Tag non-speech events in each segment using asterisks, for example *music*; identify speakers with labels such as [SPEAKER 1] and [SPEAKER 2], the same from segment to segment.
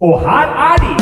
[SPEAKER 1] Og her er de!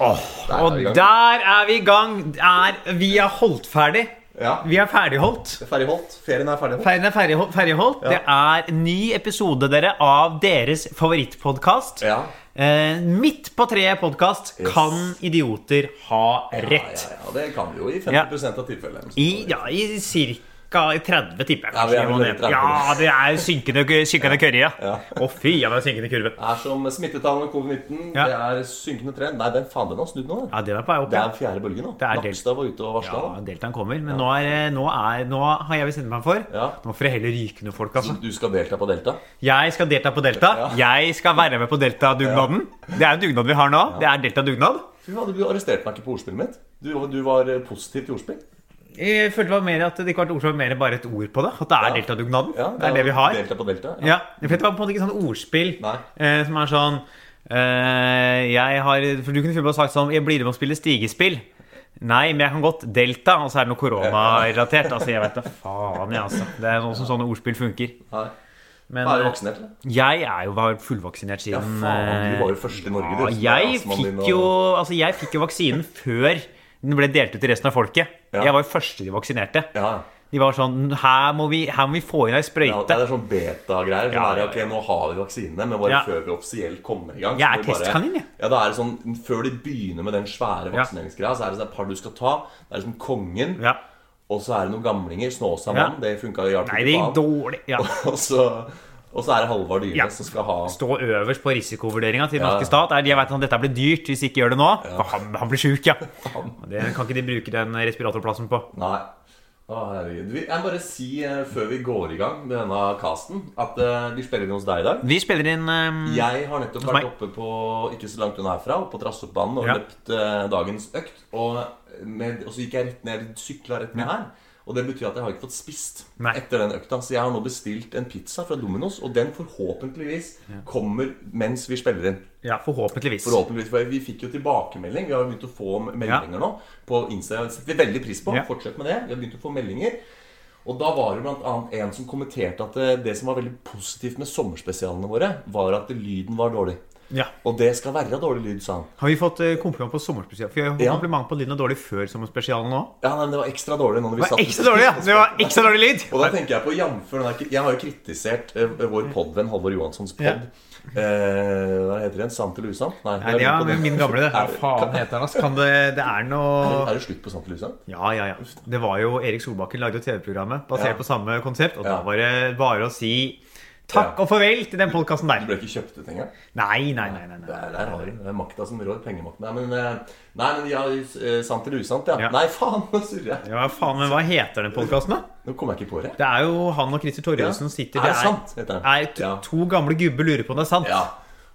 [SPEAKER 2] Og der er vi i gang. Er, vi er holdt ferdig.
[SPEAKER 3] Ja.
[SPEAKER 2] Vi er ferdigholdt.
[SPEAKER 3] Ferdigholdt. Ferien er ferdigholdt.
[SPEAKER 2] Ferien er ferdigholdt. ferdigholdt. Det er en ny episode dere av deres favorittpodkast.
[SPEAKER 3] Ja.
[SPEAKER 2] Eh, midt på treet podkast
[SPEAKER 3] Yes.
[SPEAKER 2] Kan idioter ha rett?
[SPEAKER 3] Ja, ja, ja, det kan vi jo i 50 av tilfellene.
[SPEAKER 2] I, ja, i cirka 30 tipper jeg
[SPEAKER 3] Ja, vi er
[SPEAKER 2] kanskje.
[SPEAKER 3] vel
[SPEAKER 2] må ned.
[SPEAKER 3] rundt 30.
[SPEAKER 2] Ja, det er synkende, synkende kurve. Ja.
[SPEAKER 3] Ja.
[SPEAKER 2] Å, fy, ja, det er synkende kurve.
[SPEAKER 3] Det er som smittetallene med covid-19.
[SPEAKER 2] Ja.
[SPEAKER 3] Det er synkende trend. Nei, den faen, den har snudd nå. den.
[SPEAKER 2] Ja, den er på vei opp.
[SPEAKER 3] Det
[SPEAKER 2] Ja.
[SPEAKER 3] er den fjerde bølgen nå.
[SPEAKER 2] Det er del-
[SPEAKER 3] Nakstad var ute og varsla.
[SPEAKER 2] Ja, Deltaen kommer, men nå, er, eh, nå, er, nå har jeg bestemt meg for
[SPEAKER 3] Ja.
[SPEAKER 2] Nå får det heller ryke noen folk, altså.
[SPEAKER 3] Du skal delta på Delta?
[SPEAKER 2] Jeg skal delta på Delta. Jeg skal være med på Delta-dugnaden. Det er en dugnad vi har nå. Det er Delta-dugnad.
[SPEAKER 3] Fy faen, du arresterte meg ikke på ordspillet mitt. Du, du var eh, positiv til ordspill.
[SPEAKER 2] Jeg følte det var mer at det ikke var et ordspill, mer enn bare et ord på det. At det er Delta-dugnaden.
[SPEAKER 3] Ja,
[SPEAKER 2] det er det vi har.
[SPEAKER 3] Delta på Delta.
[SPEAKER 2] Ja, for Det var på en måte ikke sånn ordspill
[SPEAKER 3] Nei.
[SPEAKER 2] eh, som er sånn eh, Jeg har For du kunne funnet på å sagt sånn Jeg blir med å spille stigespill. Nei, men jeg kan godt Delta, og så er det noe koronarelatert. Altså, jeg vet da faen, jeg, altså. Det er sånn som sånne ordspill funker.
[SPEAKER 3] Nei.
[SPEAKER 2] Men eh,
[SPEAKER 3] Er du vaksinert, eller?
[SPEAKER 2] jeg er jo var fullvaksinert siden
[SPEAKER 3] Ja, faen, du var jo først i Norge, du.
[SPEAKER 2] Ja,
[SPEAKER 3] som er
[SPEAKER 2] jeg
[SPEAKER 3] astmaen din
[SPEAKER 2] fikk
[SPEAKER 3] og-
[SPEAKER 2] jo, altså jeg fikk jo vaksinen før den ble delt ut til resten av folket.
[SPEAKER 3] Ja.
[SPEAKER 2] Jeg var jo første de vaksinerte.
[SPEAKER 3] Ja.
[SPEAKER 2] De var sånn Her må vi, her må vi få inn ei
[SPEAKER 3] Ja,
[SPEAKER 2] sprøyte.
[SPEAKER 3] det er sånn beta-greier. Sånn
[SPEAKER 2] Ja,
[SPEAKER 3] er det,
[SPEAKER 2] ja, ja.
[SPEAKER 3] ok, Nå har vi vaksinene, men bare
[SPEAKER 2] Ja.
[SPEAKER 3] før vi offisielt kommer i gang så
[SPEAKER 2] Jeg er
[SPEAKER 3] må vi bare-
[SPEAKER 2] testkanin, jeg.
[SPEAKER 3] Ja, da er det sånn, Før de begynner med den svære vaksineringsgreia, så er det sånn et par du skal ta. Det er liksom kongen,
[SPEAKER 2] Ja.
[SPEAKER 3] og så er det noen gamlinger. Snåsamannen.
[SPEAKER 2] Ja.
[SPEAKER 3] Det funka jo hjalp
[SPEAKER 2] Nei, det
[SPEAKER 3] ikke faen.
[SPEAKER 2] gikk dårlig. Ja.
[SPEAKER 3] *laughs* Og så, og så er det Halvard Dyre
[SPEAKER 2] Ja.
[SPEAKER 3] som skal ha
[SPEAKER 2] Stå øverst på risikovurderinga til den
[SPEAKER 3] Ja.
[SPEAKER 2] norske stat. Er, jeg vet at dette blir dyrt hvis ikke gjør det nå. For han, han
[SPEAKER 3] *laughs*
[SPEAKER 2] blir sjuk, ja. Det kan ikke de bruke den respiratorplassen på.
[SPEAKER 3] Nei. Å, herregud. Vi- Jeg må bare si eh, før vi går i gang med denne casten, at eh, vi spiller inn hos deg i dag.
[SPEAKER 2] Vi spiller inn ehm,
[SPEAKER 3] Jeg har nettopp
[SPEAKER 2] meg.
[SPEAKER 3] vært oppe på ikke så langt unna herfra, oppe på Trasshoppbanen og
[SPEAKER 2] Ja.
[SPEAKER 3] løpt eh, dagens økt. Og, med, og så gikk jeg rett ned, sykla rett ned her. Og det betyr at jeg har ikke fått spist
[SPEAKER 2] Nei.
[SPEAKER 3] etter den økta. Så jeg har nå bestilt en pizza fra Domino's, og den forhåpentligvis kommer mens vi spiller inn.
[SPEAKER 2] Ja, forhåpentligvis.
[SPEAKER 3] Forhåpentligvis, for Vi fikk jo tilbakemelding. Vi har jo begynt å få meldinger nå. På Insta. Det setter vi veldig pris på.
[SPEAKER 2] Ja.
[SPEAKER 3] Fortsett med det. Vi har begynt å få meldinger. Og da var det blant annet en som kommenterte at eh, det som var veldig positivt med sommerspesialene våre, var at lyden var dårlig.
[SPEAKER 2] Ja.
[SPEAKER 3] Og det skal være dårlig lyd, sa han.
[SPEAKER 2] Har vi fått eh, kompliment på sommerspesial? For jeg har
[SPEAKER 3] Ja.
[SPEAKER 2] kompliment på lyden av dårlig før sommerspesialen nå.
[SPEAKER 3] Ja, nei, men Det var ekstra dårlig nå når vi
[SPEAKER 2] Det var
[SPEAKER 3] satt
[SPEAKER 2] ekstra dårlig, ja! Det var ekstra dårlig
[SPEAKER 3] *laughs*
[SPEAKER 2] lyd.
[SPEAKER 3] Og da tenker jeg på jamfør den der, Jeg har jo kritisert eh, vår podvenn Halvor Johanssons pod. Eh, hva heter den? Sant eller usant? Nei,
[SPEAKER 2] Nei, det er med min gamle, det. Hva
[SPEAKER 3] Er,
[SPEAKER 2] faen heter han, ass? Kan det, det er noe
[SPEAKER 3] er det slutt på sant eller usant?
[SPEAKER 2] Ja, ja, ja. Det var jo Erik Solbakken lagde jo TV-programmet basert
[SPEAKER 3] Ja.
[SPEAKER 2] på samme konsept, og da
[SPEAKER 3] Ja.
[SPEAKER 2] var det bare å si takk
[SPEAKER 3] Ja.
[SPEAKER 2] og farvel til den podkasten der.
[SPEAKER 3] Det ble ikke kjøpt ut engang?
[SPEAKER 2] Nei, nei, nei. nei,
[SPEAKER 3] Det
[SPEAKER 2] nei.
[SPEAKER 3] er, det er, rare. det er makta som rår. Pengemakten. Nei, men, eh, nei, men ja, eh, sant eller usant, ja.
[SPEAKER 2] Ja.
[SPEAKER 3] Nei, faen, nå surrer jeg.
[SPEAKER 2] Ja, faen, men Hva heter den podkasten, da?
[SPEAKER 3] Nå kommer jeg ikke på det.
[SPEAKER 2] Det er jo han og Christer Torjussen
[SPEAKER 3] Ja.
[SPEAKER 2] sitter
[SPEAKER 3] Er det sant, heter den?
[SPEAKER 2] er to,
[SPEAKER 3] Ja.
[SPEAKER 2] to gamle gubber lurer på om det er sant.
[SPEAKER 3] Ja.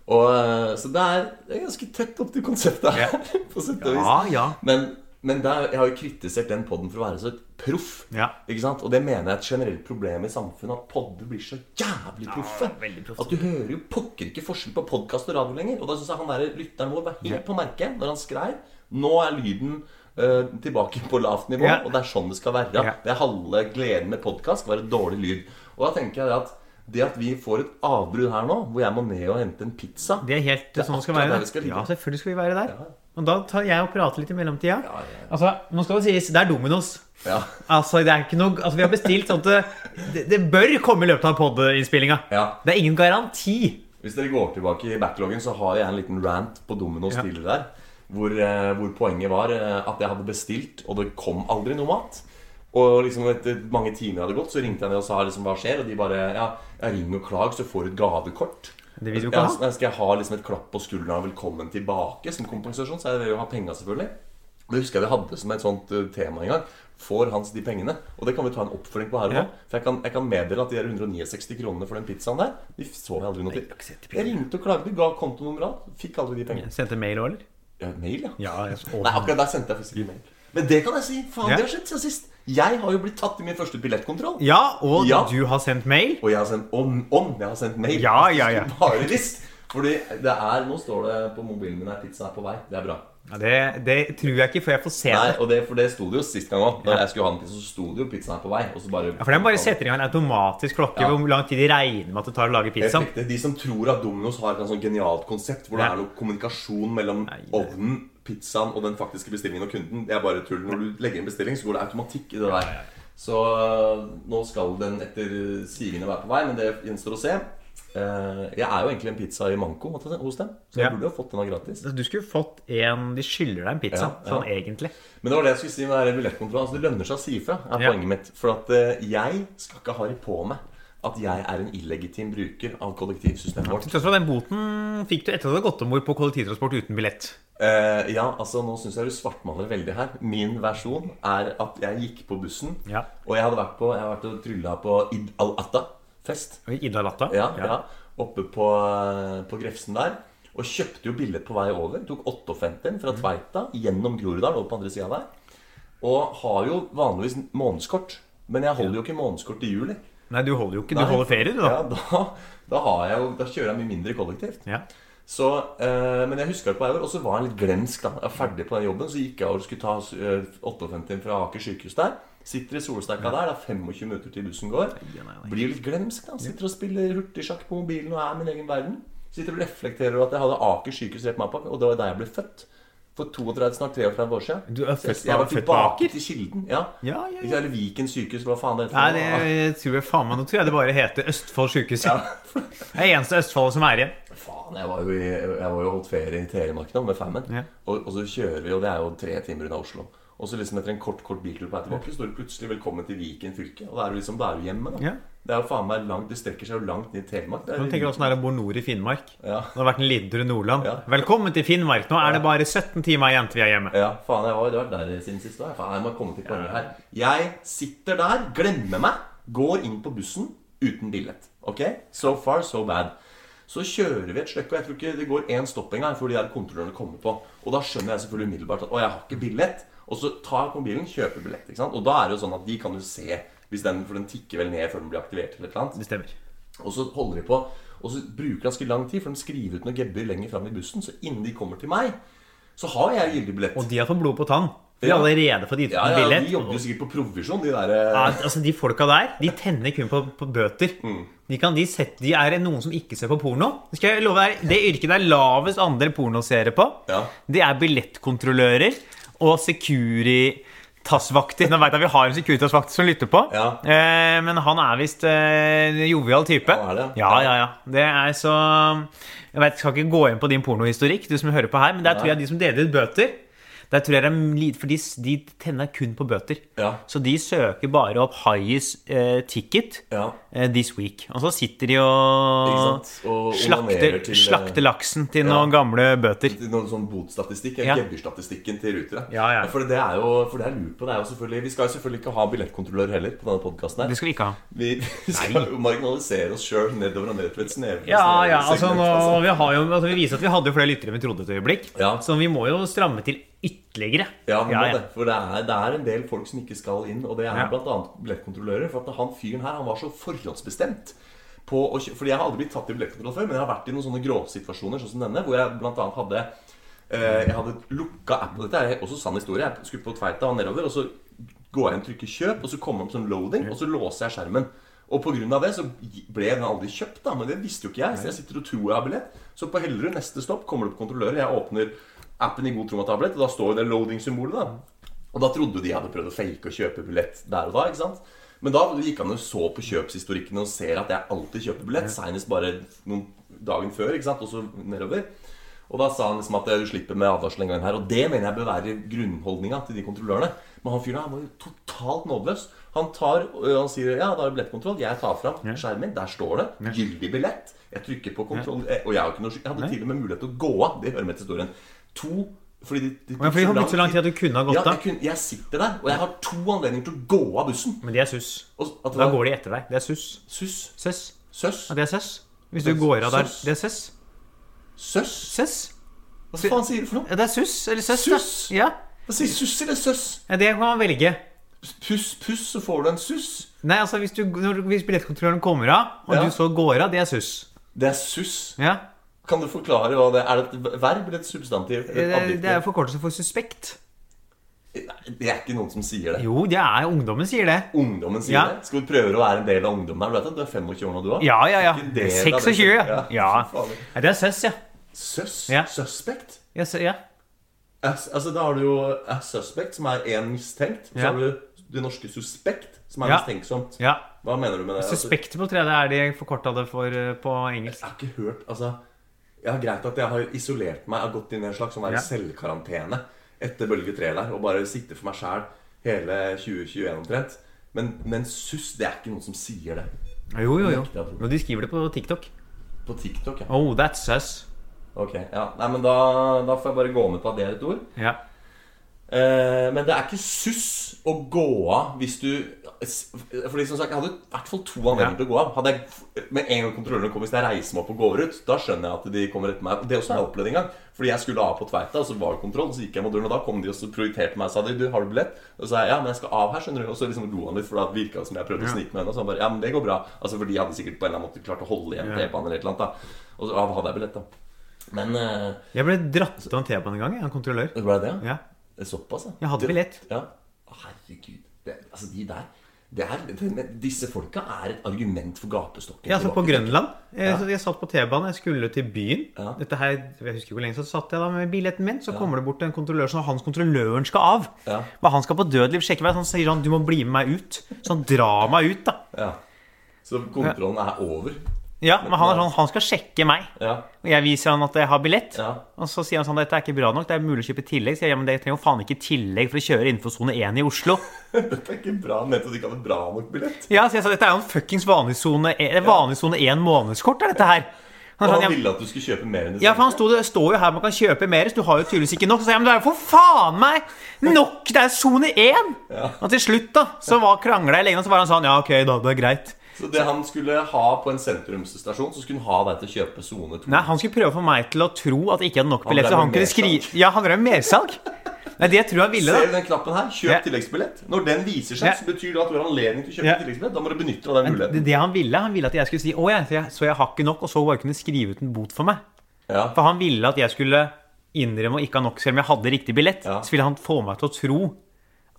[SPEAKER 3] Og, eh, så det er, det er ganske tett opp til konseptet her, *laughs* på sett og vis.
[SPEAKER 2] Ja, ja.
[SPEAKER 3] Men, men det er- jeg har jo kritisert den podden for å være så proff.
[SPEAKER 2] Ja.
[SPEAKER 3] Ikke sant? Og det mener jeg er et generelt problem i samfunnet. At podder blir så jævlig proffe.
[SPEAKER 2] veldig proffe.
[SPEAKER 3] at du hører jo pokker ikke forskjell på podkast og radio lenger. Og da syns jeg han der lytteren vår var helt på merket når han skrev. Nå er lyden eh, tilbake på lavt nivå,
[SPEAKER 2] Ja.
[SPEAKER 3] og det er sånn det skal være.
[SPEAKER 2] Ja.
[SPEAKER 3] Det er halve gleden med podkast, skal være dårlig lyd. Og da tenker jeg det at det at vi får et avbrudd her nå, hvor jeg må ned og hente en pizza
[SPEAKER 2] Det er helt sånn det skal
[SPEAKER 3] akkurat
[SPEAKER 2] være.
[SPEAKER 3] der vi skal ligge.
[SPEAKER 2] ja, selvfølgelig skal vi være der. Og da tar jeg og prater litt i mellomtida.
[SPEAKER 3] Ja, ja.
[SPEAKER 2] Altså, nå skal det sies, det er Dominos.
[SPEAKER 3] Ja.
[SPEAKER 2] Altså, det er ikke noe, altså, vi har bestilt sånn at det- det, det bør komme i løpet av podinnspillinga.
[SPEAKER 3] Ja.
[SPEAKER 2] Det er ingen garanti.
[SPEAKER 3] Hvis dere går tilbake i backloggen, så har jeg en liten rant på Domino's
[SPEAKER 2] Ja.
[SPEAKER 3] tidligere der. Hvor, eh, hvor poenget var eh, at jeg hadde bestilt, og det kom aldri noe mat. Og liksom etter mange timer hadde gått, så ringte jeg ned og sa liksom, hva skjer. Og de bare ja, ja, ring og klag, så får du et gavekort.
[SPEAKER 2] Det vil du ikke
[SPEAKER 3] Ja,
[SPEAKER 2] ha.
[SPEAKER 3] så skal jeg ha liksom et klapp på skuldra og velkommen tilbake som kompensasjon? Så jeg vil jo ha penga, selvfølgelig. Det husker jeg vi hadde som et sånt eh, tema en gang. Får Hans de pengene? Og det kan vi ta en oppfølging på her òg.
[SPEAKER 2] Ja.
[SPEAKER 3] For jeg kan, jeg kan meddele at de der 169 kronene for den pizzaen der, de så vi aldri noe
[SPEAKER 2] jeg har ikke
[SPEAKER 3] til.
[SPEAKER 2] sett de
[SPEAKER 3] Jeg ringte og klagde, ga kontonummeret alt. Fikk aldri de pengene.
[SPEAKER 2] Sendte mail òg, eller?
[SPEAKER 3] Ja, mail, ja.
[SPEAKER 2] Ja, jeg
[SPEAKER 3] Nei, akkurat der sendte jeg faktisk ikke mail. Men det kan jeg si. Faen,
[SPEAKER 2] Ja.
[SPEAKER 3] det har skjedd siden sist. Jeg har jo blitt tatt i min første billettkontroll.
[SPEAKER 2] ja og
[SPEAKER 3] Ja.
[SPEAKER 2] du har sendt mail?
[SPEAKER 3] Og jeg har sendt om, om jeg har sendt mail. *laughs*
[SPEAKER 2] Ja, ja, ja.
[SPEAKER 3] Bare list. Fordi det er Nå står det på mobilen min her pizzaen er på vei. Det er bra.
[SPEAKER 2] Ja, det, det tror jeg ikke før jeg får se
[SPEAKER 3] Nei,
[SPEAKER 2] det.
[SPEAKER 3] og det, For det sto det jo sist gang òg. Når jeg skulle ha en pizza, så sto det jo pizzaen er på vei. Og så bare
[SPEAKER 2] Ja, For den bare setter i gang en automatisk klokke
[SPEAKER 3] Ja.
[SPEAKER 2] hvor lang tid de regner med at det tar å lage pizza.
[SPEAKER 3] Helt riktig. De som tror at Domino's har et eller annet sånt genialt konsept hvor det
[SPEAKER 2] Ja.
[SPEAKER 3] er noe kommunikasjon mellom
[SPEAKER 2] det-
[SPEAKER 3] ovnen, pizzaen og den faktiske bestillingen og kunden, det er bare tull. Når du legger inn bestilling, så går det automatikk i det der. Så øh, nå skal den etter sigende være på vei, men det gjenstår å se. Eh, Jeg er jo egentlig en pizza i manko hos dem, så jeg
[SPEAKER 2] Ja.
[SPEAKER 3] burde jo fått denne gratis.
[SPEAKER 2] Du skulle fått en De skylder deg en pizza,
[SPEAKER 3] Ja, ja.
[SPEAKER 2] sånn egentlig.
[SPEAKER 3] Men det var det jeg skulle si med den billettkontrollen. Altså, det lønner seg å si ifra, er
[SPEAKER 2] Ja.
[SPEAKER 3] poenget mitt. For at eh, jeg skal ikke ha det på meg at jeg er en illegitim bruker av kollektivsystemet vårt.
[SPEAKER 2] Til tross for at den boten fikk du etter at du hadde gått om bord på kollektivtransport uten billett.
[SPEAKER 3] Eh, ja, altså nå syns jeg du svartmaler veldig her. Min versjon er at jeg gikk på bussen,
[SPEAKER 2] Ja.
[SPEAKER 3] og jeg hadde vært på Jeg har vært og trylla på Id al-Atta-fest.
[SPEAKER 2] Og Ida Latta.
[SPEAKER 3] Ja, ja. Oppe på, eh, på Grefsen der. Og kjøpte jo billett på vei over. Tok 58
[SPEAKER 2] Mm.
[SPEAKER 3] fra Tveita gjennom Groruddalen over på andre sida der. Og har jo vanligvis månedskort. Men jeg holder jo ikke månedskort i juli.
[SPEAKER 2] Nei, du holder jo ikke.
[SPEAKER 3] Nei.
[SPEAKER 2] Du holder ferie, du,
[SPEAKER 3] Ja,
[SPEAKER 2] da.
[SPEAKER 3] da, da, har jeg jo, da kjører jeg mye mindre kollektivt.
[SPEAKER 2] Ja.
[SPEAKER 3] Så, eh, men jeg husker det på vei over, og så var jeg litt glemsk. da Jeg var ferdig på den jobben, så gikk jeg over og skulle ta eh, 58 fra Aker sykehus der. Sitter i solstekka der, det er 25 minutter til bussen går.
[SPEAKER 2] Nei, nei, nei.
[SPEAKER 3] Blir litt glemsk, da. Sitter og spiller hurtigsjakk på mobilen og er min egen verden. Sitter og reflekterer over at jeg hadde Aker sykehus rett på mappa, og det var der jeg ble født. For 32, snart 33 år siden.
[SPEAKER 2] Du er
[SPEAKER 3] Så jeg-
[SPEAKER 2] født-
[SPEAKER 3] jeg var
[SPEAKER 2] født på
[SPEAKER 3] tilbake
[SPEAKER 2] Aker?
[SPEAKER 3] til Kilden. Ja.
[SPEAKER 2] Ja, ja, ja.
[SPEAKER 3] Ikke Eller Viken sykehus, hva faen det heter.
[SPEAKER 2] Nei, det tror jeg faen meg Nå tror jeg det bare heter Østfold sjukehus. Det er eneste Østfoldet som er igjen.
[SPEAKER 3] Faen, jeg var jo, i, jeg var jo holdt ferie i Telemark nå med fammen.
[SPEAKER 2] Ja.
[SPEAKER 3] Og, og så kjører vi, og det er jo tre timer unna Oslo. Og så liksom etter en kort kort biltur på vei tilbake, så står det plutselig 'Velkommen til Viken fylke'. Og da er du liksom, da er du hjemme, da.
[SPEAKER 2] Ja.
[SPEAKER 3] Det er jo faen meg langt, det strekker seg jo langt ned i Telemark. Det
[SPEAKER 2] Nå tenker
[SPEAKER 3] er,
[SPEAKER 2] jeg åssen det er å bo nord i Finnmark.
[SPEAKER 3] Ja.
[SPEAKER 2] Det har vært en liten tur i Nordland.
[SPEAKER 3] Ja.
[SPEAKER 2] Velkommen til Finnmark. Nå er det bare 17 timer igjen til vi er hjemme.
[SPEAKER 3] ja, faen, jeg var, det har vært der siden sist. da. Faen, jeg må komme til poenget her. Jeg sitter der, glemmer meg, går inn på bussen uten billett. Ok? So far, so bad. Så kjører vi et stykke, og jeg tror ikke det går én stopp engang før de der kontrollørene kommer på. Og da skjønner jeg selvfølgelig umiddelbart at å, jeg har ikke billett. Og så tar jeg på bilen, kjøper billett. ikke sant? Og da er det jo sånn at de kan jo se, hvis den, for den tikker vel ned før den blir aktivert eller et eller annet.
[SPEAKER 2] Det stemmer.
[SPEAKER 3] Og så holder de på, og så bruker det ganske lang tid, for de skriver ut noen gebber lenger fram i bussen. Så innen de kommer til meg, så har jeg gyldig billett.
[SPEAKER 2] Og de har fått blod på tann. De
[SPEAKER 3] Ja.
[SPEAKER 2] har allerede fått gitt ut
[SPEAKER 3] Ja,
[SPEAKER 2] en
[SPEAKER 3] ja,
[SPEAKER 2] billett.
[SPEAKER 3] De jobber jo sikkert på provisjon, de der
[SPEAKER 2] Ja,
[SPEAKER 3] eh, Mm.
[SPEAKER 2] altså De folka der de tenner kun på, på bøter. De, kan, de, set- de er noen som ikke ser på porno. Det Skal jeg love deg, Det yrket det er lavest andel pornoseere på,
[SPEAKER 3] Ja.
[SPEAKER 2] det er billettkontrollører og Securitas-vakter. Nå veit jeg vi har en Securitas-vakt som lytter på,
[SPEAKER 3] Ja.
[SPEAKER 2] eh, men han er visst eh, jovial type.
[SPEAKER 3] Ja, er det?
[SPEAKER 2] Ja, ja, ja. Det er så Jeg vet, jeg skal ikke gå inn på din pornohistorikk, du som hører på her, men der tror jeg de som deler ut bøter der tror jeg det er lite, for de, de tenner kun på bøter.
[SPEAKER 3] eh, Ja.
[SPEAKER 2] Så de søker bare opp highest eh, ticket
[SPEAKER 3] Ja.
[SPEAKER 2] eh, this week. Og så sitter
[SPEAKER 3] Ikke
[SPEAKER 2] de og,
[SPEAKER 3] sant? Og
[SPEAKER 2] slakter,
[SPEAKER 3] onanerer til, eh,
[SPEAKER 2] slakter laksen til
[SPEAKER 3] ja.
[SPEAKER 2] noen gamle bøter.
[SPEAKER 3] Noen sånn botstatistikk, ja.
[SPEAKER 2] Ja.
[SPEAKER 3] gebyrstatistikken til Ruter.
[SPEAKER 2] Ja, ja.
[SPEAKER 3] For det er jo for det er lurt på. Det er jo selvfølgelig, vi skal jo selvfølgelig ikke ha billettkontrollør heller på denne podkasten
[SPEAKER 2] Det
[SPEAKER 3] her.
[SPEAKER 2] skal vi ikke ha.
[SPEAKER 3] Vi, vi *laughs* skal jo marginalisere oss sjøl nedover og ned til et snevre
[SPEAKER 2] Ja,
[SPEAKER 3] snevre
[SPEAKER 2] ja, altså
[SPEAKER 3] segment,
[SPEAKER 2] nå,
[SPEAKER 3] altså.
[SPEAKER 2] vi, har jo, altså vi viser at vi hadde jo flere lyttere enn vi trodde et øyeblikk.
[SPEAKER 3] Ja.
[SPEAKER 2] Så vi må jo stramme til ytterligere.
[SPEAKER 3] Ja, vi må
[SPEAKER 2] ja, ja.
[SPEAKER 3] Det, for det er, det er en del folk som ikke skal inn, og det er
[SPEAKER 2] Ja.
[SPEAKER 3] blant bl.a. billettkontrollører. For at han fyren her han var så forhåndsbestemt. På å, kjø- fordi Jeg har aldri blitt tatt i billettkontroll før, men jeg har vært i noen sånne gråsituasjoner sånn som denne, hvor jeg bl.a. hadde eh, Jeg hadde lukka appen. Dette er også sann historie. Jeg skulle på Tveita og nedover, og så går jeg inn og trykker 'kjøp', og så kommer det opp sånn 'loading', og så låser jeg skjermen. Og pga. det så ble den aldri kjøpt, da, men det visste jo ikke jeg. Så jeg sitter og tror jeg har billett. Så på Hellerud, neste stopp, kommer det opp kontrollører. Jeg åpner appen i god tro med tablett, og da står jo det loading-symbolet, da. Og da trodde de hadde prøvd å fake og kjøpe billett der og da, ikke sant? Men da gikk han og så på kjøpshistorikken og ser at jeg alltid kjøper billett, senest bare noen dagen før, ikke sant, og så nedover. Og da sa han liksom at du slipper med advarsel en gang her. Og det mener jeg bør være grunnholdninga til de kontrollørene. Men han fyren her var jo totalt nådeløs. Han tar, ø, han sier ja, da er det billettkontroll. Jeg tar fram skjermen. Der står det. Gyldig billett. Jeg trykker på kontroll. eh, Og jeg, har ikke noe, sky- jeg hadde til og med mulighet til å gå av. Det hører med til historien. To fordi de, de,
[SPEAKER 2] Men fordi det har blitt så lang tid at du kunne ha gått
[SPEAKER 3] ja,
[SPEAKER 2] av.
[SPEAKER 3] jeg, kunne, jeg sitter der, og jeg har to anledninger til å gå av bussen.
[SPEAKER 2] Men de er sus.
[SPEAKER 3] Og at det
[SPEAKER 2] Da
[SPEAKER 3] var
[SPEAKER 2] går de etter deg. Det er sus.
[SPEAKER 3] Suss.
[SPEAKER 2] Søss.
[SPEAKER 3] Søss.
[SPEAKER 2] Ja, det er søss. Hvis du går av der.
[SPEAKER 3] Søss.
[SPEAKER 2] Det er søss.
[SPEAKER 3] Søss.
[SPEAKER 2] Søss.
[SPEAKER 3] Hva faen sier du for noe?
[SPEAKER 2] Ja, det er suss. Eller søss. da.
[SPEAKER 3] Suss?
[SPEAKER 2] Ja.
[SPEAKER 3] Hva sier suss eller søss?
[SPEAKER 2] Ja, Det kan man velge.
[SPEAKER 3] Puss, puss, så får du en suss.
[SPEAKER 2] Nei, altså hvis, du, når, hvis billettkontrolløren kommer av, og
[SPEAKER 3] Ja.
[SPEAKER 2] du så går av, det er suss.
[SPEAKER 3] Det er suss.
[SPEAKER 2] Ja.
[SPEAKER 3] Kan du forklare hva det er? Er det et verb eller et substantiv?
[SPEAKER 2] Det,
[SPEAKER 3] Et adjektiv?
[SPEAKER 2] det er jo forkortelse for suspekt.
[SPEAKER 3] Nei, det er ikke noen som sier det.
[SPEAKER 2] Jo, det er ungdommen sier det.
[SPEAKER 3] Ungdommen sier
[SPEAKER 2] Ja.
[SPEAKER 3] det. Skal vi prøve å være en del av ungdommen her? Du vet at du er 25 år nå, du òg?
[SPEAKER 2] Ja, ja, ja.
[SPEAKER 3] Ikke en del av det.
[SPEAKER 2] 26, ja. ja.
[SPEAKER 3] fy faen.
[SPEAKER 2] Nei, Det er søss, ja.
[SPEAKER 3] Søs?
[SPEAKER 2] Ja.
[SPEAKER 3] Suspect?
[SPEAKER 2] Ja, sø- ja.
[SPEAKER 3] As, altså, da har du jo a suspect, som er én mistenkt. Så
[SPEAKER 2] Ja.
[SPEAKER 3] har du det norske suspekt, som er
[SPEAKER 2] Ja.
[SPEAKER 3] mistenksomt.
[SPEAKER 2] ja.
[SPEAKER 3] Hva mener du med det? Altså,
[SPEAKER 2] Suspectable tror jeg det er de forkorta det for eh, på engelsk.
[SPEAKER 3] Jeg har ikke hørt Altså, jeg har greit at jeg har isolert meg Jeg har gått inn i en slags sånn der
[SPEAKER 2] Ja.
[SPEAKER 3] selvkarantene Etter bølge 3 der Og bare sitte for meg selv Hele 2021 omtrent men, men sus, det er ikke noen som sier det
[SPEAKER 2] Jo, jo, jo.
[SPEAKER 3] Nekter jeg å tro.
[SPEAKER 2] Men de skriver det på TikTok.
[SPEAKER 3] På TikTok, ja
[SPEAKER 2] Oh, that's søss.
[SPEAKER 3] Ok, ja Nei, men da, da får jeg bare gå med på at det er et ord
[SPEAKER 2] Ja.
[SPEAKER 3] Eh, men det er ikke suss å gå av hvis du Fordi som sagt, Jeg hadde i hvert fall to anledninger
[SPEAKER 2] Ja.
[SPEAKER 3] til å gå av. Hadde jeg Med en gang kontrollørene kom, hvis jeg reiser meg opp og går ut, da skjønner jeg at de kommer etter meg. Det også har jeg opplevd en gang. Fordi jeg skulle av på Tveita, og så var det kontroll. Så gikk jeg mot døren, og da kom de og så prioriterte meg og sa de, du, har du billett? Og så sa jeg ja, men jeg skal av her, skjønner du. Og så liksom lo han litt, for da virka det som jeg prøvde å snike meg unna. Så han bare ja, men det går bra. Altså, for de hadde sikkert på en eller annen måte klart å holde igjen T-banen eller et eller annet. da Og så av hadde jeg billett, da. Men eh,
[SPEAKER 2] Jeg ble dratt av en T-bane en gang, jeg, av en kontrollør.
[SPEAKER 3] det ble det, ja.
[SPEAKER 2] Ja.
[SPEAKER 3] Det er Såpass, ja.
[SPEAKER 2] Jeg hadde
[SPEAKER 3] Det-
[SPEAKER 2] billett.
[SPEAKER 3] Ja. Å, Herregud. Det, altså, de der det er, det- Disse folka er et argument for gapestokken.
[SPEAKER 2] Ja, altså På
[SPEAKER 3] tilbake.
[SPEAKER 2] Grønland. Jeg,
[SPEAKER 3] Ja.
[SPEAKER 2] jeg satt på T-banen, jeg skulle til byen.
[SPEAKER 3] Ja.
[SPEAKER 2] Dette her, Jeg husker ikke hvor lenge så satt jeg da med billetten min. Så kommer det bort en kontrollør som hans kontrolløren skal av.
[SPEAKER 3] Ja.
[SPEAKER 2] Men han skal på dødeliv sjekke meg, så han sier sånn Du må bli med meg ut. Så han drar meg ut, da.
[SPEAKER 3] Ja. Så kontrollen er over.
[SPEAKER 2] Ja, Men han er sånn Han skal sjekke meg.
[SPEAKER 3] Ja.
[SPEAKER 2] Og jeg viser han at jeg har billett.
[SPEAKER 3] Ja.
[SPEAKER 2] Og så sier han sånn Dette er ikke bra nok, det er mulig å kjøpe tillegg. Så jeg, ja, men jeg trenger jo faen ikke tillegg for å kjøre innenfor sone 1 i Oslo.
[SPEAKER 3] Dette er ikke bra. Han Mente at du ikke hadde bra nok billett.
[SPEAKER 2] Ja, så jeg sa dette er jo en fuckings vanlig sone 1 månedskort, er dette her.
[SPEAKER 3] Og
[SPEAKER 2] Han er
[SPEAKER 3] han
[SPEAKER 2] sånn, ja,
[SPEAKER 3] ville at du skulle kjøpe mer enn du
[SPEAKER 2] Ja, for han sto, det står jo her man kan kjøpe mer, så du har jo tydeligvis ikke nok. Så sa jeg, men det er jo for faen meg nok! Det er sone 1! Og til slutt, da, så var krangla jeg lenge, og så var han sånn Ja, ok, da, det er greit.
[SPEAKER 3] Så det han skulle ha på en sentrumsstasjon, så skulle han ha deg til å kjøpe sone 2.
[SPEAKER 2] Nei, han skulle prøve å få meg til å tro at jeg ikke hadde nok billetter, så
[SPEAKER 3] drev
[SPEAKER 2] han
[SPEAKER 3] med
[SPEAKER 2] kunne
[SPEAKER 3] mersalg.
[SPEAKER 2] skrive Ja, han drev med mersalg. Nei, det tror jeg han ville,
[SPEAKER 3] Ser du
[SPEAKER 2] da.
[SPEAKER 3] den knappen her? Kjøp
[SPEAKER 2] Ja.
[SPEAKER 3] tilleggsbillett. Når den viser seg,
[SPEAKER 2] Ja.
[SPEAKER 3] så betyr det at du har anledning til å kjøpe
[SPEAKER 2] Ja.
[SPEAKER 3] tilleggsbillett. Da må du benytte deg av den
[SPEAKER 2] Det,
[SPEAKER 3] muligheten.
[SPEAKER 2] det han ville, han ville at jeg skulle si Å, jeg, så jeg, så jeg har ikke nok, og så bare kunne skrive ut en bot for meg.
[SPEAKER 3] Ja.
[SPEAKER 2] For han ville at jeg skulle innrømme å ikke ha nok, selv om jeg hadde riktig billett.
[SPEAKER 3] Ja.
[SPEAKER 2] Så ville han få meg til å tro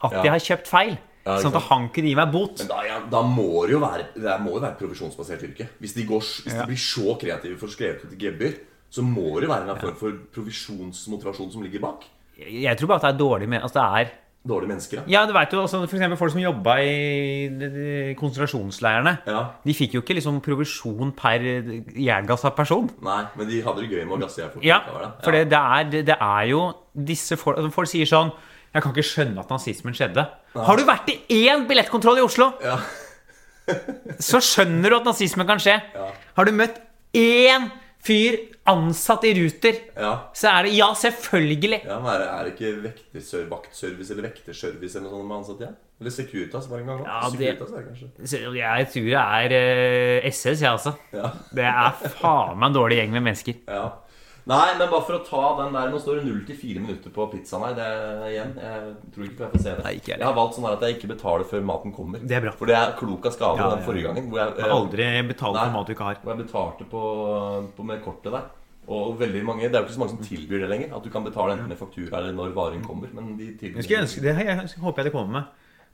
[SPEAKER 2] at
[SPEAKER 3] Ja.
[SPEAKER 2] jeg har kjøpt feil.
[SPEAKER 3] Ja, ikke
[SPEAKER 2] sånn at
[SPEAKER 3] sant.
[SPEAKER 2] han kunne gi meg bot.
[SPEAKER 3] Men da, ja, da må det jo være Det må jo være et provisjonsbasert yrke. Hvis de, går, s- hvis
[SPEAKER 2] Ja.
[SPEAKER 3] de blir så kreative for å skrevet ut et gebyr, så må det jo være en eller annen form for provisjonsmotivasjon som ligger bak.
[SPEAKER 2] Jeg tror bare at det er dårlig med altså det er,
[SPEAKER 3] Dårlige mennesker, ja.
[SPEAKER 2] Ja, du vet jo altså, for eksempel folk som jobba i de- de konsentrasjonsleirene.
[SPEAKER 3] ja.
[SPEAKER 2] De fikk jo ikke liksom provisjon per jerngass av person.
[SPEAKER 3] Nei, men de hadde det gøy med å gasse jeg folk.
[SPEAKER 2] Ja,
[SPEAKER 3] likevel, da.
[SPEAKER 2] for det, det, er, det, det er jo disse folk altså, Folk sier sånn Jeg kan ikke skjønne at nazismen skjedde. Har du vært i én billettkontroll i Oslo,
[SPEAKER 3] Ja.
[SPEAKER 2] så skjønner du at nazismen kan skje.
[SPEAKER 3] Ja.
[SPEAKER 2] Har du møtt én fyr ansatt i Ruter,
[SPEAKER 3] ja.
[SPEAKER 2] så er det Ja, selvfølgelig!
[SPEAKER 3] ja men er, det- er det ikke vektersør, vaktservice eller vekterservice eller noe sånt de har ansatt igjen? Eller Securitas var det en gang.
[SPEAKER 2] Ja,
[SPEAKER 3] Ja,
[SPEAKER 2] det-
[SPEAKER 3] Securitas er det kanskje.
[SPEAKER 2] Så Jeg tror det er eh, SS, jeg, altså.
[SPEAKER 3] Ja.
[SPEAKER 2] Det er faen meg en dårlig gjeng med mennesker.
[SPEAKER 3] ja. Nei, men bare for å ta den der Nå står det 0 til 4 minutter på pizzaen her. Det er igjen, Jeg tror ikke jeg får se det.
[SPEAKER 2] Nei, ikke jeg.
[SPEAKER 3] jeg har valgt sånn her at jeg ikke betaler før maten kommer.
[SPEAKER 2] Det er bra.
[SPEAKER 3] For det er klok av skade
[SPEAKER 2] Ja, ja,
[SPEAKER 3] den
[SPEAKER 2] ja.
[SPEAKER 3] forrige gangen. Hvor jeg, eh,
[SPEAKER 2] Aldri betale
[SPEAKER 3] Nei.
[SPEAKER 2] for mat du ikke har.
[SPEAKER 3] hvor jeg betalte på, på med kortet der. Og veldig mange, Det er jo ikke så mange som tilbyr det lenger. At du kan betale enten med faktura eller når varen kommer. Men de tilbyr
[SPEAKER 2] Jeg, skulle ønske, det jeg håper jeg det kommer med.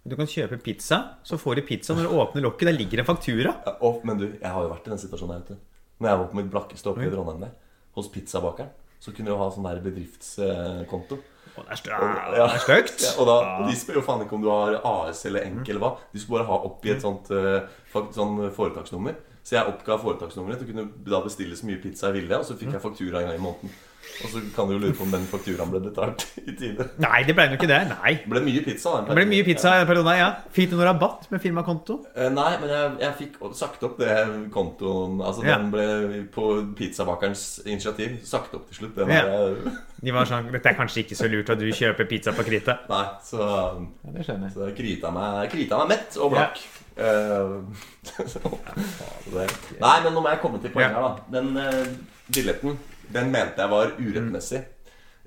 [SPEAKER 2] Du kan kjøpe pizza, så får du pizza når du åpner lokket. Der ligger en faktura.
[SPEAKER 3] Ja, og, men du, jeg har jo vært i den situasjonen her ute. Når jeg var på mitt blakkeste oppe i Trondheim der, hos pizzabakeren, så kunne du ha sånn der bedriftskonto.
[SPEAKER 2] Å, det er
[SPEAKER 3] Ja.
[SPEAKER 2] stø- stygt. Mm.
[SPEAKER 3] Ja, og da, og de spør jo faen ikke om du har AS eller enke eller hva. De skulle bare ha opp i et sånt, eh, fakt, sånn foretaksnummer. Så jeg oppga foretaksnummeret og kunne da bestille så mye pizza jeg ville. Og så
[SPEAKER 2] Mm.
[SPEAKER 3] fikk jeg faktura en gang i måneden. Og så kan du jo lure på om den fakturaen ble betalt *laughs* i tide.
[SPEAKER 2] Nei, det ble jo ikke det. Nei.
[SPEAKER 3] Det ble mye pizza. da, en
[SPEAKER 2] Det ble
[SPEAKER 3] periode.
[SPEAKER 2] mye pizza i den perioden, her, ja. Fikk du noe rabatt med firmakonto?
[SPEAKER 3] Eh, Nei, men jeg, jeg fikk sagt opp det kontoen Altså
[SPEAKER 2] Ja.
[SPEAKER 3] den ble på pizzabakerens initiativ sagt opp til slutt. Den
[SPEAKER 2] Ja.
[SPEAKER 3] der-
[SPEAKER 2] De var sånn Dette er kanskje ikke så lurt at du kjøper pizza på krita.
[SPEAKER 3] *laughs* Nei, så, um,
[SPEAKER 2] Ja, det skjønner jeg.
[SPEAKER 3] så jeg krita meg, krita meg mett og blakk. Eh, *laughs* så det. Nei, men nå må jeg komme til poenget
[SPEAKER 2] Ja.
[SPEAKER 3] her, da. Den eh, billetten den mente jeg var urettmessig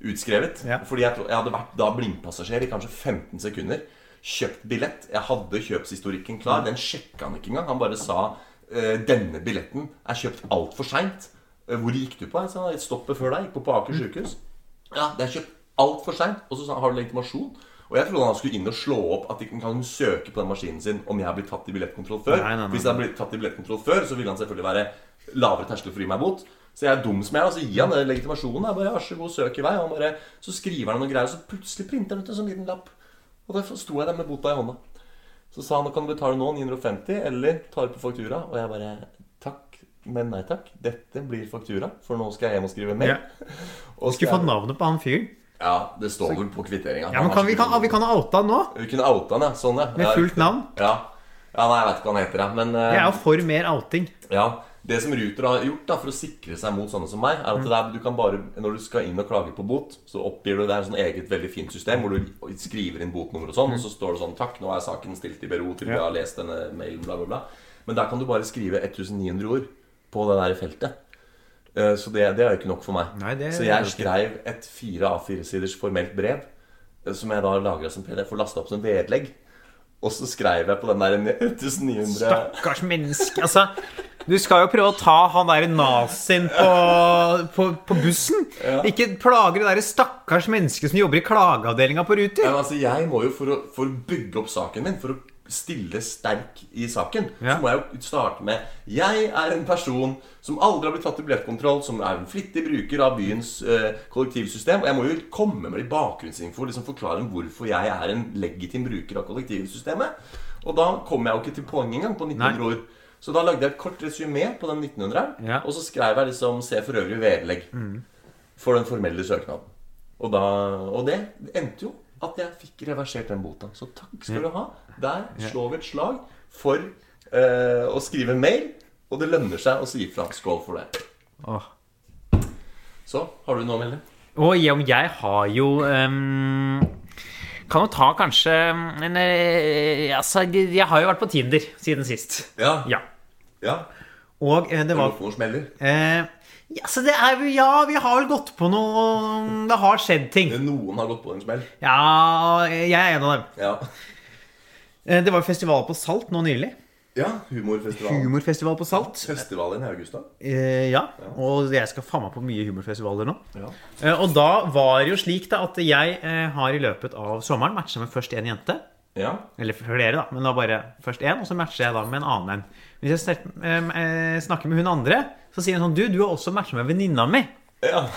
[SPEAKER 3] utskrevet.
[SPEAKER 2] Ja.
[SPEAKER 3] Fordi jeg, tro- jeg hadde vært da blindpassasjer i kanskje 15 sekunder. Kjøpt billett. Jeg hadde kjøpshistorikken klar. Den sjekka han ikke engang. Han bare sa eh, denne billetten er kjøpt altfor seint. eh, Hvor gikk du på? Jeg sa, et stoppet før deg, gikk på på Aker sykehus. Ja, det er kjøpt altfor seint. Og så sa han, har du legitimasjon? Og jeg trodde han skulle inn og slå opp at de kan kan søke på den maskinen sin om jeg blir tatt i billettkontroll før.
[SPEAKER 2] Nei, nei, nei.
[SPEAKER 3] Hvis jeg blir tatt i billettkontroll før, så ville han selvfølgelig være lavere terskel for å gi meg bot. Så jeg er dum som jeg er, og så gir han den legitimasjonen. Jeg bare, vær så god, søk i vei. Og han bare, så skriver han noen greier, og så plutselig printer han ut en sånn liten lapp. Og da sto jeg der med bota i hånda. Så sa han kan du betale nå 950, eller ta det på faktura. Og jeg bare takk, men nei takk. Dette blir faktura, for nå skal jeg hjem og skrive mail.
[SPEAKER 2] Ja.
[SPEAKER 3] Og så
[SPEAKER 2] Skulle
[SPEAKER 3] jeg-
[SPEAKER 2] fått navnet på han fyren.
[SPEAKER 3] Ja, det står vel på kvitteringa.
[SPEAKER 2] Ja, men kan, vi, kan, vi kan ha outa han nå,
[SPEAKER 3] Vi kunne outa han, ja. Sånn, ja.
[SPEAKER 2] med
[SPEAKER 3] Ja,
[SPEAKER 2] fullt navn.
[SPEAKER 3] Ja. ja, nei, jeg vet ikke hva han heter, ja. Men eh,
[SPEAKER 2] Jeg er jo for mer outing.
[SPEAKER 3] ja, det som Ruter har gjort da, for å sikre seg mot sånne som meg, er
[SPEAKER 2] Mm.
[SPEAKER 3] at det der, du kan bare, når du skal inn og klage på bot, så oppgir du det er et sånn eget veldig fint system hvor du skriver inn botnummer og sånn, og så
[SPEAKER 2] Mm.
[SPEAKER 3] står det sånn Takk, nå er saken stilt i bero til vi har lest denne mailen, bla, bla, bla. Men der kan du bare skrive 1900 ord på det der feltet. Eh, Så det, det er jo ikke nok for meg.
[SPEAKER 2] Nei, det-
[SPEAKER 3] så jeg skrev et fire A4-siders formelt brev, eh, som jeg da lagra som PDF, for lasta opp som vedlegg. Og så skrev jeg på den der *laughs* 1900
[SPEAKER 2] Stakkars menneske. Altså, du skal jo prøve å ta han derre nazien på, på, på bussen. Ikke plage det derre stakkars mennesket som jobber i klageavdelinga på
[SPEAKER 3] Ja,
[SPEAKER 2] Ruter.
[SPEAKER 3] men altså, jeg må jo for å, for å bygge opp saken min, for å stille sterk i saken,
[SPEAKER 2] Ja.
[SPEAKER 3] så må jeg jo starte med Jeg er en person som aldri har blitt tatt i billettkontroll, som er en flittig bruker av byens eh, kollektivsystem. Og jeg må jo komme med litt bakgrunnsinfo og liksom forklare hvorfor jeg er en legitim bruker av kollektivsystemet. Og da kom jeg jo ikke til poenget engang på 1900
[SPEAKER 2] Nei.
[SPEAKER 3] år. Så da lagde jeg et kort resymé på den 1900-eren,
[SPEAKER 2] Ja.
[SPEAKER 3] og så skrev jeg liksom 'Se for øvrig vedlegg' for den formelle søknaden. Og, da, og det endte jo at jeg fikk reversert den bota. Så takk skal du ha. Der slår vi et slag for eh, å skrive mail, og det lønner seg å si fra. Skål for det.
[SPEAKER 2] Åh.
[SPEAKER 3] Så har du noe å melde?
[SPEAKER 2] Og jeg, jeg har jo ehm, Kan jo ta kanskje en, eh, altså, Jeg har jo vært på Tinder siden sist.
[SPEAKER 3] Ja.
[SPEAKER 2] Ja.
[SPEAKER 3] ja.
[SPEAKER 2] Og eh, det
[SPEAKER 3] Det
[SPEAKER 2] var
[SPEAKER 3] var for noen smeller.
[SPEAKER 2] Eh, ja, så det er, jo- ja, vi har vel gått på noe Det har skjedd ting.
[SPEAKER 3] Noen har gått på en smell.
[SPEAKER 2] Ja, jeg er en av dem.
[SPEAKER 3] Ja.
[SPEAKER 2] Eh, Det var jo festival på Salt nå nylig.
[SPEAKER 3] ja humorfestivalen.
[SPEAKER 2] Humorfestival på Salt.
[SPEAKER 3] Festivalen i august, da.
[SPEAKER 2] Eh, ja, og jeg skal faen meg på mye humorfestivaler nå.
[SPEAKER 3] Ja.
[SPEAKER 2] Eh, og da var det jo slik da at jeg eh, har i løpet av sommeren matcha med først én jente.
[SPEAKER 3] ja.
[SPEAKER 2] Eller flere, da, men da bare først én, og så matcher jeg da med en annen en. Hvis jeg sterk, eh, eh, snakker med hun andre, så sier hun sånn Du, du har også matcha med venninna mi.
[SPEAKER 3] Ja.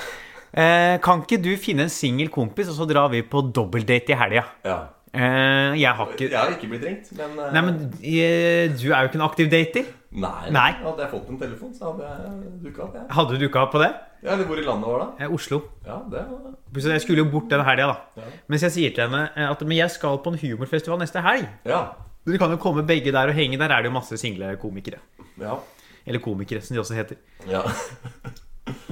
[SPEAKER 2] Eh, kan ikke du finne en singel kompis, og så drar vi på dobbeldate i helga?
[SPEAKER 3] ja.
[SPEAKER 2] Eh, jeg har ikke
[SPEAKER 3] Jeg har ikke blitt ringt, men eh,
[SPEAKER 2] Nei, men eh, du er jo ikke en aktiv dater.
[SPEAKER 3] nei.
[SPEAKER 2] Nei.
[SPEAKER 3] Hadde jeg fått en telefon, så hadde jeg dukka opp. Jeg.
[SPEAKER 2] Hadde du ikke hatt på det?
[SPEAKER 3] Ja, eller hvor i landet var det?
[SPEAKER 2] Eh, Oslo.
[SPEAKER 3] Ja, det var
[SPEAKER 2] Så jeg skulle jo bort den helga, da.
[SPEAKER 3] Ja.
[SPEAKER 2] Mens jeg sier til henne eh, at men jeg skal på en humorfestival neste helg.
[SPEAKER 3] Ja.
[SPEAKER 2] Dere kan jo komme begge der og henge. Der er det jo masse single komikere.
[SPEAKER 3] Ja.
[SPEAKER 2] Eller komikere, som de også heter.
[SPEAKER 3] ja.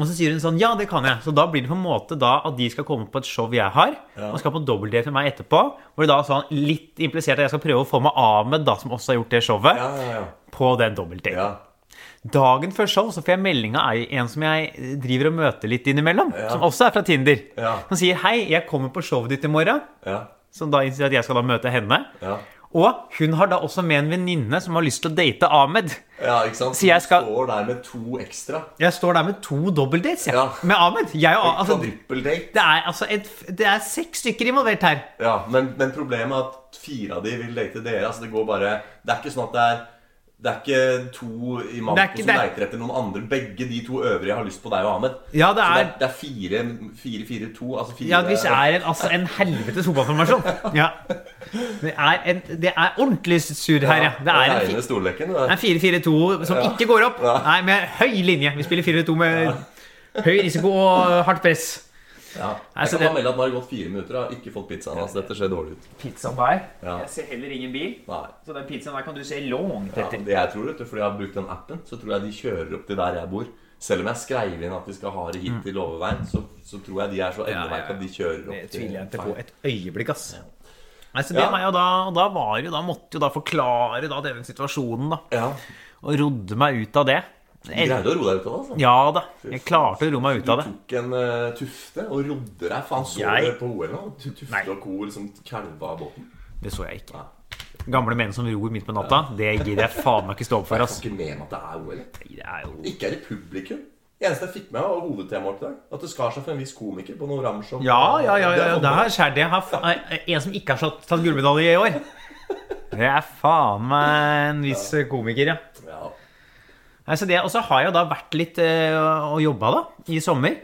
[SPEAKER 2] Og så sier hun sånn Ja, det kan jeg. Så da blir det på en måte da at de skal komme på et show jeg har.
[SPEAKER 3] Ja.
[SPEAKER 2] Og skal på dobbeldate med meg etterpå. Hvor det da sånn litt implisert at jeg skal prøve å få med Ahmed, da, som også har gjort det showet,
[SPEAKER 3] Ja, ja, ja.
[SPEAKER 2] på den dobbeltdaten.
[SPEAKER 3] ja.
[SPEAKER 2] Dagen før show så får jeg melding av ei- en som jeg driver og møter litt innimellom. Som også er fra Tinder.
[SPEAKER 3] Ja.
[SPEAKER 2] Som sier 'Hei, jeg kommer på showet ditt i morgen'.
[SPEAKER 3] ja.
[SPEAKER 2] Som da innser at jeg skal da møte henne.
[SPEAKER 3] ja.
[SPEAKER 2] Og hun har da også med en venninne som har lyst til å date Ahmed.
[SPEAKER 3] Ja, ikke sant?
[SPEAKER 2] Så jeg skal-
[SPEAKER 3] Du står der med to ekstra.
[SPEAKER 2] Jeg står der med to dobbeltdates jeg,
[SPEAKER 3] Ja.
[SPEAKER 2] med Ahmed. Jeg og, altså,
[SPEAKER 3] Kvadrippeldate.
[SPEAKER 2] det er altså et, det er seks stykker involvert her.
[SPEAKER 3] Ja, men, men problemet er at fire av de vil date dere. Altså, det går bare Det er ikke sånn at det er det er ikke to i manko
[SPEAKER 2] Det er ikke-
[SPEAKER 3] som
[SPEAKER 2] det er-
[SPEAKER 3] leiter etter noen andre. Begge de to øvrige har lyst på deg og Ahmed.
[SPEAKER 2] Ja, det
[SPEAKER 3] Så
[SPEAKER 2] er-
[SPEAKER 3] det er, det er fire, fire, fire, to Altså fire
[SPEAKER 2] Ja, hvis det er en, altså en helvetes
[SPEAKER 3] *laughs*
[SPEAKER 2] fotballformasjon. Ja. Det er, en, det er ordentlig sur her, ja. Det er en, fi-
[SPEAKER 3] reine stolleken. det der.
[SPEAKER 2] Det er 4-4-2 som ikke går opp.
[SPEAKER 3] Ja.
[SPEAKER 2] Nei, med høy linje. Vi spiller 4-2 med høy risiko og hardt press.
[SPEAKER 3] Ja.
[SPEAKER 2] Nei,
[SPEAKER 3] Jeg kan
[SPEAKER 2] så
[SPEAKER 3] bare
[SPEAKER 2] det-
[SPEAKER 3] melde at nå har det gått fire minutter og jeg har ikke fått pizzaen hans. Dette ser dårlig ut.
[SPEAKER 2] Pizzaen der.
[SPEAKER 3] Ja.
[SPEAKER 2] Jeg ser heller ingen bil.
[SPEAKER 3] Nei.
[SPEAKER 2] Så den pizzaen der kan du se langt
[SPEAKER 3] Ja, det jeg tror, vet du, fordi jeg har brukt den appen, så tror jeg de kjører opp til der jeg bor. Selv om jeg skrev inn at vi skal ha det hit til Låveveien, så, så tror jeg de er så
[SPEAKER 2] Mm. ja, ja.
[SPEAKER 3] endeveike at de kjører opp
[SPEAKER 2] Det
[SPEAKER 3] til
[SPEAKER 2] tviler jeg ikke på
[SPEAKER 3] Feil.
[SPEAKER 2] et øyeblikk, ass. Nei, så det
[SPEAKER 3] Ja.
[SPEAKER 2] var jo da, og da var jo, da måtte jo da forklare da denne situasjonen, da.
[SPEAKER 3] Ja,
[SPEAKER 2] Og rodde meg ut av det.
[SPEAKER 3] Du greide å roe deg ut av det, altså.
[SPEAKER 2] Ja da. Jeg klarte å roe meg ut av det.
[SPEAKER 3] Du tok en eh, tufte og rodde deg. Faen, så
[SPEAKER 2] Jeg-
[SPEAKER 3] du det på OL nå? Tu- Tufte
[SPEAKER 2] Nei.
[SPEAKER 3] og co. liksom kalva av båten.
[SPEAKER 2] Det så jeg ikke. Gamle menn som ror midt på natta, det gidder jeg faen meg ikke stå opp for,
[SPEAKER 3] Jeg får
[SPEAKER 2] ass.
[SPEAKER 3] ikke med meg at det er OL.
[SPEAKER 2] Det er jo
[SPEAKER 3] Ikke er det publikum. Det eneste jeg fikk med meg, var hovedtemaet i dag. At det skar seg for en viss komiker på noe ramshow.
[SPEAKER 2] Ja, ja, ja. ja, ja.
[SPEAKER 3] Det
[SPEAKER 2] Det
[SPEAKER 3] er
[SPEAKER 2] her skjer det. Her fa- er- er En som ikke har slått- tatt gullmedalje i år. Det er faen meg en viss komiker, ja.
[SPEAKER 3] sånn- ja.
[SPEAKER 2] Nei, så det, og så har jeg jo da vært litt eh, og jobba da, i sommer.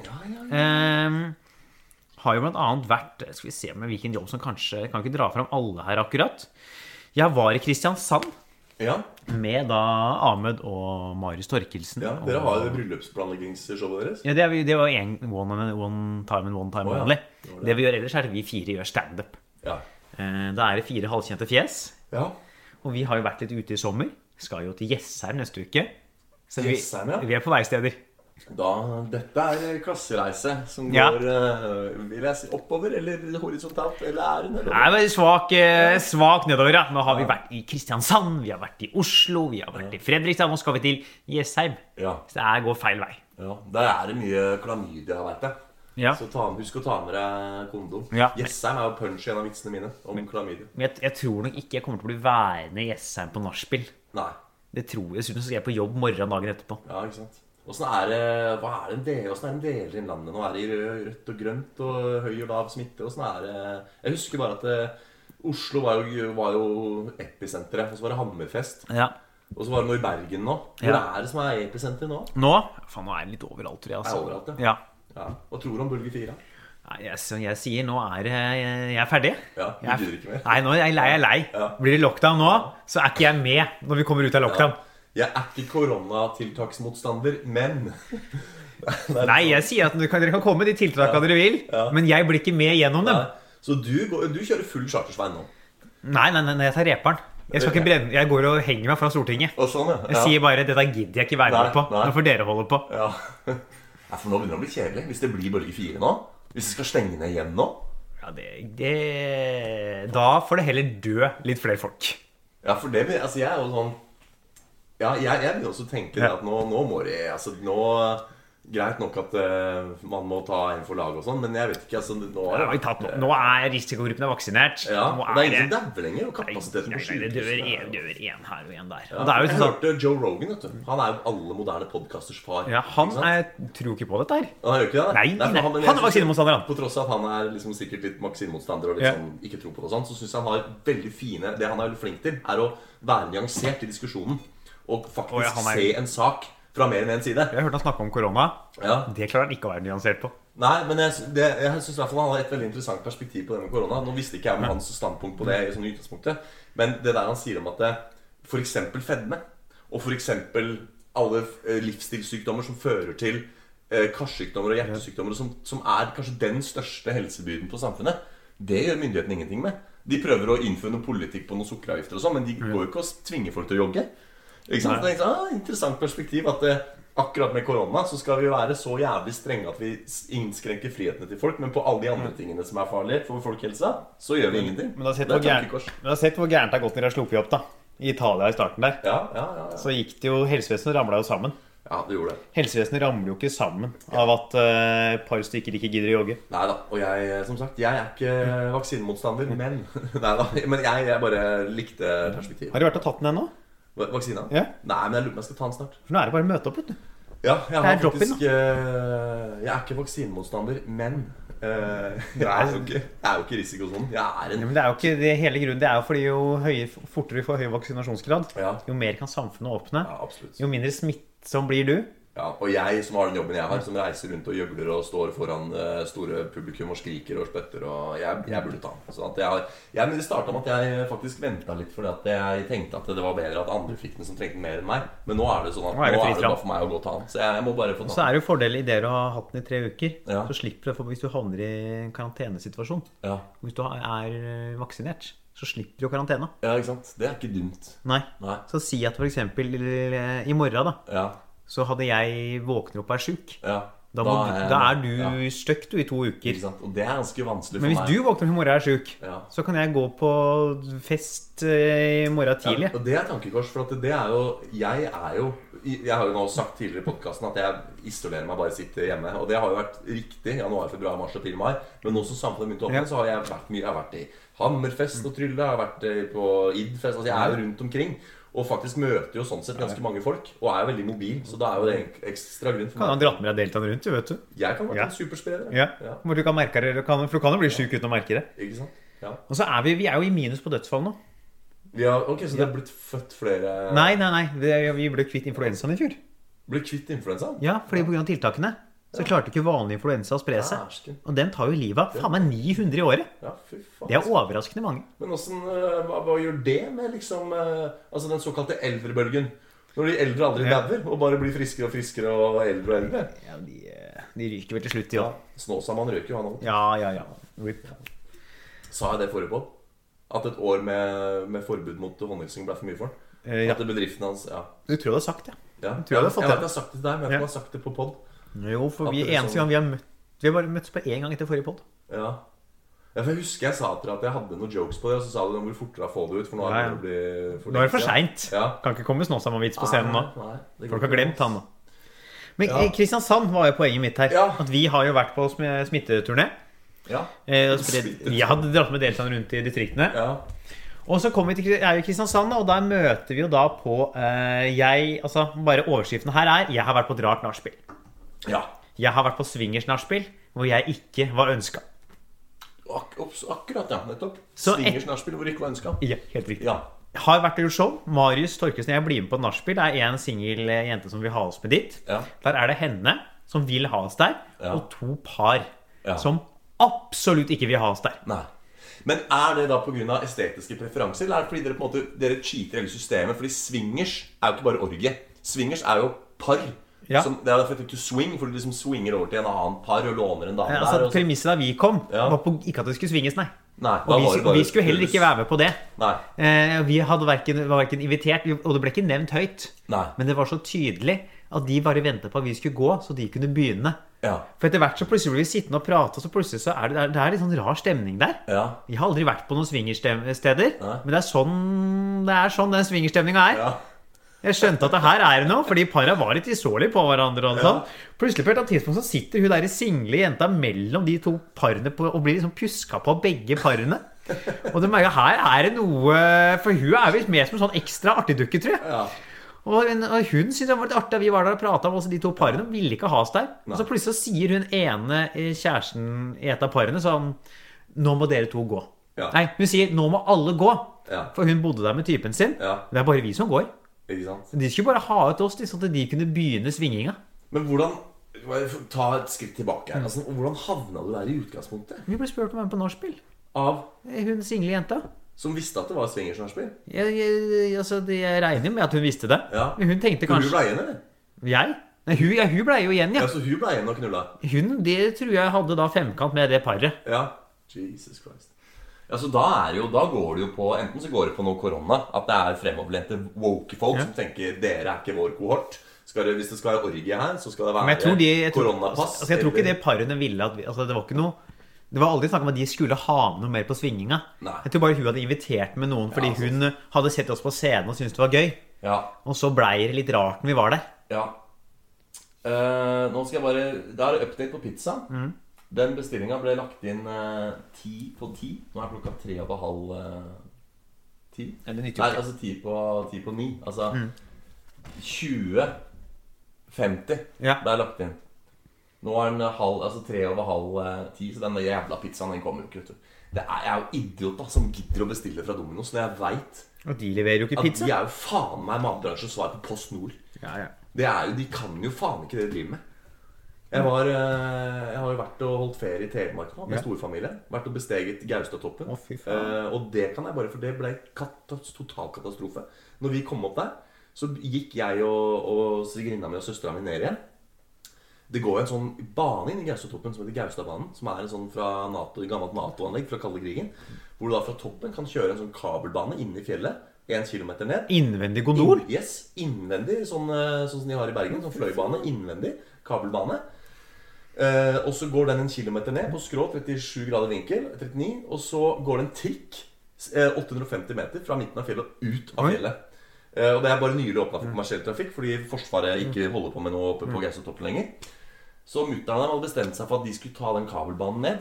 [SPEAKER 2] Ehm, har jo blant annet vært Skal vi se med hvilken jobb som kanskje Kan ikke dra fram alle her akkurat. Jeg var i Kristiansand
[SPEAKER 3] ja.
[SPEAKER 2] med da Ahmed og Marius Torkelsen.
[SPEAKER 3] ja. Dere
[SPEAKER 2] og,
[SPEAKER 3] har jo bryllupsplanleggingsshowet deres.
[SPEAKER 2] ja, det, er, vi- det var jo en one, and- one time and one time
[SPEAKER 3] Å, ja.
[SPEAKER 2] only.
[SPEAKER 3] Det var
[SPEAKER 2] Det.
[SPEAKER 3] det.
[SPEAKER 2] vi gjør ellers, er at vi fire gjør standup.
[SPEAKER 3] Ja.
[SPEAKER 2] Uh, da er det fire halvkjente fjes.
[SPEAKER 3] ja.
[SPEAKER 2] Og vi har jo vært litt ute i sommer. Skal jo til Jessheim neste uke. Så vi,
[SPEAKER 3] Jessheim, ja.
[SPEAKER 2] vi er på veisteder.
[SPEAKER 3] Da, dette er klassereise som
[SPEAKER 2] Ja.
[SPEAKER 3] går eh, Vil jeg si oppover eller horisontalt eller er det nedover?
[SPEAKER 2] Nei, men svak, eh, svak nedover, ja. Nå har vi vært i Kristiansand, vi har vært i Oslo, vi har vært i Fredrikstad. Nå skal vi til Jessheim.
[SPEAKER 3] Ja.
[SPEAKER 2] Så det her går feil vei.
[SPEAKER 3] ja. Der er det mye klamydia, veit jeg.
[SPEAKER 2] Ja.
[SPEAKER 3] Så ta, husk å ta med deg kondom.
[SPEAKER 2] Ja.
[SPEAKER 3] Jessheim er jo punch i en av vitsene mine om klamydia.
[SPEAKER 2] Men jeg, jeg tror nok ikke jeg kommer til å bli værende i Jessheim på nachspiel.
[SPEAKER 3] Nei.
[SPEAKER 2] Det tror jeg. Dessuten så skal jeg på jobb morgenen dagen etterpå.
[SPEAKER 3] Ja, ikke sant. Åssen er det hva er det en del, hvordan er det en deler i landet nå? Er det i rød- rødt og grønt og høy og lav smitte? Åssen er det Jeg husker bare at eh, Oslo var jo, var jo episenteret. Og så var det Hammerfest.
[SPEAKER 2] Ja.
[SPEAKER 3] Og så var det noe i Bergen nå. Hvor
[SPEAKER 2] Ja.
[SPEAKER 3] er det som er episenteret nå?
[SPEAKER 2] Nå Faen, nå er det litt overalt, tror jeg. Altså.
[SPEAKER 3] Er overalt,
[SPEAKER 2] ja.
[SPEAKER 3] Ja. Hva tror du om bølge fire?
[SPEAKER 2] Nei, jeg, som jeg sier, nå er det Jeg er ferdig.
[SPEAKER 3] Ja, du
[SPEAKER 2] Jeg er-
[SPEAKER 3] gidder ikke mer.
[SPEAKER 2] Nei, nå er jeg lei. Jeg er lei.
[SPEAKER 3] Ja.
[SPEAKER 2] Blir det lockdown nå, så er ikke jeg med når vi kommer ut av lockdown.
[SPEAKER 3] Jeg er ikke koronatiltaksmotstander, men
[SPEAKER 2] *laughs* Nei, jeg sier at dere kan, dere kan komme med de tiltakene dere vil, men jeg blir ikke med gjennom dem.
[SPEAKER 3] Så du, går, du kjører full chartersvein nå?
[SPEAKER 2] Nei, nei, nei, nei jeg tar reperen. Jeg, skal ikke brenne, jeg går og henger meg fra Stortinget.
[SPEAKER 3] Og sånn,
[SPEAKER 2] Jeg sier bare 'dette gidder jeg ikke være med
[SPEAKER 3] Nei,
[SPEAKER 2] på'.
[SPEAKER 3] nei.
[SPEAKER 2] Nå får dere holde på.
[SPEAKER 3] Ja. *laughs* ja, for nå begynner det å bli kjedelig. Hvis det blir bølge fire nå, hvis det skal stenge ned igjen nå
[SPEAKER 2] Ja, det, det, da får det heller dø litt flere folk.
[SPEAKER 3] Ja, for det Altså, jeg er jo sånn Ja, jeg, jeg vil også tenke det at nå, nå må det Altså, nå Greit nok at eh, man må ta en for laget og sånn, men jeg vet ikke altså, Nå
[SPEAKER 2] Nå,
[SPEAKER 3] er
[SPEAKER 2] har vi tatt, nå er risikogruppene vaksinert.
[SPEAKER 3] Ja,
[SPEAKER 2] nå
[SPEAKER 3] og det er ingen som dauer lenger, og kapasiteten
[SPEAKER 2] Nei,
[SPEAKER 3] på
[SPEAKER 2] nei, det dør
[SPEAKER 3] sykehusene
[SPEAKER 2] en, dør en her og en der.
[SPEAKER 3] Ja,
[SPEAKER 2] Og det er jo
[SPEAKER 3] Jeg
[SPEAKER 2] sånn at-
[SPEAKER 3] hørte Joe Rogan, vet du. Han er jo alle moderne podcasters far.
[SPEAKER 2] ja, Han
[SPEAKER 3] ikke sant?
[SPEAKER 2] er, tror ikke på dette her.
[SPEAKER 3] Han gjør ikke det?
[SPEAKER 2] Nei,
[SPEAKER 3] for
[SPEAKER 2] nei,
[SPEAKER 3] men
[SPEAKER 2] han
[SPEAKER 3] jeg
[SPEAKER 2] er
[SPEAKER 3] synes-
[SPEAKER 2] vaksinemotstander, han.
[SPEAKER 3] På tross av at han er liksom sikkert litt vaksinemotstander og litt
[SPEAKER 2] Ja.
[SPEAKER 3] sånn ikke tror på det og sånn, så syns jeg han har veldig fine Det han er veldig flink til, er å være nyansert i diskusjonen. Og faktisk
[SPEAKER 2] Å, ja, han er-
[SPEAKER 3] se en sak fra mer enn én side.
[SPEAKER 2] Jeg hørte han snakke om korona.
[SPEAKER 3] Ja.
[SPEAKER 2] Det klarer han ikke å være nyansert på.
[SPEAKER 3] Nei, men jeg, sy- det, jeg syns han har et veldig interessant perspektiv på det med korona. Nå visste ikke jeg om hans standpunkt på det i sånn utgangspunktet, men det der han sier om at f.eks. fedme og f.eks. alle eh, livsstilssykdommer som fører til eh, karsykdommer og hjertesykdommer, som, som er kanskje den største helsebyrden på samfunnet, det gjør myndighetene ingenting med. De prøver å innføre noe politikk på noen sukkeravgifter og sånn, men de går jo ikke og tvinger folk til å jogge. Ikke sant? Det er liksom, ah, interessant perspektiv at eh, akkurat med korona så skal vi være så jævlig strenge at vi s- innskrenker frihetene til folk, men på alle de andre tingene som er farlige for folkehelsa, så gjør vi ingenting.
[SPEAKER 2] Mm. Men du har sett
[SPEAKER 3] Det er
[SPEAKER 2] hvor gærent
[SPEAKER 3] tankekors.
[SPEAKER 2] men du har sett hvor gærent det har gått når de har sluppet opp, da. I Italia i starten der.
[SPEAKER 3] Ja, ja, ja, ja.
[SPEAKER 2] Så gikk det jo Helsevesenet ramla jo sammen.
[SPEAKER 3] ja, det gjorde det.
[SPEAKER 2] Helsevesenet ramler jo ikke sammen av at eh, et par stykker ikke gidder å jogge.
[SPEAKER 3] Nei da. Og jeg, eh, som sagt, jeg er ikke
[SPEAKER 2] Mm.
[SPEAKER 3] vaksinemotstander, men *laughs* Neida, Men jeg, jeg bare likte perspektivet.
[SPEAKER 2] Har du vært og tatt den ennå?
[SPEAKER 3] Va- Vaksina?
[SPEAKER 2] Ja.
[SPEAKER 3] Nei, men jeg lurer på om jeg skal ta den snart.
[SPEAKER 2] For nå er det bare å møte opp, vet du.
[SPEAKER 3] Ja, jeg
[SPEAKER 2] Det
[SPEAKER 3] har
[SPEAKER 2] er drop-in,
[SPEAKER 3] faktisk eh, Jeg er ikke vaksinemotstander, men eh, *laughs* jeg, er jo ikke, jeg er jo ikke risikosonen. Jeg er en
[SPEAKER 2] Ja, men det er jo ikke det hele grunnen. Det er jo fordi jo høye, fortere vi får høy vaksinasjonsgrad,
[SPEAKER 3] Ja.
[SPEAKER 2] jo mer kan samfunnet åpne.
[SPEAKER 3] Ja, absolutt.
[SPEAKER 2] Jo mindre smittsom blir du.
[SPEAKER 3] Ja, og jeg som har den jobben jeg har, som reiser rundt og gjøgler og står foran eh, store publikum og skriker og spytter og Jeg, jeg burde ta den. Sånn at jeg har jeg, Men det starta med at jeg faktisk venta litt, fordi at jeg tenkte at det var bedre at andre fikk den som trengte den mer enn meg. Men nå er det sånn at nå
[SPEAKER 2] Nå er
[SPEAKER 3] er
[SPEAKER 2] det
[SPEAKER 3] det,
[SPEAKER 2] fritt fram.
[SPEAKER 3] bare for meg å gå og ta den. Så jeg, jeg må bare få
[SPEAKER 2] Så
[SPEAKER 3] ta den.
[SPEAKER 2] er det jo fordel i det å ha hatt den i tre uker.
[SPEAKER 3] Ja.
[SPEAKER 2] Så slipper du det for hvis du havner i en karantenesituasjon.
[SPEAKER 3] Ja.
[SPEAKER 2] Hvis du er eh, vaksinert, så slipper du jo karantena.
[SPEAKER 3] ja, ikke sant. Det er ikke dumt.
[SPEAKER 2] Nei.
[SPEAKER 3] Nei.
[SPEAKER 2] Så si at f.eks. eh, i morgen, da,
[SPEAKER 3] Ja.
[SPEAKER 2] så hadde jeg våkner opp og er sjuk.
[SPEAKER 3] Ja.
[SPEAKER 2] Da, må du,
[SPEAKER 3] jeg-
[SPEAKER 2] da er du
[SPEAKER 3] ja,
[SPEAKER 2] støkk du i to uker.
[SPEAKER 3] Ikke sant. Og det er ganske vanskelig for
[SPEAKER 2] Men hvis
[SPEAKER 3] meg.
[SPEAKER 2] du våkner opp i morgen og er sjuk,
[SPEAKER 3] Ja.
[SPEAKER 2] så kan jeg gå på fest eh, i morgen tidlig.
[SPEAKER 3] Ja, og det er tankekors, for at det er jo Jeg er jo Jeg har jo nå sagt tidligere i podkasten at jeg isolerer meg, bare sitter hjemme. Og det har jo vært riktig januar, februar, mars, april, mai. Men nå som samfunnet begynte å åpne,
[SPEAKER 2] Ja.
[SPEAKER 3] så har jeg vært mye. Jeg har vært i Hammerfest og Trylle, jeg har vært eh, på Idfest Altså, jeg er jo rundt omkring. Og faktisk møter jo sånn sett ganske mange folk, og er veldig mobil. Så da er jo det en ekstra grunn
[SPEAKER 2] Kan
[SPEAKER 3] for
[SPEAKER 2] ha
[SPEAKER 3] meg.
[SPEAKER 2] dratt med deg deltaen rundt, du, vet du.
[SPEAKER 3] Jeg kan være
[SPEAKER 2] Ja.
[SPEAKER 3] en superspreder. jeg.
[SPEAKER 2] Ja. Hvor du kan merke det, eller kan, for du kan jo bli syk uten å merke det.
[SPEAKER 3] Ikke sant? Ja.
[SPEAKER 2] Og så er vi, vi er jo i minus på dødsfall nå.
[SPEAKER 3] Vi har, ok, Så det er blitt født flere
[SPEAKER 2] Nei, nei, nei. Vi- Vi ble kvitt influensaen i fjor.
[SPEAKER 3] Blitt kvitt influensaen?
[SPEAKER 2] Ja, fordi pga. tiltakene så klarte ikke vanlig influensa å spre seg.
[SPEAKER 3] Dæsken.
[SPEAKER 2] Og den tar jo livet av faen meg 900 i året.
[SPEAKER 3] Ja, fy faen.
[SPEAKER 2] Det er overraskende mange.
[SPEAKER 3] Men åssen, eh, hva, hva gjør det med liksom eh, Altså den såkalte eldrebølgen? Når de eldre aldri
[SPEAKER 2] Ja.
[SPEAKER 3] dauer og bare blir friskere og friskere og eldre og eldre.
[SPEAKER 2] Ja, de, eh, de ryker vel til slutt, de
[SPEAKER 3] Ja,
[SPEAKER 2] òg.
[SPEAKER 3] Snåsamann røyker jo, han òg.
[SPEAKER 2] Ja, ja, ja. Rip.
[SPEAKER 3] Sa jeg det forrige på? At et år med, med forbud mot håndhilsing ble for mye for han?
[SPEAKER 2] Eh, ja.
[SPEAKER 3] At bedriften hans Ja.
[SPEAKER 2] Du tror jeg du har sagt det?
[SPEAKER 3] ja.
[SPEAKER 2] tror jeg hadde fått
[SPEAKER 3] jeg vet jeg
[SPEAKER 2] det.
[SPEAKER 3] har sagt det til deg, men jeg vet ikke om jeg har sagt det på pod.
[SPEAKER 2] Jo, for vi
[SPEAKER 3] At det er
[SPEAKER 2] eneste
[SPEAKER 3] sånn.
[SPEAKER 2] gang vi har møtt Vi har bare møttes på én gang etter forrige pod.
[SPEAKER 3] Ja. ja, for jeg husker jeg sa til deg at jeg hadde noen jokes på det, og så sa du nå må du fortere få det ut, for nå er
[SPEAKER 2] Ja,
[SPEAKER 3] det
[SPEAKER 2] ja.
[SPEAKER 3] å bli
[SPEAKER 2] Nå er det for seint.
[SPEAKER 3] Ja.
[SPEAKER 2] Kan ikke komme Snåsamann-vits på scenen nå.
[SPEAKER 3] Nei, det går
[SPEAKER 2] Folk har
[SPEAKER 3] ikke.
[SPEAKER 2] glemt han nå. Men
[SPEAKER 3] Ja.
[SPEAKER 2] eh, Kristiansand var jo poenget mitt her.
[SPEAKER 3] Ja.
[SPEAKER 2] At vi har jo vært på sm- smitteturné.
[SPEAKER 3] Ja.
[SPEAKER 2] eh, og spredd- Vi hadde dratt med deltakerne rundt i distriktene.
[SPEAKER 3] ja.
[SPEAKER 2] Og så kommer vi til Kri- er vi i Kristiansand, da, og der møter vi jo da på eh, Jeg, altså bare overskriften her er 'Jeg har vært på et rart nachspiel'.
[SPEAKER 3] ja.
[SPEAKER 2] Jeg har vært på swingers nachspiel hvor jeg ikke var ønska.
[SPEAKER 3] Ak opps- akkurat, ja. Nettopp.
[SPEAKER 2] Så et-
[SPEAKER 3] Swingers nachspiel hvor det ikke var ønska.
[SPEAKER 2] Ja, helt riktig.
[SPEAKER 3] Ja.
[SPEAKER 2] Har vært og gjort show. Marius Torkelsen og jeg blir med på et nachspiel. Det er en singel eh, jente som vil ha oss med dit.
[SPEAKER 3] Ja.
[SPEAKER 2] Der er det henne som vil ha oss der,
[SPEAKER 3] Ja.
[SPEAKER 2] og to par
[SPEAKER 3] Ja.
[SPEAKER 2] som absolutt ikke vil ha oss der. Eh,
[SPEAKER 3] Nei. Men er det da pga. estetiske preferanser, eller er det fordi dere på en måte Dere cheater hele systemet? Fordi swingers er jo ikke bare orgie. Swingers er jo par.
[SPEAKER 2] Ja.
[SPEAKER 3] Som, det er derfor jeg fikk to swing, for du liksom swinger over til en annen par og låner en dame
[SPEAKER 2] Ja,
[SPEAKER 3] der.
[SPEAKER 2] altså,
[SPEAKER 3] Og så,
[SPEAKER 2] Premisset da vi kom,
[SPEAKER 3] Ja.
[SPEAKER 2] var på, ikke at det skulle svinges, nei.
[SPEAKER 3] nei, da
[SPEAKER 2] Og vi,
[SPEAKER 3] var det
[SPEAKER 2] og vi
[SPEAKER 3] bare
[SPEAKER 2] skulle heller
[SPEAKER 3] hus.
[SPEAKER 2] ikke være med på det.
[SPEAKER 3] Nei.
[SPEAKER 2] Eh, vi hadde verken, var hverken invitert, vi- og det ble ikke nevnt høyt.
[SPEAKER 3] Nei.
[SPEAKER 2] Men det var så tydelig at de bare venta på at vi skulle gå, så de kunne begynne.
[SPEAKER 3] Ja.
[SPEAKER 2] For etter hvert så plutselig blir vi sittende og prate, og så plutselig så er det, det er- det er litt sånn rar stemning der.
[SPEAKER 3] Ja.
[SPEAKER 2] Jeg har aldri vært på noen swingersteder,
[SPEAKER 3] Nei.
[SPEAKER 2] men det er sånn, det er sånn den swingerstemninga er.
[SPEAKER 3] ja.
[SPEAKER 2] Jeg skjønte at det her er det noe, fordi para var litt isolige på hverandre. og sånn. Plutselig på et eller annet tidspunkt så sitter hun der single jenta mellom de to parene på, og blir liksom pjuska på av begge parene. Og du merker her er det noe For hun er visst med som en sånn ekstra artigdukke, tror jeg.
[SPEAKER 3] ja.
[SPEAKER 2] Og, hun- og hun syntes det var litt artig at vi var der og prata om også de to parene. Hun ville ikke ha oss der. Og så plutselig så sier hun ene eh, kjæresten i et av parene sånn Nå må dere to gå.
[SPEAKER 3] Ja.
[SPEAKER 2] Nei, hun sier 'nå må alle gå'.
[SPEAKER 3] Ja.
[SPEAKER 2] For hun bodde der med typen sin.
[SPEAKER 3] Ja.
[SPEAKER 2] Det er bare vi som går.
[SPEAKER 3] Ikke sant.
[SPEAKER 2] De skulle bare ha ut oss de, sånn at de kunne begynne svinginga.
[SPEAKER 3] Men hvordan Ta et skritt tilbake
[SPEAKER 2] Mm.
[SPEAKER 3] her. Altså, hvordan havna du der i utgangspunktet?
[SPEAKER 2] Vi ble spurt om å være med på nachspiel.
[SPEAKER 3] Av
[SPEAKER 2] Hun single jenta.
[SPEAKER 3] Som visste at det var swingers nachspiel?
[SPEAKER 2] Jeg, jeg, jeg- altså, det- jeg regner jo med at hun visste det.
[SPEAKER 3] Ja.
[SPEAKER 2] Men hun tenkte
[SPEAKER 3] Hun
[SPEAKER 2] kanskje
[SPEAKER 3] ble igjen, eller?
[SPEAKER 2] Jeg? Nei, hun, ja, hun blei jo igjen,
[SPEAKER 3] Ja,
[SPEAKER 2] ja.
[SPEAKER 3] så hun ble igjen og knulla?
[SPEAKER 2] Hun det tror jeg hadde da femkant med det paret.
[SPEAKER 3] Ja. Jesus Christ. Ja, så da, er det jo, da går det jo på Enten så går det på noe korona, at det er fremoverlente woke folk som tenker 'dere er ikke vår kohort'. Skal det, hvis det skal være orgie her, så skal det være
[SPEAKER 2] Men jeg tror, de, jeg, tror,
[SPEAKER 3] koronapass.
[SPEAKER 2] altså, jeg tror ikke
[SPEAKER 3] eller-
[SPEAKER 2] det parene ville at vi, altså, Det var ikke noe det var aldri snakk om at de skulle ha med noe mer på svinginga.
[SPEAKER 3] Nei.
[SPEAKER 2] Jeg tror bare hun hadde invitert med noen fordi
[SPEAKER 3] Ja, altså. sant.
[SPEAKER 2] hun hadde sett oss på scenen og syntes det var gøy.
[SPEAKER 3] Ja.
[SPEAKER 2] Og så blei det litt rart når vi var der.
[SPEAKER 3] ja. Eh, nå skal jeg bare Da er det update på pizza.
[SPEAKER 2] Mm.
[SPEAKER 3] Den bestillinga ble lagt inn eh, ti på ti. Nå er klokka tre og på halv eh, ti.
[SPEAKER 2] Ja, det nytter jo
[SPEAKER 3] Nei,
[SPEAKER 2] ikke. Mm.
[SPEAKER 3] altså ti på, ti på ni. Altså 20.50
[SPEAKER 2] Ja.
[SPEAKER 3] ble lagt inn. Nå er den halv, altså tre over halv eh, ti, så den jævla pizzaen den kommer jo ikke. vet du. Det er, jeg er jo idiot da, som gidder å bestille fra Domino's når jeg veit
[SPEAKER 2] Og de leverer jo ikke
[SPEAKER 3] at
[SPEAKER 2] pizza.
[SPEAKER 3] de er jo faen meg matbransjens svar på Post Nord.
[SPEAKER 2] Ja, ja.
[SPEAKER 3] Det er jo, De kan jo faen ikke det de driver med. Jeg, var, eh, jeg har jo vært og holdt ferie i Telemark nå, med
[SPEAKER 2] Ja.
[SPEAKER 3] storfamilien. Vært og besteget Gaustatoppen.
[SPEAKER 2] Å, fy faen.
[SPEAKER 3] Eh, og det kan jeg bare, for det ble katas- total katastrofe. Når vi kom opp der, så gikk jeg og, og svigerinna mi og søstera mi ned igjen. Det går jo en sånn bane inn i Gaustatoppen som heter Gaustadbanen. Som er en sånn fra NATO, et gammelt Nato-anlegg fra kalde krigen. Hvor du da fra toppen kan kjøre en sånn kabelbane inne i fjellet. Én kilometer ned.
[SPEAKER 2] Innvendig gondol?
[SPEAKER 3] In- Yes, innvendig, sånn, eh, sånn som de har i Bergen. Sånn fløybane, innvendig, kabelbane. Eh, og så går den en kilometer ned på skrå, 37 grader vinkel, 39. Og så går det en trikk s- eh, 850 meter fra midten av fjellet og ut av
[SPEAKER 2] Oi.
[SPEAKER 3] fjellet. Eh, og det er bare nylig åpna for kommersiell trafikk fordi Forsvaret ikke holder på med noe oppe på Gaustatoppen lenger. Så mutter'n og dem hadde bestemt seg for at de skulle ta den kabelbanen ned.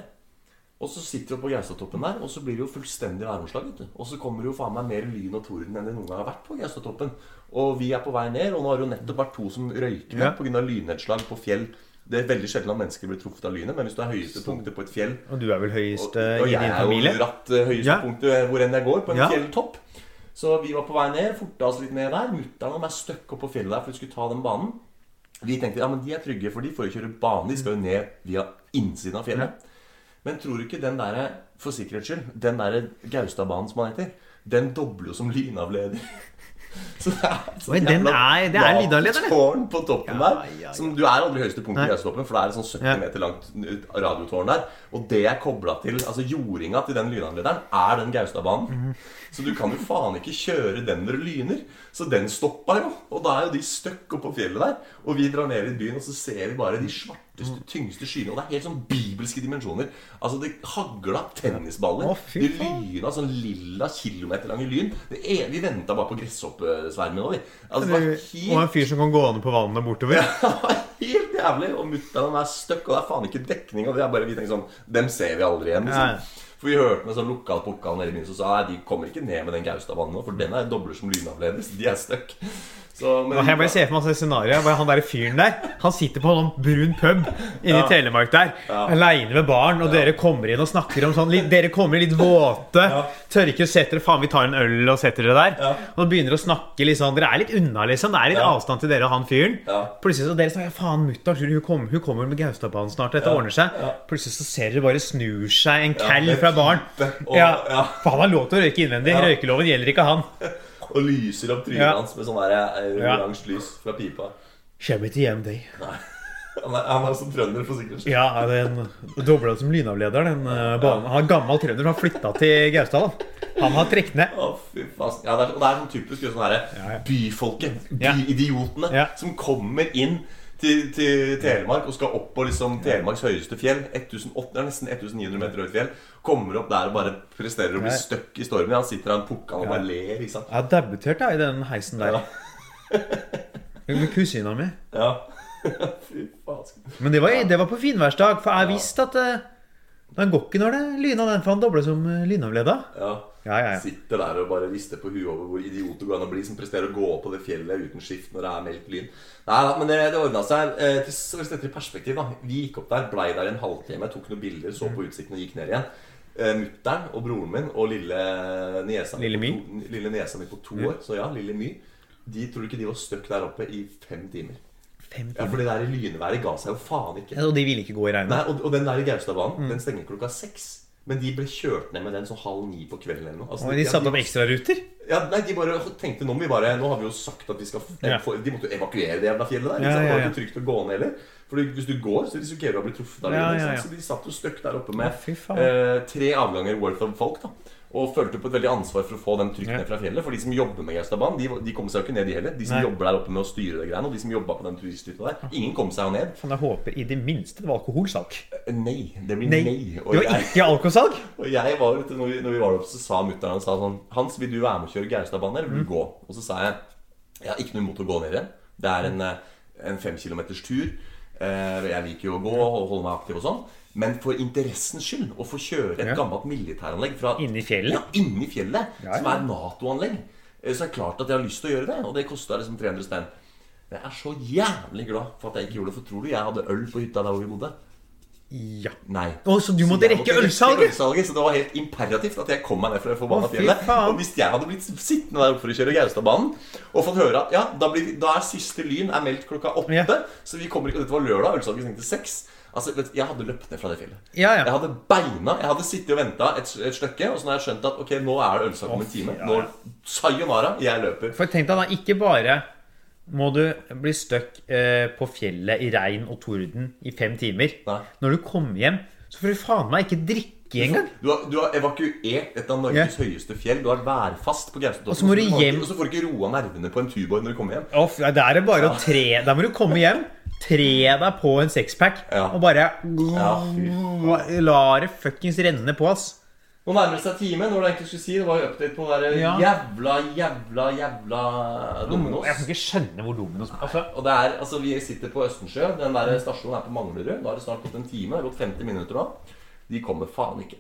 [SPEAKER 3] Og så sitter vi på Gaustatoppen der, og så blir det jo fullstendig væromslag. vet du. Og så kommer det jo faen meg mer lyn og torden enn det noen gang har vært på Gaustatoppen. Og vi er på vei ned, og nå har det jo nettopp vært to som røyker
[SPEAKER 2] Ja.
[SPEAKER 3] ned på grunn pga. lynnedslag på fjell. Det er veldig sjelden at mennesker blir truffet av lynet, men hvis du er høyeste punktet på et fjell
[SPEAKER 2] Og du er vel høyest
[SPEAKER 3] og,
[SPEAKER 2] eh,
[SPEAKER 3] og
[SPEAKER 2] i
[SPEAKER 3] jeg
[SPEAKER 2] din
[SPEAKER 3] er jo
[SPEAKER 2] familie?
[SPEAKER 3] ratt eh, høyeste
[SPEAKER 2] Ja.
[SPEAKER 3] punktet hvor enn jeg går, på en
[SPEAKER 2] Ja.
[SPEAKER 3] fjelltopp. Så vi var på vei ned, forta oss litt ned der. Mutter'n og meg støkk opp på fjellet der for vi skulle ta den banen. Vi tenkte ja, men de er trygge, for de får jo kjøre bane. De skal jo ned via innsiden av fjellet. Men tror du ikke den derre, for sikkerhets skyld, den derre Gaustadbanen som han heter, den dobler jo som lynavleder. *laughs* Så det er, så
[SPEAKER 2] Oi, den er- det er lynavleder, det.
[SPEAKER 3] *laughs* tårn på toppen
[SPEAKER 2] Ja,
[SPEAKER 3] der.
[SPEAKER 2] ja, ja.
[SPEAKER 3] Som du er aldri høyeste punkt
[SPEAKER 2] Nei.
[SPEAKER 3] i Gaustatoppen, for det er et sånn 70
[SPEAKER 2] Ja.
[SPEAKER 3] meter langt radiotårn der. Og det er kobla til Altså jordinga til den lynanlederen er den
[SPEAKER 2] Mhm.
[SPEAKER 3] Gaustadbanen. Så du kan jo faen ikke kjøre den når det lyner. Så den stoppa jo. Og da er jo de støkk oppå fjellet der. Og vi drar ned i byen, og så ser vi bare de
[SPEAKER 2] Mm.
[SPEAKER 3] svarteste, tyngste skyene. Og det er helt sånn bibelske dimensjoner. Altså, det hagla tennisballer.
[SPEAKER 2] Å, fy
[SPEAKER 3] de
[SPEAKER 2] faen.
[SPEAKER 3] lyna, sånn lilla kilometerlange lyn. Det er, vi venta bare på gresshoppesvermen. og vi. Altså, det var
[SPEAKER 2] Og
[SPEAKER 3] helt
[SPEAKER 2] en fyr som kan gå an på vannet bortover?
[SPEAKER 3] det var *laughs* helt jævlig. Og mutter'n er stuck, og det er faen ikke dekning. Og det er bare vi tenker sånn Dem ser vi aldri igjen.
[SPEAKER 2] Nei.
[SPEAKER 3] Liksom. For vi hørte med sånn lokal pokal nede i byen som sa nei, de kommer ikke ned med den Gaustadbanen nå, for den er dobler som lynavleder, så de er stuck. Så, men-
[SPEAKER 2] Og Jeg bare ser for meg sånn scenario hvor Han der fyren der Han sitter på en sånn brun pub Inne i Telemark der Alene med barn Og dere kommer inn og snakker om sånn litt, Dere kommer inn litt våte Tørker og setter dere, Faen vi tar en øl og setter dere der Og begynner å snakke litt sånn Dere er litt unna liksom Det er litt
[SPEAKER 3] Ja.
[SPEAKER 2] avstand til dere og han fyren
[SPEAKER 3] Ja.
[SPEAKER 2] Plutselig så dere snakker Faen mutter tror du hun, kommer- hun kommer med Gaustadbanen snart Dette ordner seg Plutselig så ser dere bare snur seg En kall
[SPEAKER 3] det
[SPEAKER 2] fra barn
[SPEAKER 3] piper, og-
[SPEAKER 2] ja.
[SPEAKER 3] ja.
[SPEAKER 2] For han har lov til å røyke innvendig
[SPEAKER 3] Ja.
[SPEAKER 2] Røykeloven gjelder ikke han
[SPEAKER 3] Og lyser opp trynet
[SPEAKER 2] Ja.
[SPEAKER 3] hans med sånn der, eh,
[SPEAKER 2] Ja.
[SPEAKER 3] oransje lys fra pipa.
[SPEAKER 2] Kjem ikke hjem deg
[SPEAKER 3] *laughs* Han er, han er også trønder, for sikkerhets skyld.
[SPEAKER 2] Ja, den dobla som lynavleder, den eh, banen. Han er gammel trønder som har flytta til Gausdal. Han har trukket ned.
[SPEAKER 3] Å, fy faen. Ja, det er, og det er sånn typisk sånn herre
[SPEAKER 2] Ja, ja.
[SPEAKER 3] byfolket,
[SPEAKER 2] Ja.
[SPEAKER 3] byidiotene,
[SPEAKER 2] Ja.
[SPEAKER 3] som kommer inn til, til Telemark og skal opp på liksom Telemarks høyeste fjell. 1800, det er nesten 1900 meter høyt fjell. Kommer opp der og bare presterer å bli
[SPEAKER 2] Ja.
[SPEAKER 3] stuck i stormen. Han sitter der og pukker og bare ler. ikke sant?
[SPEAKER 2] Jeg har debutert jeg, i den heisen der.
[SPEAKER 3] Ja.
[SPEAKER 2] *laughs* Med kusina mi.
[SPEAKER 3] Ja. *laughs* Fy faen.
[SPEAKER 2] Men det var, det var på finværsdag, for jeg visste at eh, den går ikke når det lyna, den, for han dobla som eh, lynavleda.
[SPEAKER 3] Ja.
[SPEAKER 2] Ja, ja, ja.
[SPEAKER 3] Sitter der og bare rister på huet over hvor idioter går an å bli som presterer å gå opp på det fjellet uten skift når det er meldt lyn. Nei da, men det, det ordna seg. Eh, til for å sette det i perspektiv, da. Vi gikk opp der, blei der i en halvtime, tok noen bilder, så
[SPEAKER 2] Mm.
[SPEAKER 3] på utsikten og gikk ned igjen. Eh, Mutter'n og broren min og lille niesa mi på
[SPEAKER 2] Lille My. Mm.
[SPEAKER 3] to- lille niesa mi på to år, så ja, lille My, de tror ikke de var stuck der oppe i fem timer.
[SPEAKER 2] Fem
[SPEAKER 3] Ja,
[SPEAKER 2] timer.
[SPEAKER 3] for det der lynværet ga seg jo faen ikke.
[SPEAKER 2] Mm. Ja, Mm. Og de ville ikke gå i regnet.
[SPEAKER 3] Nei, og, og den der i Gaustadbanen, den stenger klokka seks. Men de ble kjørt ned med den sånn halv ni på kvelden eller noe. Altså,
[SPEAKER 2] Og de
[SPEAKER 3] ja,
[SPEAKER 2] satte opp ekstraruter.
[SPEAKER 3] ja, nei, de bare tenkte nå må vi bare Nå har vi jo sagt at vi skal
[SPEAKER 2] Ja.
[SPEAKER 3] få, De måtte jo evakuere det jævla fjellet der. Ikke
[SPEAKER 2] Ja,
[SPEAKER 3] sant? Det
[SPEAKER 2] ja,
[SPEAKER 3] var
[SPEAKER 2] ja.
[SPEAKER 3] ikke trygt å gå ned heller. For hvis du går, så risikerer du å bli truffet av
[SPEAKER 2] Ja,
[SPEAKER 3] lynet. ikke
[SPEAKER 2] ja,
[SPEAKER 3] sant?
[SPEAKER 2] ja.
[SPEAKER 3] Så de satt jo støkk der oppe
[SPEAKER 2] Å, fy faen.
[SPEAKER 3] med eh, tre avganger worth of folk. da og følte på et veldig ansvar for å få dem trygt
[SPEAKER 2] Ja.
[SPEAKER 3] ned fra fjellet. For de som jobber med Gaustadbanen, de, de kom seg jo ikke ned, de heller. De som
[SPEAKER 2] Nei.
[SPEAKER 3] jobber der oppe med å styre det greiene, og de som jobba på den turisthytta der. Ingen kom seg jo ned.
[SPEAKER 2] Faen, jeg håper i det minste det var alkoholsalg.
[SPEAKER 3] Nei. Det blir nei.
[SPEAKER 2] Nei, det
[SPEAKER 3] Og
[SPEAKER 2] var
[SPEAKER 3] jeg-
[SPEAKER 2] ikke alkoholsalg.
[SPEAKER 3] og jeg var, vet du, når, vi, når vi var der oppe, så sa mutter'n han sa sånn Hans, vil du være med og kjøre Gaustadbanen, eller
[SPEAKER 2] Mm.
[SPEAKER 3] vil du gå? Og så sa jeg jeg har ikke noe imot å gå ned igjen. Det er en, eh, en fem kilometers tur. Eh, Jeg liker jo å gå og holde meg aktiv og sånn. Men for interessens skyld, å få kjøre et
[SPEAKER 2] Ja.
[SPEAKER 3] gammelt militæranlegg fra
[SPEAKER 2] Inni fjellet?
[SPEAKER 3] Ja, inni fjellet,
[SPEAKER 2] Ja, ja.
[SPEAKER 3] som er Nato-anlegg. Eh, Så er det klart at jeg har lyst til å gjøre det, og det kosta liksom 300 spenn. Men Jeg er så jævlig glad for at jeg ikke gjorde det, for tror du jeg hadde øl på hytta der hvor vi bodde?
[SPEAKER 2] Ja.
[SPEAKER 3] Nei.
[SPEAKER 2] Å, så du måtte
[SPEAKER 3] jeg
[SPEAKER 2] rekke ølsalget?
[SPEAKER 3] ølsalget? Så det var helt imperativt at jeg kom meg ned fra det forbanna
[SPEAKER 2] Å, fy
[SPEAKER 3] fjellet.
[SPEAKER 2] faen.
[SPEAKER 3] Og hvis jeg hadde blitt sittende der oppe for å kjøre Gaustadbanen og fått høre at ja, da, blir, da er siste lyn er meldt klokka åtte,
[SPEAKER 2] Ja.
[SPEAKER 3] så vi kommer ikke Og dette var lørdag, ølsalget stengte seks. Altså, vet, du, jeg hadde løpt ned fra det fjellet.
[SPEAKER 2] Ja, ja.
[SPEAKER 3] Jeg hadde beina Jeg hadde sittet og venta et, et stykke, og så har jeg skjønt at ok, nå er det ølsalg om en time.
[SPEAKER 2] ja, ja.
[SPEAKER 3] Nå Sayonara, jeg løper.
[SPEAKER 2] For tenk deg da, ikke bare må du bli støkk eh, på fjellet i regn og torden i fem timer.
[SPEAKER 3] Nei.
[SPEAKER 2] Når du kommer hjem, så får du faen meg ikke drikke engang.
[SPEAKER 3] Du har, du har evakuert et av Norges høyeste fjell. Du har værfast på Gaustatoppen.
[SPEAKER 2] Og så må du
[SPEAKER 3] får ikke-
[SPEAKER 2] hjem-
[SPEAKER 3] Og så får du ikke roa nervene på en tuborg når du kommer hjem.
[SPEAKER 2] Off, ja, Der er det bare å tre Der må du komme hjem, tre deg på en sexpack
[SPEAKER 3] Ja.
[SPEAKER 2] og bare
[SPEAKER 3] fy
[SPEAKER 2] La det fuckings renne på, ass.
[SPEAKER 3] Nå nærmer det seg time. Når det egentlig skulle si Det var jo update på den der
[SPEAKER 2] Ja.
[SPEAKER 3] jævla, jævla, jævla
[SPEAKER 2] Jeg kan
[SPEAKER 3] Dominos.
[SPEAKER 2] ikke skjønne hvor Dominos altså,
[SPEAKER 3] Og det er, altså Vi sitter på Østensjø. Den der stasjonen er på Manglerud. Da har det snart gått en time. Det har gått 50 minutter nå. De kommer faen ikke.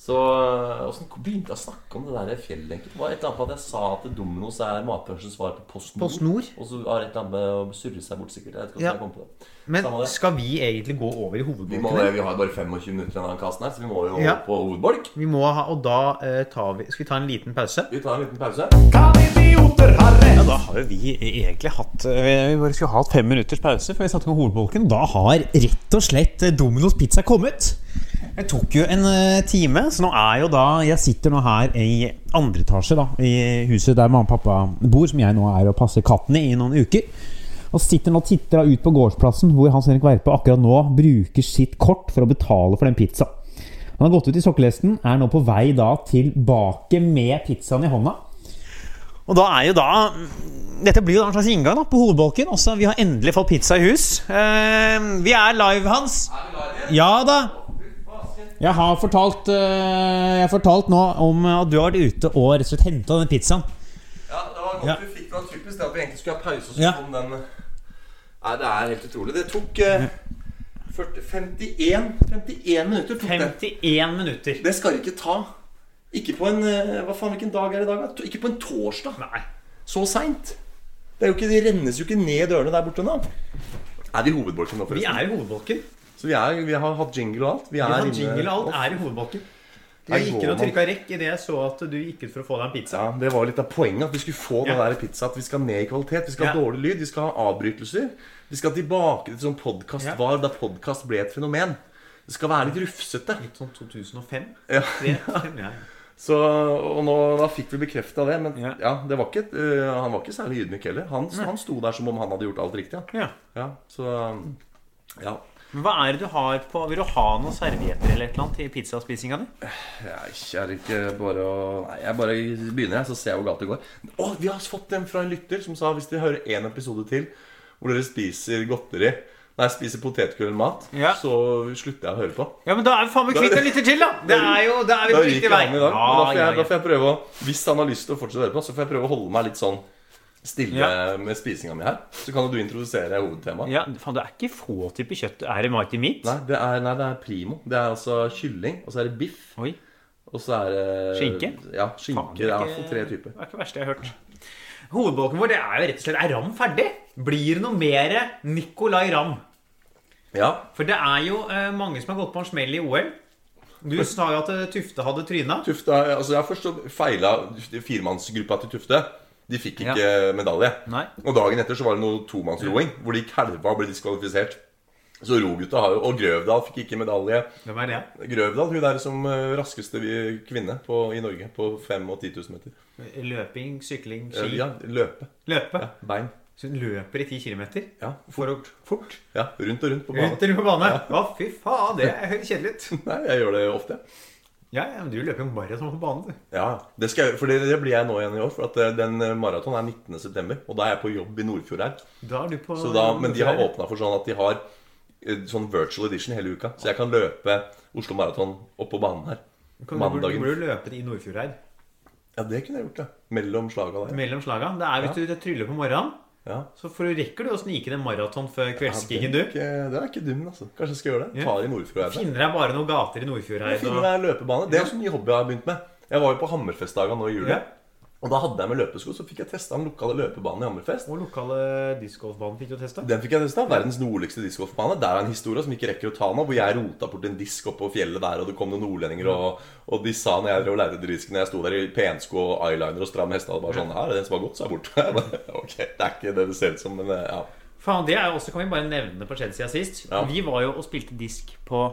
[SPEAKER 3] Så åssen begynte jeg å snakke om det der fjellet? egentlig? Det var et eller annet med at jeg sa at Domino's er matbransjens svar på Post Nord.
[SPEAKER 1] Post Nord?
[SPEAKER 3] Og så har det et eller annet med å surre seg bort, sikkert. Jeg vet ikke hvordan
[SPEAKER 1] Ja.
[SPEAKER 3] jeg kom på det.
[SPEAKER 1] Men
[SPEAKER 3] Samme det.
[SPEAKER 1] skal vi egentlig gå over i
[SPEAKER 3] Vi, må,
[SPEAKER 1] hovedbolken?
[SPEAKER 3] vi har bare 25 minutter igjen av den kassen her, så vi må jo
[SPEAKER 1] Ja.
[SPEAKER 3] på hovedbolk.
[SPEAKER 1] Vi må ha, og da eh, tar vi, skal vi ta en liten pause.
[SPEAKER 3] Vi tar en liten pause.
[SPEAKER 4] Da har jo vi egentlig hatt eh, Vi bare skulle hatt fem minutters pause før vi satte i gang hovedbolken. Da har rett og slett eh, Domino's pizza kommet. Det tok jo en eh, time, så nå er jo da Jeg sitter nå her i andre etasje, da. I huset der mamma og pappa bor, som jeg nå er og passer kattene i noen uker. Og sitter nå og titter da ut på gårdsplassen, hvor Hans Henrik Verpe akkurat nå bruker sitt kort for å betale for den pizza. Han har gått ut i sokkelesten, er nå på vei da tilbake med pizzaen i hånda. Og da er jo da Dette blir jo da en slags inngang da, på hovedbolken. Også, vi har endelig fått pizza i hus. Eh, vi er live, Hans. Ja da. Jeg har fortalt, eh, jeg har fortalt nå om at du har vært ute og rett og slett henta den pizzaen.
[SPEAKER 3] Ja, det var godt
[SPEAKER 4] Ja.
[SPEAKER 3] vi fikk det var typisk det at vi egentlig skulle ha pause, og så
[SPEAKER 4] Ja.
[SPEAKER 3] kom den Nei, det er helt utrolig. Det tok eh, 40, 51, 51 minutter tok det.
[SPEAKER 2] 51 minutter.
[SPEAKER 3] Det skal ikke ta. Ikke på en eh, Hva faen, hvilken dag er det i dag? da? To- Ikke på en torsdag.
[SPEAKER 2] Nei.
[SPEAKER 3] Så seint. Det, er jo ikke- det rennes jo ikke ned dørene der borte nå. Er vi i hovedbolken nå,
[SPEAKER 2] Vi
[SPEAKER 3] forresten?
[SPEAKER 2] er i hovedbolken.
[SPEAKER 3] Så vi, er, vi har hatt jingle og alt. Vi er
[SPEAKER 2] Vi har
[SPEAKER 3] inne-
[SPEAKER 2] jingle og alt er i hovedbolken.
[SPEAKER 3] Her
[SPEAKER 2] Jeg gikk inn
[SPEAKER 3] går
[SPEAKER 2] og
[SPEAKER 3] man.
[SPEAKER 2] trykka rekk idet jeg så at du gikk ut for å få deg en pizza.
[SPEAKER 3] Ja, Det var jo litt av poenget. At vi skulle få den
[SPEAKER 2] Ja.
[SPEAKER 3] der pizza At vi skal ned i kvalitet. Vi skal ha
[SPEAKER 2] Ja.
[SPEAKER 3] dårlig lyd, vi skal ha avbrytelser. Vi skal tilbake til sånn podkast
[SPEAKER 2] Ja.
[SPEAKER 3] var, da podkast ble et fenomen. Det skal være litt rufsete.
[SPEAKER 2] Litt sånn 2005?
[SPEAKER 3] Ja.
[SPEAKER 2] Tre, fem, ja.
[SPEAKER 3] Så, og nå, da fikk vi bekrefta det. Men ja,
[SPEAKER 2] Ja.
[SPEAKER 3] det var ikke, et, øh, han var ikke særlig ydmyk heller. Han, han sto der som om han hadde gjort alt riktig. *laughs* Ja.
[SPEAKER 2] ja.
[SPEAKER 3] Ja, så ja.
[SPEAKER 2] Men hva er det du har på Vil du ha noen servietter eller et eller annet til pizzaspisinga di?
[SPEAKER 3] Jeg er ikke bare å Nei, jeg bare begynner, jeg, så ser jeg hvor galt det går. Å, vi har fått den fra en lytter som sa hvis dere hører én episode til hvor dere spiser godteri Nei, spiser potetgull eller mat,
[SPEAKER 2] Ja.
[SPEAKER 3] så slutter jeg å høre på.
[SPEAKER 2] Ja, men da er vi faen meg kvitt en lytter til, da!
[SPEAKER 3] *laughs*
[SPEAKER 2] Det er jo, da er vi
[SPEAKER 3] Da
[SPEAKER 2] på
[SPEAKER 3] ryker
[SPEAKER 2] riktig vei.
[SPEAKER 3] han i dag. men da, får
[SPEAKER 2] Ja,
[SPEAKER 3] jeg,
[SPEAKER 2] ja,
[SPEAKER 3] da får jeg prøve å Hvis han har lyst til å fortsette å høre på, så får jeg prøve å holde meg litt sånn stille
[SPEAKER 2] Ja.
[SPEAKER 3] med spisinga mi her. Så kan jo du introdusere hovedtemaet.
[SPEAKER 2] ja. ja, faen, det er ikke få typer kjøtt. Er det mighty meat?
[SPEAKER 3] Nei, det er, nei, det er primo. Det er altså kylling, og så er det biff,
[SPEAKER 2] Oi.
[SPEAKER 3] og så er det
[SPEAKER 2] Skinke?
[SPEAKER 3] Ja, skinke.
[SPEAKER 2] Faen,
[SPEAKER 3] Det er i hvert
[SPEAKER 2] ikke-
[SPEAKER 3] fall tre typer.
[SPEAKER 2] Det er ikke det verste jeg har hørt. Hovedbolken vår det er jo rett og slett Er Ram ferdig? Blir det noe mer Nicolay Ram?
[SPEAKER 3] Ja,
[SPEAKER 2] For det er jo eh, mange som har gått på en smell i OL.
[SPEAKER 3] *laughs*
[SPEAKER 2] Du sa jo at eh, Tufte hadde tryna.
[SPEAKER 3] Tufte altså Jeg har først så feila firemannsgruppa til Tufte. De fikk ikke medalje.
[SPEAKER 2] Nei.
[SPEAKER 3] Og dagen etter så var det noe tomannsroing hvor de kalva og ble diskvalifisert. Så rogutta har jo Og Grøvdal fikk ikke medalje.
[SPEAKER 2] Hvem er det?
[SPEAKER 3] Grøvdal hun er som eh, raskeste vi- kvinne på, i Norge på 5 og 10 000 meter.
[SPEAKER 2] Løping, sykling,
[SPEAKER 3] Eh,
[SPEAKER 2] ski?
[SPEAKER 3] Ja, løpe.
[SPEAKER 2] Løpe?
[SPEAKER 3] Bein.
[SPEAKER 2] Så hun løper i 10 km?
[SPEAKER 3] Ja,
[SPEAKER 2] For å fort?
[SPEAKER 3] ja, rundt og rundt på banen.
[SPEAKER 2] Ut eller på bane? Å, fy faen, det høres kjedelig ut.
[SPEAKER 3] Nei, jeg gjør det ofte.
[SPEAKER 2] Ja, ja, men du løper jo maraton på banen, du.
[SPEAKER 3] Ja, det, skal jeg, gjøre, for det, det blir jeg nå igjen i år. For at eh, den eh, maraton er 19.9., og da er jeg på jobb i Nordfjord her.
[SPEAKER 2] Da er du på
[SPEAKER 3] Så da, men de har åpna for sånn at de har eh, sånn virtual edition hele uka. Så jeg kan løpe Oslo Maraton oppå banen her.
[SPEAKER 2] Kan du-
[SPEAKER 3] mandagen.
[SPEAKER 2] Du burde jo løpe i Nordfjordeid.
[SPEAKER 3] Ja, det kunne jeg gjort, ja. Mellom slaga der.
[SPEAKER 2] Mellom slaga. Det er hvis du tryller på morgenen,
[SPEAKER 3] Ja.
[SPEAKER 2] så får du rekker du å snike deg en maraton før
[SPEAKER 3] Ja,
[SPEAKER 2] kveldskikken,
[SPEAKER 3] det, er
[SPEAKER 2] du.
[SPEAKER 3] ikke, det er ikke dum, altså. Kanskje jeg skal gjøre det.
[SPEAKER 2] Ja.
[SPEAKER 3] Ta i Nordfjordeid.
[SPEAKER 2] Finner deg bare noen gater i
[SPEAKER 3] Jeg
[SPEAKER 2] Nordfjordeid.
[SPEAKER 3] finner
[SPEAKER 2] Og...
[SPEAKER 3] meg en løpebane. Det er også en ny hobby jeg har begynt med. Jeg var jo på Hammerfestdaga nå i juli.
[SPEAKER 2] Ja.
[SPEAKER 3] Og da hadde jeg med løpesko, så fikk jeg testa den lokale løpebanen i Hammerfest.
[SPEAKER 2] og lokale discgolfbanen fikk du testa.
[SPEAKER 3] Den fikk jeg testa. Verdens nordligste diskgolfbane. Der er en historie som ikke rekker å ta nå, hvor jeg rota bort en disk oppå fjellet der, og det kom noen nordlendinger, og, og de sa når jeg drev og lærte disken, jeg sto der i pensko og eyeliner og stram hestehale, bare sånn Her er den som har gått, så er *laughs* jeg borte. Jeg bare, ok, det er ikke det det ser ut som, men eh, ja.
[SPEAKER 2] Faen, det er jo også, kan vi bare nevne det på skjedd siden sist.
[SPEAKER 3] Ja.
[SPEAKER 2] Vi var jo og spilte disk på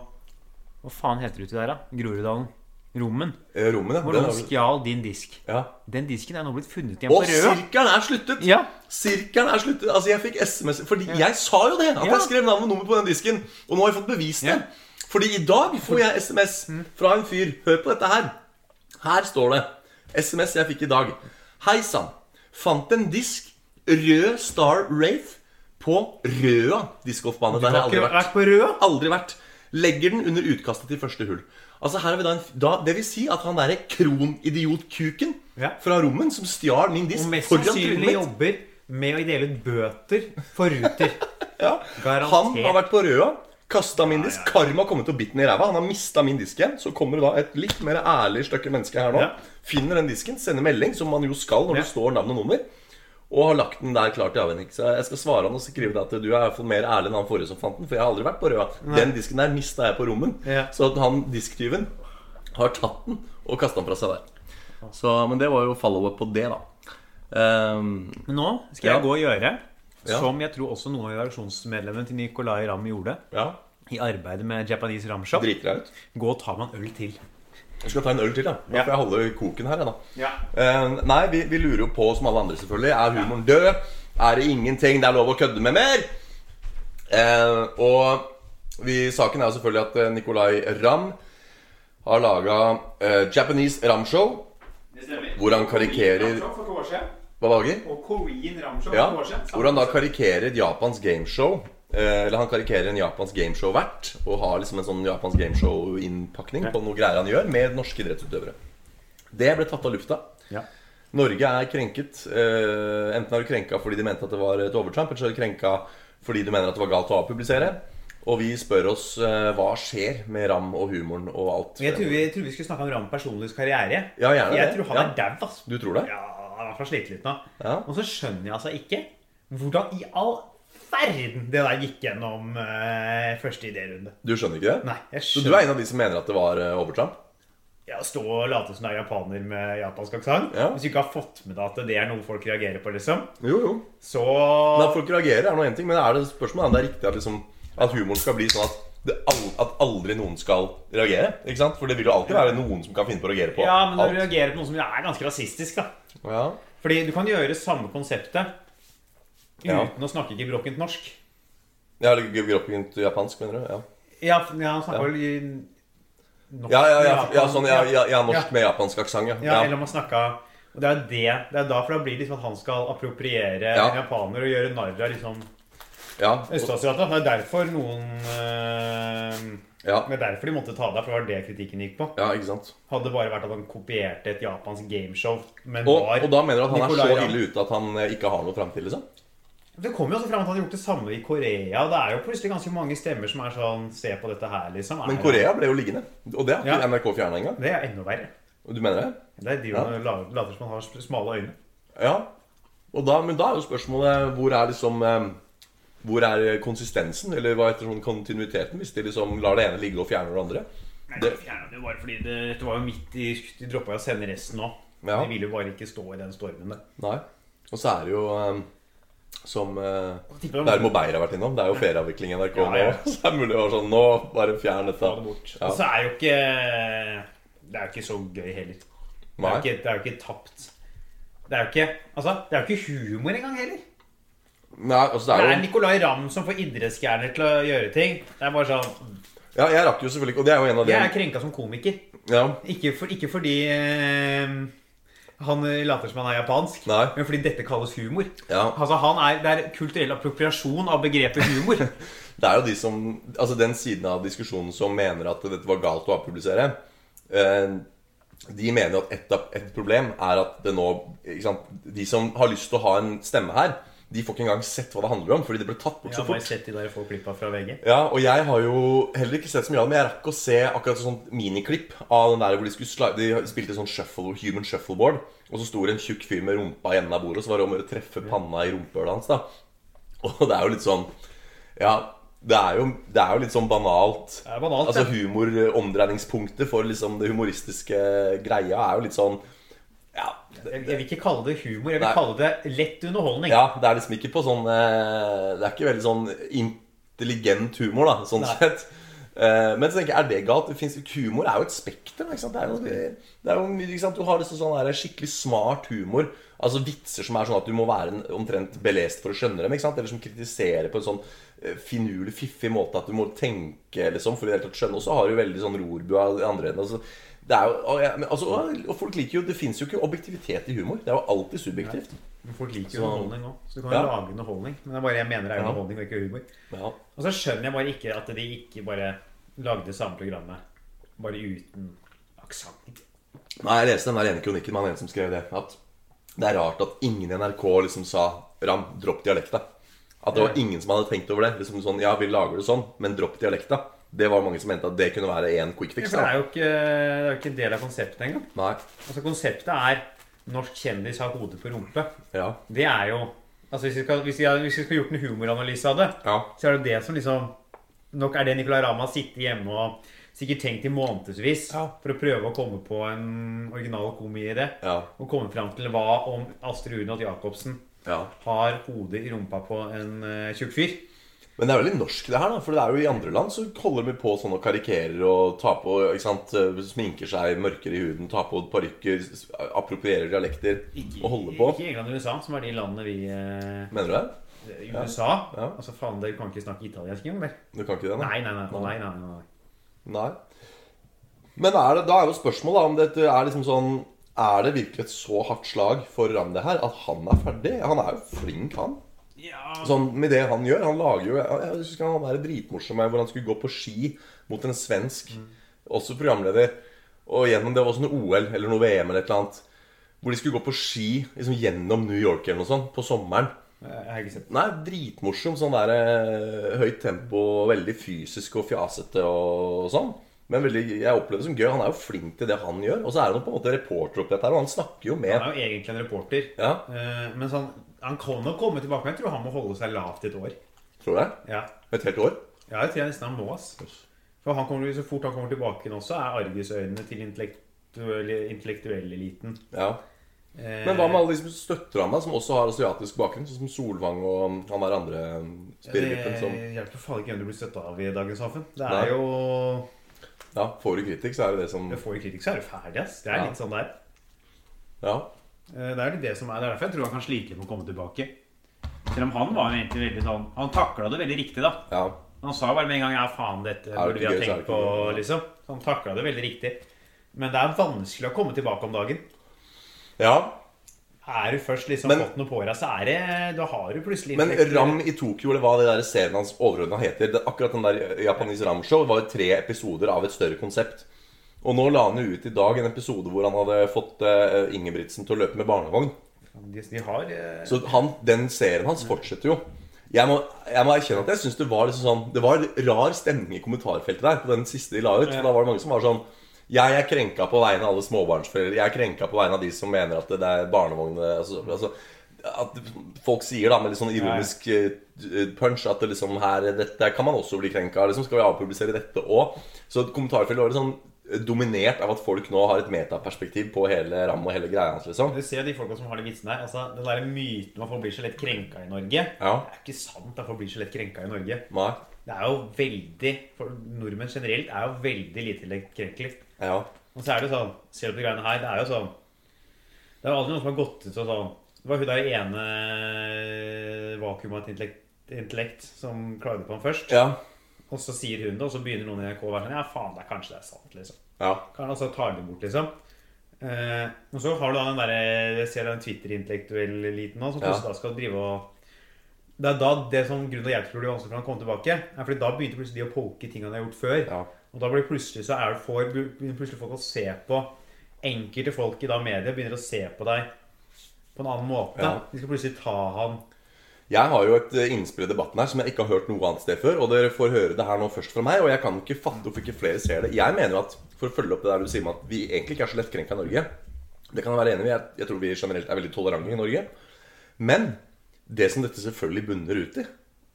[SPEAKER 2] Hva faen heter det uti der, da? Groruddalen? Rommen?
[SPEAKER 3] Eh, Rommet, ja.
[SPEAKER 2] Hvor
[SPEAKER 3] Den
[SPEAKER 2] noen
[SPEAKER 3] har vi-
[SPEAKER 2] stjal din disk.
[SPEAKER 3] ja.
[SPEAKER 2] Den disken er nå blitt funnet igjen
[SPEAKER 3] Og
[SPEAKER 2] på Røa.
[SPEAKER 3] sirkelen er sluttet!
[SPEAKER 2] Ja.
[SPEAKER 3] Sirkelen er sluttet. Altså, jeg fikk SMS Fordi jeg sa jo det! At
[SPEAKER 2] Ja.
[SPEAKER 3] jeg skrev navn og nummer på den disken. Og nå har jeg fått bevist det.
[SPEAKER 2] Ja. Mm.
[SPEAKER 3] Fordi i dag får jeg SMS fra en fyr. Hør på dette her. Her står det. SMS jeg fikk i dag. Hei sann. Fant en disk rød Star Wraith på Røa diskgolfbane. Der har jeg
[SPEAKER 2] Har
[SPEAKER 3] aldri
[SPEAKER 2] ikke
[SPEAKER 3] vært.
[SPEAKER 2] vært på Røa?
[SPEAKER 3] Aldri vært. Legger den under utkastet til første hull. Altså her har vi da en, da, Det vil si at han derre kronidiot-kuken
[SPEAKER 2] Ja.
[SPEAKER 3] fra Rommen som stjal min disk
[SPEAKER 2] Og mest
[SPEAKER 3] foran trynet
[SPEAKER 2] sannsynlig
[SPEAKER 3] mitt
[SPEAKER 2] jobber med å dele ut bøter for ruter.
[SPEAKER 3] *laughs* ja.
[SPEAKER 2] Garantert.
[SPEAKER 3] Han har vært på Røa, Kasta min disk. Karma har kommet og bitt den i ræva. Han har mista min disk igjen. Så kommer det da et litt mer ærlig stykke menneske her nå.
[SPEAKER 2] Ja.
[SPEAKER 3] Finner den disken, sender melding, som man jo skal når
[SPEAKER 2] Ja.
[SPEAKER 3] det står navn og nummer. Og har lagt den der klar til avvenning. Så jeg skal svare han og skrive det at du er i hvert fall mer ærlig enn han forrige som fant den. For jeg har aldri vært på Røa. Den disken der mista jeg på rommen.
[SPEAKER 2] Ja.
[SPEAKER 3] Så at han disktyven har tatt den og kasta den fra seg der. Så, men det var jo follow-up på det, da. Ehm,
[SPEAKER 2] Men nå skal
[SPEAKER 3] Ja.
[SPEAKER 2] jeg gå og gjøre
[SPEAKER 3] Ja.
[SPEAKER 2] som jeg tror også noen av redaksjonsmedlemmene til Nicolay Ramm gjorde
[SPEAKER 3] ja,
[SPEAKER 2] i arbeidet med Japanese Ram Shop.
[SPEAKER 3] driter deg ut.
[SPEAKER 2] Gå og ta meg en øl til.
[SPEAKER 3] Jeg skal ta en øl til, da. Da
[SPEAKER 2] Ja.
[SPEAKER 3] får jeg holde koken her, jeg, da.
[SPEAKER 2] Ja.
[SPEAKER 3] Eh, nei, vi, vi lurer jo på, som alle andre selvfølgelig, er humoren død? Er det ingenting det er lov å kødde med mer? Eh, og vi, saken er jo selvfølgelig at eh, Nicolai Ramm har laga Japanese Ram-show,
[SPEAKER 2] Det stemmer.
[SPEAKER 3] hvor han karikerer
[SPEAKER 2] for to år siden,
[SPEAKER 3] Hva var det?
[SPEAKER 2] og Korean Ram Shop
[SPEAKER 3] Ja, hvor han da karikerer et japansk gameshow. eh, Eller han karikerer en japansk gameshow-vert og har liksom en sånn japansk gameshow-innpakning på noe greier han gjør med norske idrettsutøvere. Det ble tatt av lufta.
[SPEAKER 2] Ja.
[SPEAKER 3] Norge er krenket. eh, Enten er du krenka fordi de mente at det var et overtramp, eller så er du krenka fordi du mener at det var galt å avpublisere. Og vi spør oss eh, hva skjer med Ram og humoren og alt.
[SPEAKER 2] Jeg tror, vi, jeg tror vi skulle snakke om Ram personligs karriere.
[SPEAKER 3] Ja, gjerne
[SPEAKER 2] jeg
[SPEAKER 3] det.
[SPEAKER 2] tror han
[SPEAKER 3] Ja.
[SPEAKER 2] er dau, ass.
[SPEAKER 3] Du tror det?
[SPEAKER 2] Ja, han er i hvert fall sliter litt nå.
[SPEAKER 3] Ja.
[SPEAKER 2] Og så skjønner jeg altså ikke hvordan i all verden det der gikk gjennom eh, første idérunde.
[SPEAKER 3] Du skjønner ikke det?
[SPEAKER 2] Nei, jeg
[SPEAKER 3] Så du
[SPEAKER 2] skjønner
[SPEAKER 3] er en av de som mener at det var eh, overtramp?
[SPEAKER 2] Ja, Stå og late som du er japaner med japansk aksent.
[SPEAKER 3] Ja.
[SPEAKER 2] Hvis du ikke har fått med deg at det er noe folk reagerer på, liksom.
[SPEAKER 3] Jo, jo.
[SPEAKER 2] Så
[SPEAKER 3] Men at folk reagerer er noe en ting, men er det spørsmålet om det er riktig at, liksom, at humoren skal bli sånn at, det al at aldri noen skal reagere? Ikke sant? For det vil jo alltid være noen som kan finne på å reagere på
[SPEAKER 2] Ja, men du
[SPEAKER 3] alt.
[SPEAKER 2] reagerer på noe som er ganske rasistisk, da.
[SPEAKER 3] Ja.
[SPEAKER 2] Fordi du kan gjøre samme konseptet uten
[SPEAKER 3] Ja.
[SPEAKER 2] å snakke gebrokkent norsk.
[SPEAKER 3] Ja, eller gebrokkent japansk, mener du? Ja,
[SPEAKER 2] Ja, f- ja han snakker vel i norsk
[SPEAKER 3] ja, ja, ja,
[SPEAKER 2] med
[SPEAKER 3] ja
[SPEAKER 2] Japan.
[SPEAKER 3] sånn ja, ja, ja, norsk
[SPEAKER 2] Ja.
[SPEAKER 3] med japansk aksent,
[SPEAKER 2] Ja,
[SPEAKER 3] ja.
[SPEAKER 2] eller om han snakka Og det er jo det, det er da, for da blir det liksom at han skal appropriere
[SPEAKER 3] Ja.
[SPEAKER 2] en japaner og gjøre narr av liksom
[SPEAKER 3] Ja, ja.
[SPEAKER 2] Østasiata. Det er derfor noen øh,
[SPEAKER 3] ja.
[SPEAKER 2] Det er derfor de måtte ta deg, for det var det kritikken gikk på.
[SPEAKER 3] Ja, ikke sant
[SPEAKER 2] Hadde det bare vært at han kopierte et japansk gameshow, men
[SPEAKER 3] og,
[SPEAKER 2] var
[SPEAKER 3] og da mener du at han er
[SPEAKER 2] Nicolai
[SPEAKER 3] så
[SPEAKER 2] Ramm.
[SPEAKER 3] ille ute at han eh, ikke har noe fremtid, liksom?
[SPEAKER 2] Det kommer jo også frem at han har gjort det samme i Korea. og Det er jo plutselig ganske mange stemmer som er sånn Se på dette her, liksom. Er
[SPEAKER 3] Men
[SPEAKER 2] det-
[SPEAKER 3] Korea ble jo liggende Og det har ikke
[SPEAKER 2] Ja.
[SPEAKER 3] NRK fjernet engang
[SPEAKER 2] Det er enda verre.
[SPEAKER 3] Du mener det?
[SPEAKER 2] Det er de
[SPEAKER 3] Ja.
[SPEAKER 2] som la- later som han har smale øyne.
[SPEAKER 3] Ja, og da, men da er jo spørsmålet Hvor er liksom eh, Hvor er konsistensen, eller hva heter sånn kontinuiteten Hvis de liksom lar det ene ligge og fjerner det andre
[SPEAKER 2] Nei,
[SPEAKER 3] Det-
[SPEAKER 2] de fjerna det jo bare fordi det, det var jo midt i De droppa jo å sende resten nå.
[SPEAKER 3] Ja.
[SPEAKER 2] De ville jo bare ikke stå i den stormen der.
[SPEAKER 3] Nei Og så er det jo eh, som eh,
[SPEAKER 2] tipper jeg-
[SPEAKER 3] Der Mobeir har vært innom Det er jo ferieavvikling i NRK
[SPEAKER 2] Ja, ja.
[SPEAKER 3] nå *laughs* Så det er mulig å være sånn, nå bare fjern dette
[SPEAKER 2] Ta det bort.
[SPEAKER 3] Ja.
[SPEAKER 2] Og så er jo ikke Det er jo ikke så gøy heller. Det er
[SPEAKER 3] Nei.
[SPEAKER 2] jo ikke, det er jo ikke tapt. Det er jo ikke Altså, det er jo ikke humor engang heller.
[SPEAKER 3] Nei, altså det
[SPEAKER 2] Det
[SPEAKER 3] er
[SPEAKER 2] er
[SPEAKER 3] jo
[SPEAKER 2] Nicolay Ramm som får idrettsstjerner til å gjøre ting. Det er bare sånn
[SPEAKER 3] Ja, jeg rakk jo selvfølgelig ikke- Og det er jo en av de
[SPEAKER 2] Jeg er krenka som komiker.
[SPEAKER 3] Ja,
[SPEAKER 2] Ikke, for, ikke fordi eh, han later som han er japansk,
[SPEAKER 3] Nei.
[SPEAKER 2] men fordi dette kalles humor.
[SPEAKER 3] Ja.
[SPEAKER 2] Altså, han er, Det er kulturell appropriasjon av begrepet
[SPEAKER 3] *laughs*
[SPEAKER 2] humor.
[SPEAKER 3] Det er jo de som Altså den siden av diskusjonen som mener at dette var galt å avpublisere eh, De mener jo at et, av- et problem er at det nå ikke sant, De som har lyst til å ha en stemme her, de får ikke engang sett hva det handler om, fordi det ble tatt bort
[SPEAKER 2] Jeg
[SPEAKER 3] så
[SPEAKER 2] har bare
[SPEAKER 3] fort.
[SPEAKER 2] sett de der få klippa fra VG.
[SPEAKER 3] Ja, og jeg har jo heller ikke sett så mye av det, men jeg rakk å se akkurat et sånt miniklipp av den der hvor de, skulle sli- de spilte sånn shuffle, human shuffleboard, og så sto det en tjukk fyr med rumpa i enden av bordet, og så var det om å gjøre å treffe panna i rumpehullet hans, da. Og det er jo litt sånn Ja, det er jo, det er jo litt sånn banalt.
[SPEAKER 2] Det er banalt,
[SPEAKER 3] altså
[SPEAKER 2] ja.
[SPEAKER 3] humor, omdreiningspunktet for liksom det humoristiske greia er jo litt sånn Ja, det,
[SPEAKER 2] Jeg jeg vil ikke kalle det humor, jeg vil
[SPEAKER 3] Nei.
[SPEAKER 2] kalle det lett underholdning.
[SPEAKER 3] ja, det er liksom ikke på sånn eh, Det er ikke veldig sånn intelligent humor, da, sånn
[SPEAKER 2] Nei.
[SPEAKER 3] sett. Eh, Men så tenker jeg, er det galt? Det finnes, humor er jo et spekter. Ikke sant? Det er jo, det, det er jo mye, ikke sant? Du har liksom sånn der skikkelig smart humor. Altså Vitser som er sånn at du må være en- omtrent belest for å skjønne dem. Ikke sant? Eller som kritiserer på en sånn eh, finurlig, fiffig måte at du må tenke liksom, for i det hele tatt skjønne. Og så har du veldig sånn rorbua i andre enden. Altså, det er jo, og, jeg, men, altså, og- og folk liker jo Det fins jo ikke objektivitet i humor. Det er jo alltid subjektivt.
[SPEAKER 2] Men Folk liker
[SPEAKER 3] Så-
[SPEAKER 2] jo underholdning òg, så du kan jo
[SPEAKER 3] Sånn. Ja.
[SPEAKER 2] lage underholdning. Men det er bare jeg mener det er
[SPEAKER 3] Ja.
[SPEAKER 2] underholdning og ikke humor.
[SPEAKER 3] Ja.
[SPEAKER 2] Og så skjønner jeg bare ikke at de ikke bare lagde det samme programmet, bare uten aksent.
[SPEAKER 3] Nei, jeg leste den der ene kronikken med han ene som skrev det. At det er rart at ingen i NRK liksom sa Ram, dropp dialekta. At det var ingen som hadde tenkt over det. Liksom sånn, ja, vi lager det sånn, men dropp dialekta. Det var mange som mente at det kunne være en quick fix.
[SPEAKER 2] For det
[SPEAKER 3] Da.
[SPEAKER 2] er jo ikke, det er jo ikke en del av konseptet engang.
[SPEAKER 3] Nei.
[SPEAKER 2] Altså Konseptet er norsk kjendis har hodet på rumpe.
[SPEAKER 3] Ja.
[SPEAKER 2] Det er jo Altså Hvis vi skal, hvis vi, hadde- hvis vi skal gjort en humoranalyse av det,
[SPEAKER 3] Ja.
[SPEAKER 2] så er det det som liksom Nok er det Nicolay Ramm har sittet hjemme og sikkert tenkt i månedsvis
[SPEAKER 4] Ja.
[SPEAKER 2] for å prøve å komme på en original komiidé.
[SPEAKER 3] Ja.
[SPEAKER 2] Og komme fram til hva om Astrid Urnholt Jacobsen
[SPEAKER 3] ja.
[SPEAKER 2] har hodet i rumpa på en eh, tjukk fyr.
[SPEAKER 3] Men det er veldig norsk, det her. da For det er jo i andre land så holder de på sånn og karikerer og tar på ikke sant? eh, Sminker seg mørkere i huden, tar på parykker, s- approprierer dialekter og holder på.
[SPEAKER 2] Ikke England og USA, som er de landene vi eh,
[SPEAKER 3] Mener du det?
[SPEAKER 2] i USA
[SPEAKER 3] Ja.
[SPEAKER 2] Altså faen, dere kan ikke snakke italiensk engang, vel?
[SPEAKER 3] Du kan ikke det?
[SPEAKER 2] Nei, nei, nei. nei, nei, nei, nei.
[SPEAKER 3] Nei. Men er det, da er jo spørsmålet da, om dette er liksom sånn Er det virkelig et så hardt slag for Ramm det her at han er ferdig? Han er jo flink, han. Sånn med det han gjør. Han lager jo Jeg jeg husker han er dritmorsom med hvor han skulle gå på ski mot en svensk, også programleder, og gjennom det var også noe OL eller noe VM eller et eller annet. Hvor de skulle gå på ski liksom gjennom New York eller noe sånt på sommeren.
[SPEAKER 2] Jeg har ikke sett
[SPEAKER 3] Nei, dritmorsom. Sånn der eh, høyt tempo, veldig fysisk og fjasete og sånn. Men veldig, jeg opplever det som gøy. Han er jo flink til det han gjør. Og så er han jo på en måte reporter oppi dette her, og han snakker jo med
[SPEAKER 2] Han er jo egentlig en reporter.
[SPEAKER 3] Ja,
[SPEAKER 2] Eh, men sånn, han kan nok komme tilbake, men jeg tror han må holde seg lavt et år.
[SPEAKER 3] tror jeg.
[SPEAKER 2] Ja,
[SPEAKER 3] Et helt år.
[SPEAKER 2] ja jeg tror jeg nesten han må, ass. For han kommer, så fort han kommer tilbake igjen også, er argusøynene til intellektuelle- intellektuelleliten.
[SPEAKER 3] Ja.
[SPEAKER 2] Eh,
[SPEAKER 3] Men hva med alle de som støtter ham, da, som også har asiatisk bakgrunn? Sånn som Solvang og han der andre spirrevippen som
[SPEAKER 2] Det hjelper faen ikke hvem du blir støtta av i dagens samfunn. Det
[SPEAKER 3] Nei.
[SPEAKER 2] er jo
[SPEAKER 3] Ja, får du kritikk, så er det det som
[SPEAKER 2] Du får jo kritikk, så er du ferdig, ass. Det er
[SPEAKER 3] Ja.
[SPEAKER 2] litt sånn der.
[SPEAKER 3] Ja.
[SPEAKER 2] Eh, Det er litt det som er, det er derfor jeg tror han kan slite litt med å komme tilbake.
[SPEAKER 5] Selv om han var jo egentlig veldig sånn Han takla det veldig riktig, da.
[SPEAKER 3] ja.
[SPEAKER 2] Han sa bare med en gang 'ja, faen, dette
[SPEAKER 3] det
[SPEAKER 2] burde vi
[SPEAKER 3] ikke gøy, så er det
[SPEAKER 2] ha tenkt
[SPEAKER 3] ikke
[SPEAKER 2] på', liksom. Så han takla det veldig riktig. Men det er vanskelig å komme tilbake om dagen.
[SPEAKER 3] ja.
[SPEAKER 2] Er du først liksom
[SPEAKER 3] Men-
[SPEAKER 2] fått noe på deg, så er det Da har du plutselig
[SPEAKER 3] Men
[SPEAKER 2] intellektuelle-
[SPEAKER 3] Ram i Tokyo, eller hva det der serien hans overordna heter det, Akkurat den der Japanese Ram-show var jo tre episoder av et større konsept. Og nå la han jo ut i dag en episode hvor han hadde fått eh, Ingebrigtsen til å løpe med barnevogn.
[SPEAKER 2] de, de har eh,
[SPEAKER 3] Så han, den serien hans fortsetter jo. Jeg må, jeg må erkjenne at jeg synes det var liksom sånn Det var rar stemning i kommentarfeltet der på den siste de la ut. For da var det mange som var sånn Jeg er krenka på vegne av alle småbarnsforeldre. Jeg er krenka på vegne av de som mener at det er barnevognene altså, altså, At folk sier da med litt sånn ironisk eh, punch at det liksom her Dette kan man også bli krenka av. Liksom, skal vi avpublisere dette òg? Så kommentarfeltet var litt sånn dominert av at folk nå har et metaperspektiv på hele Ram og hele greia hans, liksom.
[SPEAKER 2] Du ser de folka som har de vitsene her. Altså, Den derre myten om at folk blir så lett krenka i Norge
[SPEAKER 3] Ja.
[SPEAKER 2] Det er ikke sant at folk blir så lett krenka i Norge.
[SPEAKER 3] Nei.
[SPEAKER 2] Det er jo veldig for Nordmenn generelt er jo veldig lite krenkelig.
[SPEAKER 3] Ja.
[SPEAKER 2] Og så er det jo sånn Ser du på greiene her, det er jo sånn Det er jo aldri noen som har gått ut og sånn Det var hun der ene vakuumet av et intellekt, intellekt som klagde på ham først.
[SPEAKER 3] Ja.
[SPEAKER 2] Og så sier hun det, og så begynner noen i NRK å være sånn Ja, faen, det er kanskje det er sant, liksom.
[SPEAKER 3] ja.
[SPEAKER 2] Kan altså ta det bort, liksom. Eh, og så har du da den der Jeg ser den Twitter-intellektuell-eliten nå, som
[SPEAKER 3] Ja.
[SPEAKER 2] plutselig da skal drive og Det er da det som grunnen til at jeg tror det blir vanskelig for han å komme tilbake, er fordi da begynte plutselig de å poke ting han har gjort før.
[SPEAKER 3] Ja.
[SPEAKER 2] Og da blir plutselig så er det for, begynner plutselig folk å se på Enkelte folk i da media begynner å se på deg på en annen måte.
[SPEAKER 3] Ja.
[SPEAKER 2] De skal plutselig ta han
[SPEAKER 3] Jeg har jo et eh, innspill i debatten her som jeg ikke har hørt noe annet sted før. Og dere får høre det her nå først fra meg, og jeg kan ikke fatte hvorfor ikke flere ser det. Jeg mener jo at, for å følge opp det der du sier med at vi egentlig ikke er så lettkrenka i Norge Det kan jeg være enig i. Jeg, jeg tror vi generelt er veldig tolerante i Norge. Men det som dette selvfølgelig bunner ut i,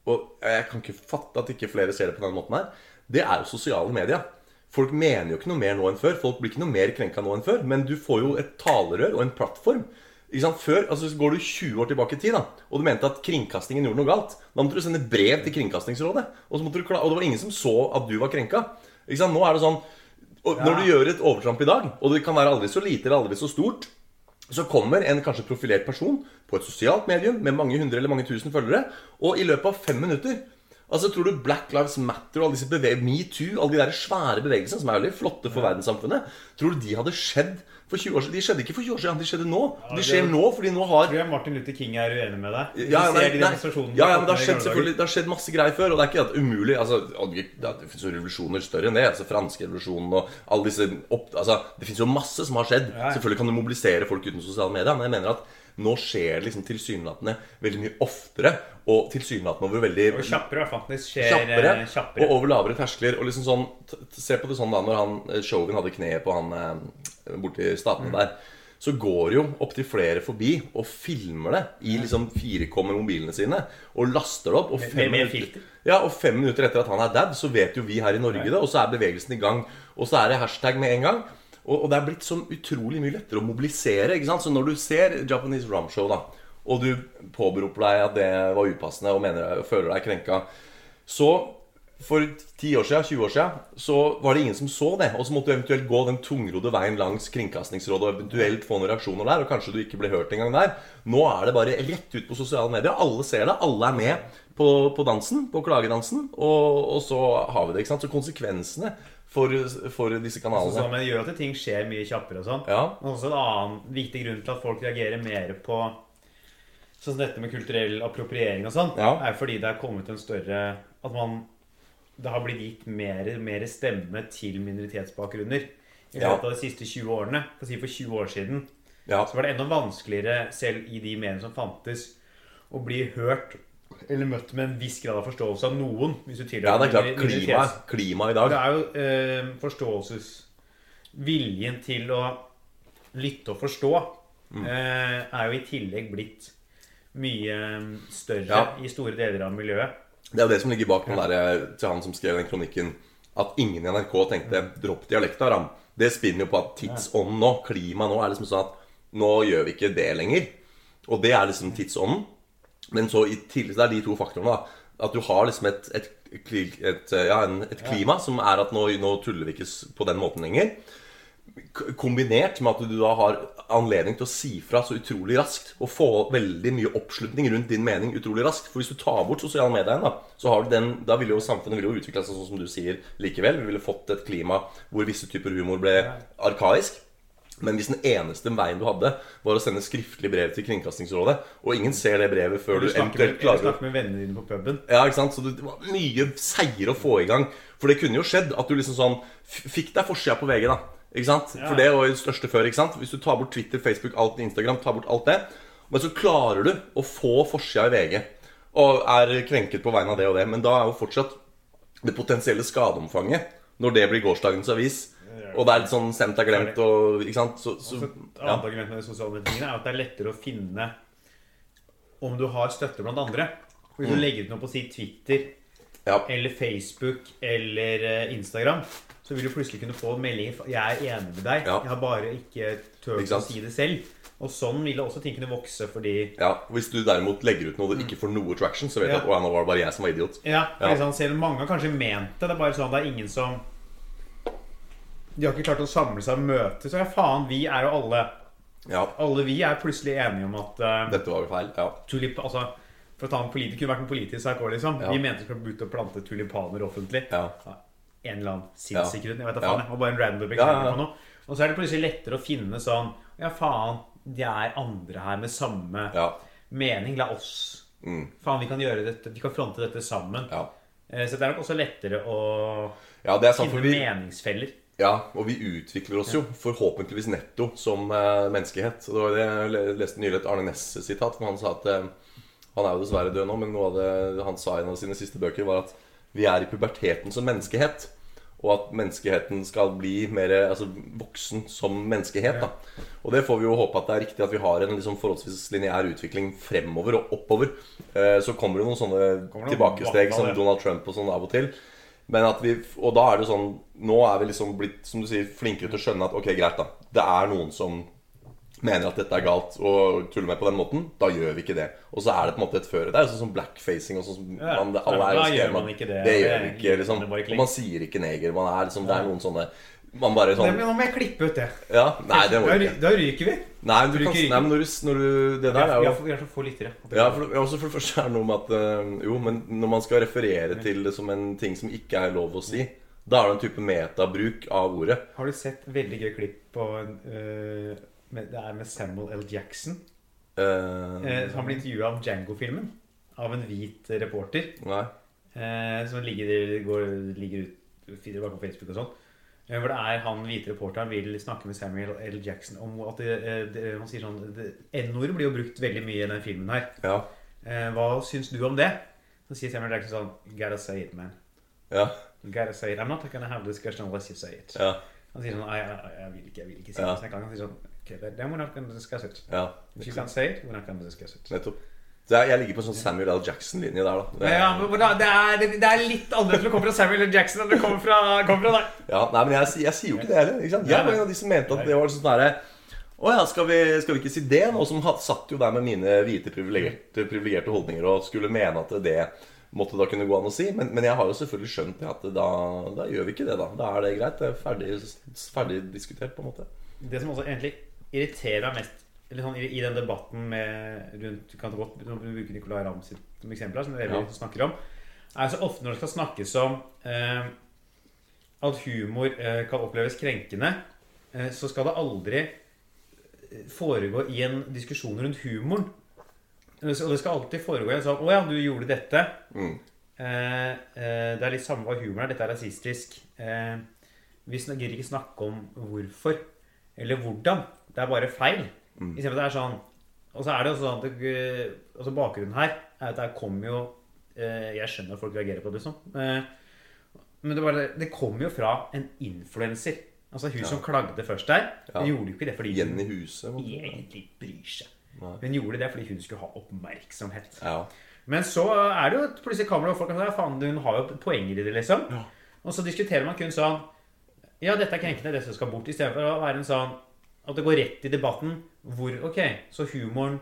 [SPEAKER 3] og jeg kan ikke fatte at ikke flere ser det på den måten her, det er jo sosiale medier. Folk mener jo ikke noe mer nå enn før. Folk blir ikke noe mer krenka nå enn før. Men du får jo et talerør og en plattform. Ikke sant? Før, altså så Går du 20 år tilbake i tid da og du mente at kringkastingen gjorde noe galt, da måtte du sende brev til Kringkastingsrådet. Og, så måtte du kla og det var ingen som så at du var krenka. Ikke sant? Nå er det sånn og Når du gjør et overtramp i dag, og det kan være aldri så lite eller aldri så stort, så kommer en kanskje profilert person på et sosialt medium med mange hundre eller mange tusen følgere, og i løpet av fem minutter Altså, tror du Black Lives Matter og alle disse beve MeToo, alle de der svære bevegelsene som er veldig flotte for verdenssamfunnet, tror du de hadde skjedd for 20 år siden? De skjedde ikke for 20 år siden, de skjedde nå. De skjer nå fordi nå har
[SPEAKER 2] Tror jeg Martin Luther King er uenig med deg. Hvis
[SPEAKER 3] ja,
[SPEAKER 2] du
[SPEAKER 3] nei,
[SPEAKER 2] ser de
[SPEAKER 3] nei.
[SPEAKER 2] demonstrasjonene
[SPEAKER 3] ja, ja,
[SPEAKER 2] du
[SPEAKER 3] men det har
[SPEAKER 2] fått
[SPEAKER 3] skjedd
[SPEAKER 2] med i gamle dager.
[SPEAKER 3] selvfølgelig Det har skjedd masse greier før, og det er ikke at umulig altså, og Det det finnes jo revolusjoner større enn det. Altså, franske revolusjonen og alle disse opp, altså, Det finnes jo masse som har skjedd. Selvfølgelig kan du mobilisere folk uten sosiale medier, men jeg mener at Nå skjer det liksom tilsynelatende veldig mye oftere, og tilsynelatende over veldig
[SPEAKER 2] Og kjappere, i hvert fall. Det skjer
[SPEAKER 3] kjappere,
[SPEAKER 2] eh, kjappere.
[SPEAKER 3] og over lavere terskler. Og liksom sånn, t- t- Se på det sånn da når han eh, Chauvin hadde kneet på han eh, borti Statene
[SPEAKER 2] Mm.
[SPEAKER 3] der. Så går jo opptil flere forbi og filmer det i liksom 4K med mobilene sine. Og laster det opp. Og fem,
[SPEAKER 2] med
[SPEAKER 3] minutter,
[SPEAKER 2] filter.
[SPEAKER 3] ja, og fem minutter etter at han er dau, så vet jo vi her i Norge det. Og så er bevegelsen i gang. Og så er det hashtag med en gang. Og, og det er blitt så utrolig mye lettere å mobilisere. ikke sant? Så når du ser Japanese Rum Show, da, og du påberoper deg at det var upassende og mener, føler deg krenka, så for 10 år siden, 20 år siden, så var det ingen som så det. Og så måtte du eventuelt gå den tungrodde veien langs Kringkastingsrådet og eventuelt få noen reaksjoner der. Og kanskje du ikke ble hørt engang der. Nå er det bare rett ut på sosiale medier. Alle ser det. Alle er med på, på dansen, på klagedansen. Og, og så har vi det. ikke sant? Så konsekvensene for, for disse
[SPEAKER 2] Så,
[SPEAKER 3] kanalene
[SPEAKER 2] men det gjør at ting skjer mye kjappere og sånn.
[SPEAKER 3] Ja.
[SPEAKER 2] Men Også en annen viktig grunn til at folk reagerer mer på sånn som dette med kulturell appropriering og sånn,
[SPEAKER 3] Ja.
[SPEAKER 2] er fordi det er kommet en større At man Det har blitt gitt mer, mer stemme til minoritetsbakgrunner i løpet
[SPEAKER 3] Ja.
[SPEAKER 2] av de siste 20 årene. For å si for 20 år siden
[SPEAKER 3] Ja,
[SPEAKER 2] så var det enda vanskeligere, selv i de mediene som fantes, å bli hørt eller møtt med en viss grad av forståelse av noen. Hvis du
[SPEAKER 3] ja
[SPEAKER 2] tilhører
[SPEAKER 3] det er klart.
[SPEAKER 2] en minoritets-
[SPEAKER 3] Klima, klima i dag.
[SPEAKER 2] det er jo eh, forståelses... Viljen til å lytte og forstå
[SPEAKER 3] Mm.
[SPEAKER 2] eh, er jo i tillegg blitt mye mm, større
[SPEAKER 3] Ja.
[SPEAKER 2] i store deler av miljøet.
[SPEAKER 3] Det er jo det som ligger bak den der, eh, til han som skrev den kronikken. At ingen i NRK tenkte 'dropp dialekta, Ram'. Det spinner jo på at tidsånden nå, klimaet nå, er liksom sånn at nå gjør vi ikke det lenger. Og det er liksom tidsånden. Men så i tillegg så er det de to faktorene, da. At du har liksom et, et, kli- et, ja, en, et klima som er at nå, nå tuller vi ikke s- på den måten lenger. K- Kombinert med at du da har anledning til å si fra så utrolig raskt og få veldig mye oppslutning rundt din mening utrolig raskt. For hvis du tar bort sosiale medier, da, så har du den, da ville jo samfunnet ville jo utvikla seg sånn som du sier likevel. Vi ville fått et klima hvor visse typer humor ble arkaisk. Men hvis den eneste veien du hadde, var å sende skriftlig brev til Kringkastingsrådet, og ingen ser det brevet før du,
[SPEAKER 2] Du snakker med,
[SPEAKER 3] eventuelt
[SPEAKER 2] eller
[SPEAKER 3] klarer å
[SPEAKER 2] snakker med vennene dine på puben.
[SPEAKER 3] ja, ikke sant? Så det var mye seier å få i gang. For det kunne jo skjedd at du liksom sånn f- fikk deg forsida på VG, da. Ikke sant? For det var jo det største før. ikke sant? Hvis du tar bort Twitter, Facebook, alt Instagram, tar bort alt det. Men så klarer du å få forsida i VG. Og er krenket på vegne av det og det. Men da er jo fortsatt det potensielle skadeomfanget når det blir gårsdagens avis. Og det er litt sånn sendt er glemt og ikke sant? Så, så,
[SPEAKER 2] Så et
[SPEAKER 3] ja.
[SPEAKER 2] annet argument med de sosiale mediene er at det er lettere å finne om du har støtte blant andre. For
[SPEAKER 3] Mm.
[SPEAKER 2] Hvis du legger ut noe på si Twitter
[SPEAKER 3] ja.
[SPEAKER 2] eller Facebook eller eh, Instagram, så vil du plutselig kunne få meldinger fra 'Jeg er enig med deg,
[SPEAKER 3] Ja.
[SPEAKER 2] jeg har bare ikke
[SPEAKER 3] Ikke
[SPEAKER 2] turt å
[SPEAKER 3] sant?
[SPEAKER 2] si det selv'. Og sånn ville også ting kunne vokse, fordi
[SPEAKER 3] ja. Hvis du derimot legger ut noe og ikke får noe traction, så vet
[SPEAKER 2] Ja.
[SPEAKER 3] du at å, ja, nå var det bare jeg som var idiot.
[SPEAKER 2] Ja,
[SPEAKER 3] Ja.
[SPEAKER 2] Liksom, selv om mange har kanskje ment det. Det er bare sånn at det er ingen som De har ikke klart å samle seg og møtes. Og ja, faen, vi er jo alle
[SPEAKER 3] Ja.
[SPEAKER 2] Alle vi er plutselig enige om at eh,
[SPEAKER 3] Dette var jo feil. Ja.
[SPEAKER 2] tulip, altså, For å ta en politi- det kunne vært en politisk sak òg, liksom.
[SPEAKER 3] Ja.
[SPEAKER 2] Vi mente vi skulle bli ute og plante tulipaner offentlig.
[SPEAKER 3] Ja.
[SPEAKER 2] En eller annen sinnssyk grunn. Jeg vet da
[SPEAKER 3] Ja.
[SPEAKER 2] faen. Det var bare en random
[SPEAKER 3] ja,
[SPEAKER 2] eksempel
[SPEAKER 3] ja.
[SPEAKER 2] på noe. Og så er det plutselig lettere å finne sånn Ja, faen, det er andre her med samme
[SPEAKER 3] Ja. Mm.
[SPEAKER 2] mening. La oss Faen, vi kan gjøre dette. Vi kan fronte dette sammen.
[SPEAKER 3] Ja.
[SPEAKER 2] Eh, Så det er nok også lettere å
[SPEAKER 3] ja, det er sant. For
[SPEAKER 2] finne
[SPEAKER 3] vi,
[SPEAKER 2] meningsfeller.
[SPEAKER 3] ja, og vi utvikler oss jo forhåpentligvis netto som eh, menneskehet. Og Det var det jeg le- leste nylig et Arne Næss-sitat, for han sa at eh, Han er jo dessverre død nå, men noe av det han sa i en av sine siste bøker, var at vi er i puberteten som menneskehet. Og at menneskeheten skal bli mer altså, voksen som menneskehet. Da. Og det får vi jo håpe at det er riktig at vi har en liksom, forholdsvis lineær utvikling fremover og oppover. Eh, så kommer det noen sånne
[SPEAKER 2] noen
[SPEAKER 3] tilbakesteg
[SPEAKER 2] bakfall,
[SPEAKER 3] som
[SPEAKER 2] ja.
[SPEAKER 3] Donald Trump og sånn av og til. Men at vi, og da er det jo sånn Nå er vi liksom blitt som du sier, flinkere til å skjønne at ok, greit, da. Det er noen som mener at dette er galt og tuller med på den måten. Da gjør vi ikke det. Og så er det på en måte et føre. Det er jo sånn som blackfacing og sånn. som
[SPEAKER 2] Ja,
[SPEAKER 3] man- det-
[SPEAKER 2] da
[SPEAKER 3] alle er jo
[SPEAKER 2] gjør
[SPEAKER 3] skrevet,
[SPEAKER 2] man ikke det.
[SPEAKER 3] Det gjør vi
[SPEAKER 2] Det
[SPEAKER 3] ikke,
[SPEAKER 2] gjør
[SPEAKER 3] liksom.
[SPEAKER 2] man bare ikke
[SPEAKER 3] Og man sier ikke neger. Man er liksom, det er noen sånne Man bare
[SPEAKER 2] Nei,
[SPEAKER 3] sånn
[SPEAKER 2] men Nå må jeg klippe ut det.
[SPEAKER 3] Ja, nei, det må
[SPEAKER 2] Da,
[SPEAKER 3] du
[SPEAKER 2] ry-
[SPEAKER 3] ikke.
[SPEAKER 2] da ryker vi.
[SPEAKER 3] Nei, men du
[SPEAKER 2] Bruker
[SPEAKER 3] kan,
[SPEAKER 2] ikke.
[SPEAKER 3] nei, men når du, når du Det der er
[SPEAKER 2] Vi
[SPEAKER 3] jo
[SPEAKER 2] har vi har så få lyttere.
[SPEAKER 3] ja, for, ja, også for det første er det noe med at eh, Jo, men når man skal referere til det som en ting som ikke er lov å si, da er det en type metabruk av ordet.
[SPEAKER 2] Har du sett veldig gøy klipp på en, øh, med, Det er med Samuel L. Jackson.
[SPEAKER 3] Eh,
[SPEAKER 2] Eh, så han blir intervjua av Django-filmen. Av en hvit reporter
[SPEAKER 3] nei.
[SPEAKER 2] eh, som ligger, går, ligger ut feeder bare på Facebook og sånn. Eh, Hvor det er han hvite reporteren vil snakke med Samuel L. Jackson om at det, eh, det, Han sier sånn det- N-ordet blir jo brukt veldig mye i den filmen her.
[SPEAKER 3] Ja.
[SPEAKER 2] Eh, Hva syns du om det? Så sier Samuel L. Jackson sånn You Gotta say it, man.
[SPEAKER 3] Ja.
[SPEAKER 2] You Gotta say it. I'm not gonna have discussion unless you say it.
[SPEAKER 3] Ja.
[SPEAKER 2] Han sier sånn «Nei, Jeg, jeg, jeg vil ikke, jeg vil ikke si
[SPEAKER 3] Ja.
[SPEAKER 2] det. Så en gang Han sier sånn okay, then- Then we're not gonna discuss it.
[SPEAKER 3] ja.
[SPEAKER 2] If you can't say it, we're not gonna discuss it.
[SPEAKER 3] Nettopp. Så jeg, jeg ligger på en sånn Samuel L. Jackson-linje der, da. Det-
[SPEAKER 2] Ja, men hvordan- det, er, det er litt annerledes når det kommer fra Samuel L. Jackson enn det kommer fra, kommer fra deg.
[SPEAKER 3] Ja, nei, men jeg, si- jeg sier jo ikke det heller. Ikke sant? Jeg var en av de som mente at det var sånn derre Å ja, skal vi, skal vi ikke si det? Og som had- satt jo der med mine hvite privilegerte, privilegerte holdninger og skulle mene at det måtte da kunne gå an å si. Men, men jeg har jo selvfølgelig skjønt det at da, da gjør vi ikke det, da. Da er det greit. Det er ferdig, ferdig diskutert, på en måte.
[SPEAKER 2] Det som også egentlig irriterer meg mest eller sånn, i, i den debatten med rundt Du kan godt bruke Nicolay Ramm sitt som eksempel, her, som dere
[SPEAKER 3] Ja.
[SPEAKER 2] snakker om, er så ofte når det skal snakkes om eh, at humor eh, kan oppleves krenkende, eh, så skal det aldri eh, foregå i en diskusjon rundt humoren. Og det skal- og det skal alltid foregå i en sånn 'Å ja, du gjorde dette'.
[SPEAKER 3] Mm.
[SPEAKER 2] Eh, eh, det er litt samme hva humor er. Dette er rasistisk. Eh, vi snak- gidder ikke snakke om hvorfor eller hvordan. Det er bare feil.
[SPEAKER 3] Mm.
[SPEAKER 2] I stedet for at det er sånn Og så er det jo sånn at det, altså bakgrunnen her er at der kommer jo eh, Jeg skjønner at folk reagerer på det, liksom. Eh, men det, bare, det kommer jo fra en influenser. Altså hun som klagde først der.
[SPEAKER 3] Ja.
[SPEAKER 2] Hun gjorde jo ikke det fordi hun
[SPEAKER 3] Igjen i huset. på en måte.
[SPEAKER 2] egentlig bryr seg.
[SPEAKER 3] Nei.
[SPEAKER 2] Hun gjorde det fordi hun skulle ha oppmerksomhet.
[SPEAKER 3] Ja.
[SPEAKER 2] Men så er det jo et- plutselig kamera og folk kan si, faen, hun har jo poenger i det, liksom. Og så diskuterer man kun sånn Ja, dette er krenkende, det som skal bort. Istedenfor å være en sånn At det går rett i debatten hvor Ok, så humoren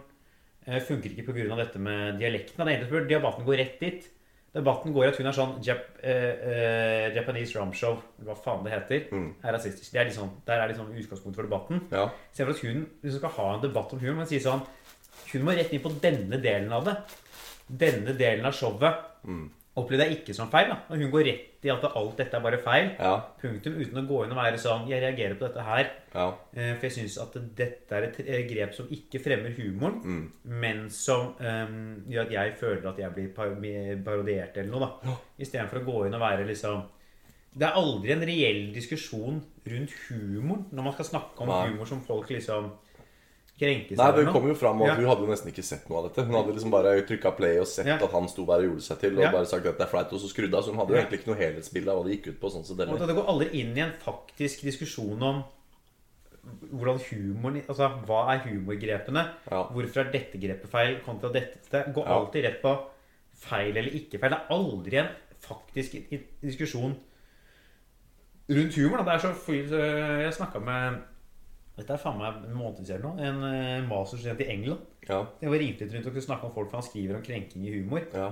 [SPEAKER 2] eh, funker ikke pga. dette med dialekten. Han egentlig burde debatten gå rett dit. Debatten går i at hun er sånn Jap eh, eh, Japanese ramshow, hva faen det heter, er rasistisk. Det er liksom, der er liksom utgangspunktet for debatten.
[SPEAKER 3] Ja.
[SPEAKER 2] Istedenfor at hun liksom skal ha en debatt om humor, men sier sånn Hun må rett inn på denne delen av det. Denne delen av showet opplevde jeg ikke som feil. da. Og hun går rett i at alt dette er bare feil.
[SPEAKER 3] Ja.
[SPEAKER 2] Punktum. Uten å gå inn og være sånn Jeg reagerer på dette her.
[SPEAKER 3] ja.
[SPEAKER 2] eh, For jeg syns at dette er et eh, grep som ikke fremmer humoren,
[SPEAKER 3] Mm.
[SPEAKER 2] men som eh, gjør at jeg føler at jeg blir par- parodiert eller noe, da. Istedenfor å gå inn og være liksom det er aldri en reell diskusjon rundt humor når man skal snakke om
[SPEAKER 3] Nei.
[SPEAKER 2] humor som folk liksom krenker seg
[SPEAKER 3] Nei, det
[SPEAKER 2] over nå.
[SPEAKER 3] kom jo fram at
[SPEAKER 2] Ja.
[SPEAKER 3] hun hadde jo nesten ikke sett noe av dette. Hun hadde liksom bare trykka play og sett
[SPEAKER 2] Ja.
[SPEAKER 3] at han sto der og gjorde seg til, og
[SPEAKER 2] Ja.
[SPEAKER 3] bare sagt at det er flaut, og så skrudde hun. Så hun hadde jo
[SPEAKER 2] Ja.
[SPEAKER 3] egentlig ikke noe helhetsbilde av hva det gikk ut på. sånn som det
[SPEAKER 2] Og at det går aldri inn i en faktisk diskusjon om hvordan humoren Altså, hva er humorgrepene?
[SPEAKER 3] Ja.
[SPEAKER 2] Hvorfor er dette grepet feil kontra dette? Det går
[SPEAKER 3] Ja.
[SPEAKER 2] alltid rett på feil eller ikke feil. Det er aldri en faktisk i- i- diskusjon rundt humor. Da. Det er så fyr, Jeg snakka med Dette er faen meg en måned siden nå. En eh, masterstudent i England.
[SPEAKER 3] Ja.
[SPEAKER 2] Jeg var ringt litt rundt og kunne snakke om folk, for han skriver om krenking i humor.
[SPEAKER 3] Ja.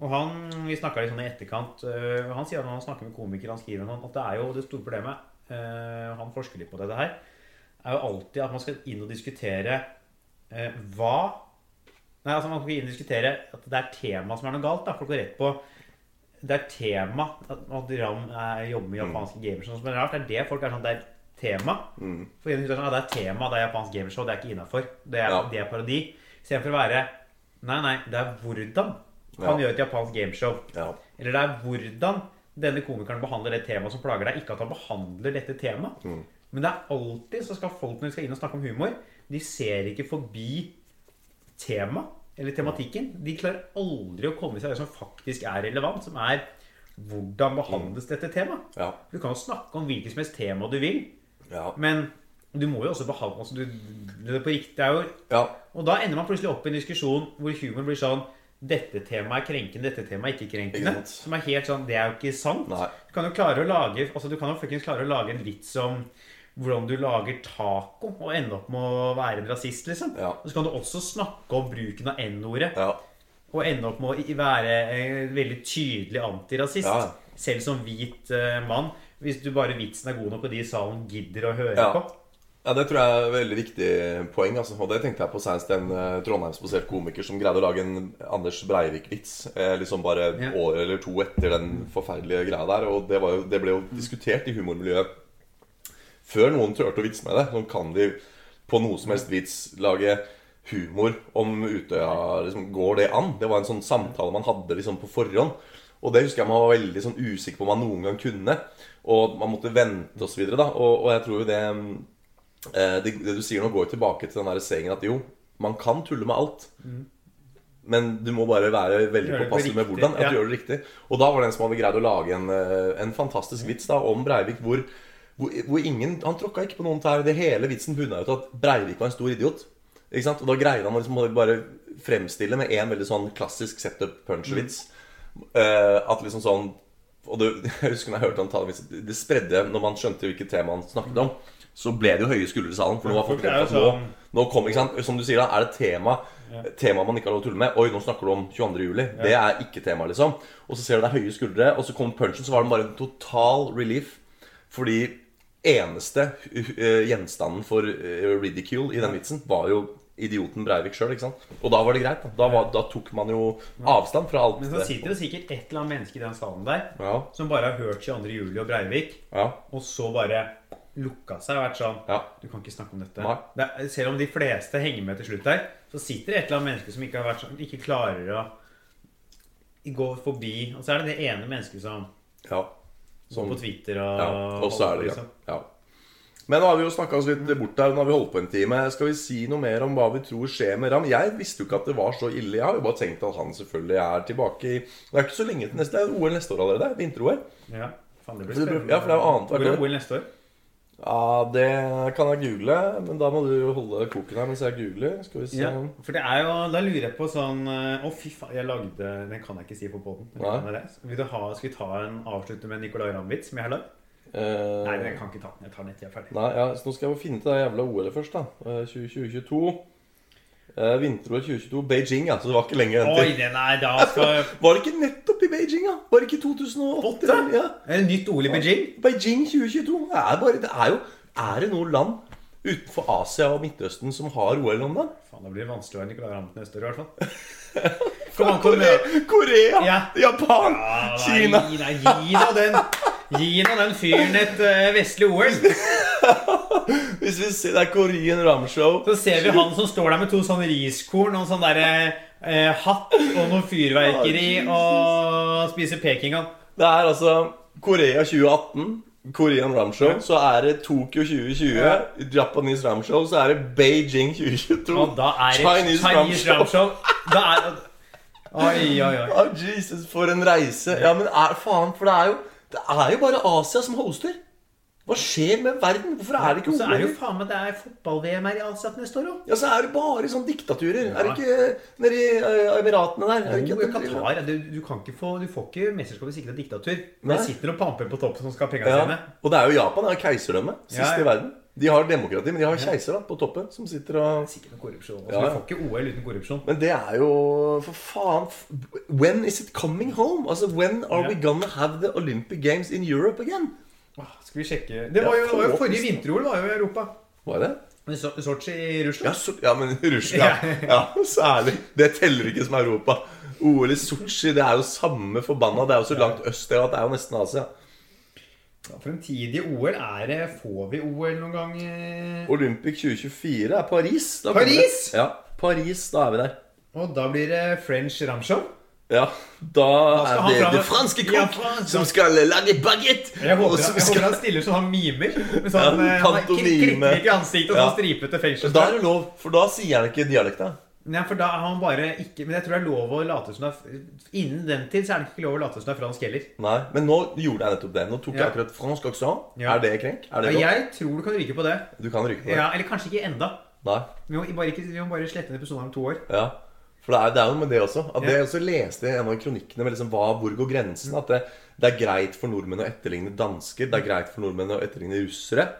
[SPEAKER 2] Og han, Vi snakka litt sånn i etterkant. øh, og han sier at når han snakker med komikere, han skriver om han, at det er jo det store problemet øh, Han forsker litt på dette her. er jo alltid at man skal inn og diskutere øh, hva Nei, altså Man skal inn og diskutere at det er tema som er noe galt. da, Folk går rett på det er tema at, at Ram er, jobber med japanske gamershow som er rart. Det er det folk er sånn, det er tema. For en er sånn, «Ja, det er tema, det er japansk gamershow, det er ikke innafor. Det, er-
[SPEAKER 3] Ja.
[SPEAKER 2] det er parodi. Istedenfor å være Nei, nei, det er hvordan
[SPEAKER 3] Ja.
[SPEAKER 2] han gjør et japansk gameshow.
[SPEAKER 3] Ja.
[SPEAKER 2] Eller det er hvordan denne komikeren behandler det temaet som plager deg. Ikke at han behandler dette temaet.
[SPEAKER 3] Mm.
[SPEAKER 2] Men det er alltid så skal folk når de skal inn og snakke om humor, de ser ikke forbi tema eller tematikken. De klarer aldri å komme seg det som faktisk er relevant, som er hvordan behandles dette temaet?
[SPEAKER 3] Mm. Ja.
[SPEAKER 2] Du kan jo snakke om hvilket som helst tema du vil,
[SPEAKER 3] Ja.
[SPEAKER 2] men du må jo også behandle altså du, det er på riktig, det er jo,
[SPEAKER 3] ja.
[SPEAKER 2] Og da ender man plutselig opp i en diskusjon hvor humor blir sånn dette temaet er krenkende, dette temaet er ikke krenkende.
[SPEAKER 3] Ikke sant?
[SPEAKER 2] som er helt sånn Det er jo ikke sant.
[SPEAKER 3] Nei.
[SPEAKER 2] Du kan jo klare å lage Altså du kan jo fuckings klare å lage en vits om hvordan du lager taco, og ende opp med å være en rasist, liksom.
[SPEAKER 3] Ja.
[SPEAKER 2] Og så kan du også snakke om bruken av n-ordet.
[SPEAKER 3] ja.
[SPEAKER 2] Og ende opp med å i- være en veldig tydelig antirasist.
[SPEAKER 3] Ja.
[SPEAKER 2] Selv som hvit eh, mann. Hvis du bare vitsen er god nok, og de i salen gidder å høre
[SPEAKER 3] Ja.
[SPEAKER 2] på.
[SPEAKER 3] Ja, Det tror jeg er et veldig viktig poeng. altså. Og det tenkte jeg på senest en eh, trondheimsbasert komiker som greide å lage en Anders Breivik-vits eh, liksom bare
[SPEAKER 2] Ja.
[SPEAKER 3] år eller to etter den forferdelige greia der. Og det, var jo, det ble jo diskutert i humormiljøet før noen turte å vitse med det. Nå kan de på noe som helst vits lage humor om Utøya. Liksom, går det an? Det var en sånn samtale man hadde liksom på forhånd. Og det husker jeg man var veldig sånn usikker på om man noen gang kunne. Og man måtte vente og så videre, da. Og, og jeg tror jo det, mm, eh, det Det du sier nå, går jo tilbake til den der sayingen at jo, man kan tulle med alt. Men du må bare være veldig
[SPEAKER 2] Mm. Gjøre det
[SPEAKER 3] påpasselig med
[SPEAKER 2] riktig,
[SPEAKER 3] hvordan. At
[SPEAKER 2] ja.
[SPEAKER 3] du gjør det riktig Og da var det en som hadde greid å lage en, eh, en fantastisk vits da om Breivik. Hvor, hvor, hvor ingen Han tråkka ikke på noen tær. Det hele vitsen bunna ut i at Breivik var en stor idiot. Ikke sant? Og da greide han å liksom bare fremstille med en veldig sånn klassisk setup punch-vits.
[SPEAKER 2] Mm.
[SPEAKER 3] Eh, at liksom sånn Og det, *laughs* jeg husker når jeg hørte han ta den vitsen Det spredde når man skjønte hvilket tema han snakket om. Så ble det jo høye skuldre i salen. For nå var folk
[SPEAKER 2] Folk er
[SPEAKER 3] redd for
[SPEAKER 2] jo
[SPEAKER 3] at nå, nå kom, ikke sant? Som du sier, da er det tema Tema man ikke har lov å tulle med. Oi, nå snakker du om 22. juli. Det er ikke tema, liksom. Og så ser du det er høye skuldre, og så kom punchen, så var den bare en total relief. Fordi eneste eh, gjenstanden for eh, ridicule i den vitsen var jo idioten Breivik sjøl. Og da var det greit. Da, da, var, da tok man jo avstand fra alt
[SPEAKER 2] Men så sitter det sikkert et eller annet menneske i den salen der
[SPEAKER 3] Ja,
[SPEAKER 2] som bare har hørt 22. juli og Breivik,
[SPEAKER 3] ja,
[SPEAKER 2] og så bare lukka seg og vært sånn
[SPEAKER 3] ja.
[SPEAKER 2] Du kan ikke snakke om dette.
[SPEAKER 3] Nei.
[SPEAKER 2] Det er, selv om de fleste henger med til slutt der, så sitter det et eller annet menneske som ikke, har vært sånn, ikke klarer å gå forbi Og så er det det ene mennesket som
[SPEAKER 3] ja.
[SPEAKER 2] går på Twitter og
[SPEAKER 3] Ja, og så er det det.
[SPEAKER 2] liksom.
[SPEAKER 3] Ja. Men nå har vi jo snakka oss litt bort der. Nå har vi holdt på en time. Skal vi si noe mer om hva vi tror skjer med Ram? Jeg visste jo ikke at det var så ille. Jeg har jo bare tenkt at han selvfølgelig er tilbake i Det er ikke så lenge til neste det er OL neste år allerede. Vinter-OL.
[SPEAKER 2] Ja, faen, det
[SPEAKER 3] Ja,
[SPEAKER 2] blir
[SPEAKER 3] for det
[SPEAKER 2] spennende.
[SPEAKER 3] er jo annet hvert år.
[SPEAKER 2] Hvor er OL neste år?
[SPEAKER 3] Ja, det kan jeg google, men da må du jo holde koken her mens jeg googler. Skal vi se
[SPEAKER 2] Ja, for det er jo, Da lurer jeg på sånn eh, Å, fy faen, jeg lagde Den kan jeg ikke si på poden.
[SPEAKER 3] Nei.
[SPEAKER 2] Skal vi ta en avslutte med en Nicolay Ramm-vits som jeg har lagd?
[SPEAKER 3] Eh,
[SPEAKER 2] Nei, men jeg kan ikke ta den. Jeg tar den etter jeg er ferdig.
[SPEAKER 3] Nei, ja, så nå skal jeg bare finne til det jævla OL-et først, da. Eh, 20- 2022. Eh, Vinter-OL 2022. Beijing, ja. Så det var ikke lenge å
[SPEAKER 2] Oi,
[SPEAKER 3] vente.
[SPEAKER 2] den er da skal
[SPEAKER 3] Var det ikke nettopp i Beijing, da? Var det ikke i 2008? Ja.
[SPEAKER 2] Er det nytt OL i Beijing?
[SPEAKER 3] Beijing 2022 det er bare, det er jo Er det noen land utenfor Asia og Midtøsten som har OL om dagen?
[SPEAKER 2] Faen, da blir det vanskelig å være Nicolay Ramm neste år, i hvert fall. *laughs* Kom an, kom med.
[SPEAKER 3] Korea,
[SPEAKER 2] Ja.
[SPEAKER 3] Japan,
[SPEAKER 2] Ah,
[SPEAKER 3] Kina
[SPEAKER 2] Nei, nei, gi nå den Gi nå den fyren et eh, vestlig OL.
[SPEAKER 3] Hvis vi ser det er Korean Ramshow
[SPEAKER 2] Så ser vi han som står der med to sånne riskorn og en sånn derre eh, hatt og noe fyrverkeri og spiser pekingan.
[SPEAKER 3] Det er altså Korea 2018 Korean Ramshow, så er det Tokyo 2020. Japanese Ramshow, så er det Beijing 2022.
[SPEAKER 2] Og da er det
[SPEAKER 3] Chinese
[SPEAKER 2] Chinese
[SPEAKER 3] Ram Show.
[SPEAKER 2] Ramshow. Da er Oi, oi, oi.
[SPEAKER 3] Ah, Jesus, for en reise. Ja, men er, faen, for det er, jo, det er jo bare Asia som hoster. Hva skjer med verden? Hvorfor er det ikke
[SPEAKER 2] Og så er det jo
[SPEAKER 3] OL?
[SPEAKER 2] faen meg det er fotball-VM her i Asia neste år òg.
[SPEAKER 3] Ja, så er det bare sånn diktaturer. Er det ikke nede i eh, Emiratene der? Er det
[SPEAKER 2] Jo,
[SPEAKER 3] ikke at de driver-
[SPEAKER 2] Qatar, du, du, kan ikke få, du får ikke mesterskap hvis ikke det er diktatur.
[SPEAKER 3] Nei.
[SPEAKER 2] Men det sitter og pamper på toppen som skal ha pengene
[SPEAKER 3] ja.
[SPEAKER 2] sine.
[SPEAKER 3] Og det er jo Japan. Det er keiserdømme. Sist
[SPEAKER 2] Ja, ja.
[SPEAKER 3] i verden. De har demokrati, men de har keiser da, på toppen som sitter og
[SPEAKER 2] Sikkert noe korrupsjon. Altså,
[SPEAKER 3] Ja, ja.
[SPEAKER 2] Du får ikke OL uten korrupsjon.
[SPEAKER 3] Men det er jo For faen. f- When is it coming home? Altså, When are we gonna have the Olympic Games in Europe again?
[SPEAKER 2] Åh, Skal vi sjekke Det var jo, det var jo forrige vinter-OL var jo i Europa.
[SPEAKER 3] Hva er det?
[SPEAKER 2] Men So- Sotsji i
[SPEAKER 3] Ja,
[SPEAKER 2] Russland.
[SPEAKER 3] så, ja men *laughs* Russland. Ja, særlig. Det teller ikke som Europa. OL i Sotsji, det er jo samme forbanna. Det er jo så langt øst det er at det er jo nesten Asia.
[SPEAKER 2] Fremtidige OL er det Får vi OL noen gang? eh?
[SPEAKER 3] Olympic 2024 er Paris. Da kommer
[SPEAKER 2] Paris?
[SPEAKER 3] Det. Ja, Paris, da er vi der.
[SPEAKER 2] Og da blir det French Ramshow.
[SPEAKER 3] Ja, da,
[SPEAKER 2] skal
[SPEAKER 3] er
[SPEAKER 2] han
[SPEAKER 3] det
[SPEAKER 2] fram-
[SPEAKER 3] det franske
[SPEAKER 2] Ja,
[SPEAKER 3] kokk
[SPEAKER 2] faen,
[SPEAKER 3] som skal lage baguette.
[SPEAKER 2] Jeg håper,
[SPEAKER 3] og som
[SPEAKER 2] jeg håper
[SPEAKER 3] skal-
[SPEAKER 2] han stiller sånn han mimer. Med
[SPEAKER 3] Ja,
[SPEAKER 2] sånn eh, han er krik-
[SPEAKER 3] pantomime.
[SPEAKER 2] krikker i ansiktet og
[SPEAKER 3] Ja.
[SPEAKER 2] sånn stripete
[SPEAKER 3] Da er
[SPEAKER 2] fengselsdrakt.
[SPEAKER 3] det lov, for da sier han ikke dialekta.
[SPEAKER 2] Nei, for da er han bare ikke Men jeg tror det er lov å late som det er Innen den tid så er det ikke lov å late som det er fransk heller.
[SPEAKER 3] Nei, Men nå gjorde jeg nettopp det. Nå tok jeg
[SPEAKER 2] Ja.
[SPEAKER 3] akkurat fransk aksent.
[SPEAKER 2] Ja.
[SPEAKER 3] Er det krenk? Er det
[SPEAKER 2] Ja,
[SPEAKER 3] lov?
[SPEAKER 2] jeg tror du kan ryke på det.
[SPEAKER 3] Du kan ryke på det.
[SPEAKER 2] Ja, eller kanskje ikke enda.
[SPEAKER 3] Nei.
[SPEAKER 2] Vi må bare, ikke, vi må bare slette en episode om to år.
[SPEAKER 3] Ja. For det er, det er jo med det også. At det
[SPEAKER 2] Ja.
[SPEAKER 3] jeg også leste i en av kronikkene med liksom, hva, hvor går grensen. At det, det er greit for nordmenn å etterligne dansker. Det er greit for nordmenn å etterligne russere.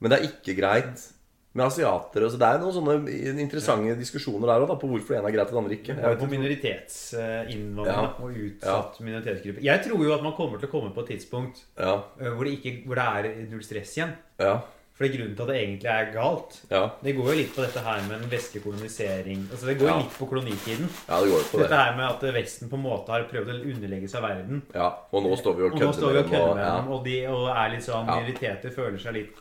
[SPEAKER 3] Men det er ikke greit med asiatere. Så det er noen sånne interessante diskusjoner der òg, på hvorfor det ene er greit og det andre ikke. Jeg vet
[SPEAKER 2] på
[SPEAKER 3] ikke.
[SPEAKER 2] minoritetsinnvandring
[SPEAKER 3] Ja.
[SPEAKER 2] da, og utsatt minoritetsgruppe. Jeg tror jo at man kommer til å komme på et tidspunkt
[SPEAKER 3] Ja,
[SPEAKER 2] øh, hvor det, ikke, hvor det er null stress igjen.
[SPEAKER 3] ja,
[SPEAKER 2] For det er grunnen til at det egentlig er galt.
[SPEAKER 3] ja,
[SPEAKER 2] Det går jo litt på dette her med den vestlige kolonisering Altså det går
[SPEAKER 3] Ja.
[SPEAKER 2] litt på kolonitiden.
[SPEAKER 3] ja, det går jo på
[SPEAKER 2] Dette
[SPEAKER 3] det.
[SPEAKER 2] her med at Vesten på en måte har prøvd å underlegge seg verden.
[SPEAKER 3] Ja, Og nå står vi og
[SPEAKER 2] Og nå står vi og kødder med
[SPEAKER 3] ja.
[SPEAKER 2] dem, og de og er litt sånn
[SPEAKER 3] Ja.
[SPEAKER 2] minoriteter føler seg litt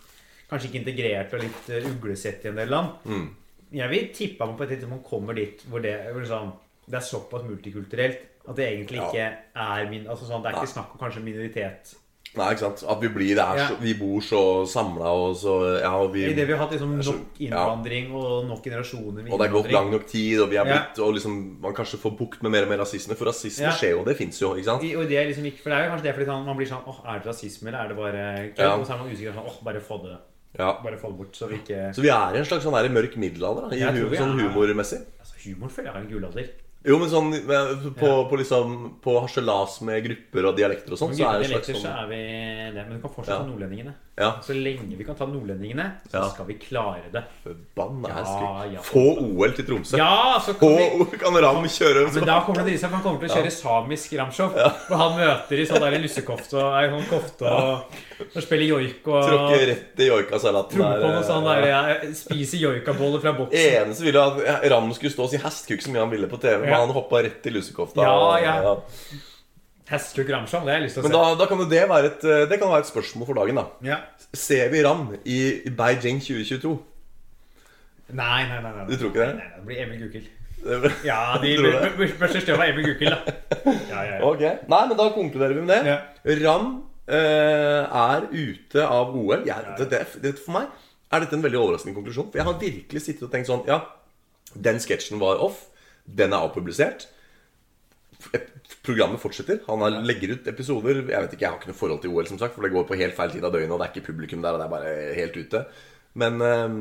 [SPEAKER 2] Kanskje ikke integrert og litt eh, uglesett i en del land.
[SPEAKER 3] Mm.
[SPEAKER 2] Jeg vil tippe at man på et tidspunkt kommer dit hvor det, hvor det, sånn, det er såpass multikulturelt At det egentlig
[SPEAKER 3] Ja.
[SPEAKER 2] ikke er min altså sånn, Det er ikke snakk om kanskje minoritet.
[SPEAKER 3] Nei, ikke sant? At vi blir det er
[SPEAKER 2] Ja.
[SPEAKER 3] så, Vi bor så samla og så Ja, og vi,
[SPEAKER 2] I det vi har hatt liksom
[SPEAKER 3] så-
[SPEAKER 2] nok innvandring og nok generasjoner med
[SPEAKER 3] Og det er gått lang
[SPEAKER 2] innvandring.
[SPEAKER 3] nok tid, og vi er
[SPEAKER 2] Ja.
[SPEAKER 3] blitt Og liksom Man kanskje får bukt med mer og mer rasisme, for rasisme
[SPEAKER 2] Ja.
[SPEAKER 3] skjer jo, det fins jo, ikke sant?
[SPEAKER 2] I, og det er liksom ikke, for det er jo kanskje det fordi sånn, man blir sånn åh, Er det rasisme, eller er det bare kødd?
[SPEAKER 3] Ja.
[SPEAKER 2] Og så er man usikker sånn åh, bare få det
[SPEAKER 3] Ja.
[SPEAKER 2] bare få det bort. Så vi ikke
[SPEAKER 3] Så vi er i en slags sånn der mørk middelalder, da, i
[SPEAKER 2] Jeg tror
[SPEAKER 3] hu
[SPEAKER 2] vi
[SPEAKER 3] sånn
[SPEAKER 2] er-
[SPEAKER 3] humormessig.
[SPEAKER 2] altså, Humor føler jeg er en gullalder.
[SPEAKER 3] Jo, men sånn eh, på, på liksom På harselas med grupper og dialekter og sånn,
[SPEAKER 2] Men
[SPEAKER 3] så er det
[SPEAKER 2] gutter
[SPEAKER 3] en slags
[SPEAKER 2] ellers så
[SPEAKER 3] sånn
[SPEAKER 2] er vi det. Men du kan fortsatt
[SPEAKER 3] Ja.
[SPEAKER 2] ta nordlendingene.
[SPEAKER 3] Ja.
[SPEAKER 2] Så lenge vi kan ta nordlendingene, så
[SPEAKER 3] Ja.
[SPEAKER 2] skal vi klare det.
[SPEAKER 3] Forbanna
[SPEAKER 2] Ja,
[SPEAKER 3] ja,
[SPEAKER 2] ja.
[SPEAKER 3] Få OL til Tromsø.
[SPEAKER 2] Ja, så
[SPEAKER 3] På
[SPEAKER 2] kan vi
[SPEAKER 3] *laughs* kan Ram kjøre en
[SPEAKER 2] men
[SPEAKER 3] sånn
[SPEAKER 2] da kommer det til seg, for Han kommer til å kjøre samisk ramshow. For han møter i sånn der lussekofte og ei sånn kofte og, og spiller joik og
[SPEAKER 3] Tråkke rett i joikasalaten
[SPEAKER 2] trompe på
[SPEAKER 3] eh,
[SPEAKER 2] noe sånn der jeg spiser joikaboller fra boksen.
[SPEAKER 3] Eneste ville at Ram skulle stå og si hestkuk så mye han ville på TV, men
[SPEAKER 2] Ja.
[SPEAKER 3] han hoppa rett til lusekofta.
[SPEAKER 2] Ja,
[SPEAKER 3] og-
[SPEAKER 2] ja. Hestkuk ramshow, det har jeg lyst til
[SPEAKER 3] Men
[SPEAKER 2] å
[SPEAKER 3] da,
[SPEAKER 2] se.
[SPEAKER 3] da kan jo det være et, eh, det kan være et spørsmål for dagen, da.
[SPEAKER 2] Ja.
[SPEAKER 3] Ser vi Ram i i Beijing 2022?
[SPEAKER 2] Nei, nei, nei, nei.
[SPEAKER 3] Du tror ikke det?
[SPEAKER 2] Nei, nei, det blir Emil
[SPEAKER 3] *laughs*
[SPEAKER 2] Gukild.
[SPEAKER 3] Det-
[SPEAKER 2] Ja, de
[SPEAKER 3] Tror *laughs* du det?
[SPEAKER 2] første støva er Emil Gukild, da.
[SPEAKER 3] *laughs*
[SPEAKER 2] Ja, ja, ja.
[SPEAKER 3] Ok, Nei, men da konkluderer vi med det. Ram eh, er ute av OL. Jeg, det, det, det, for meg er dette en veldig overraskende konklusjon. For jeg har virkelig sittet og tenkt sånn Ja, den sketsjen var off. Den er avpublisert. Et- Programmet fortsetter. Han har, legger ut episoder. Jeg vet ikke, jeg har ikke noe forhold til OL, som sagt, for det går på helt feil tid av døgnet, og det er ikke publikum der, og det er bare helt ute. Men eh,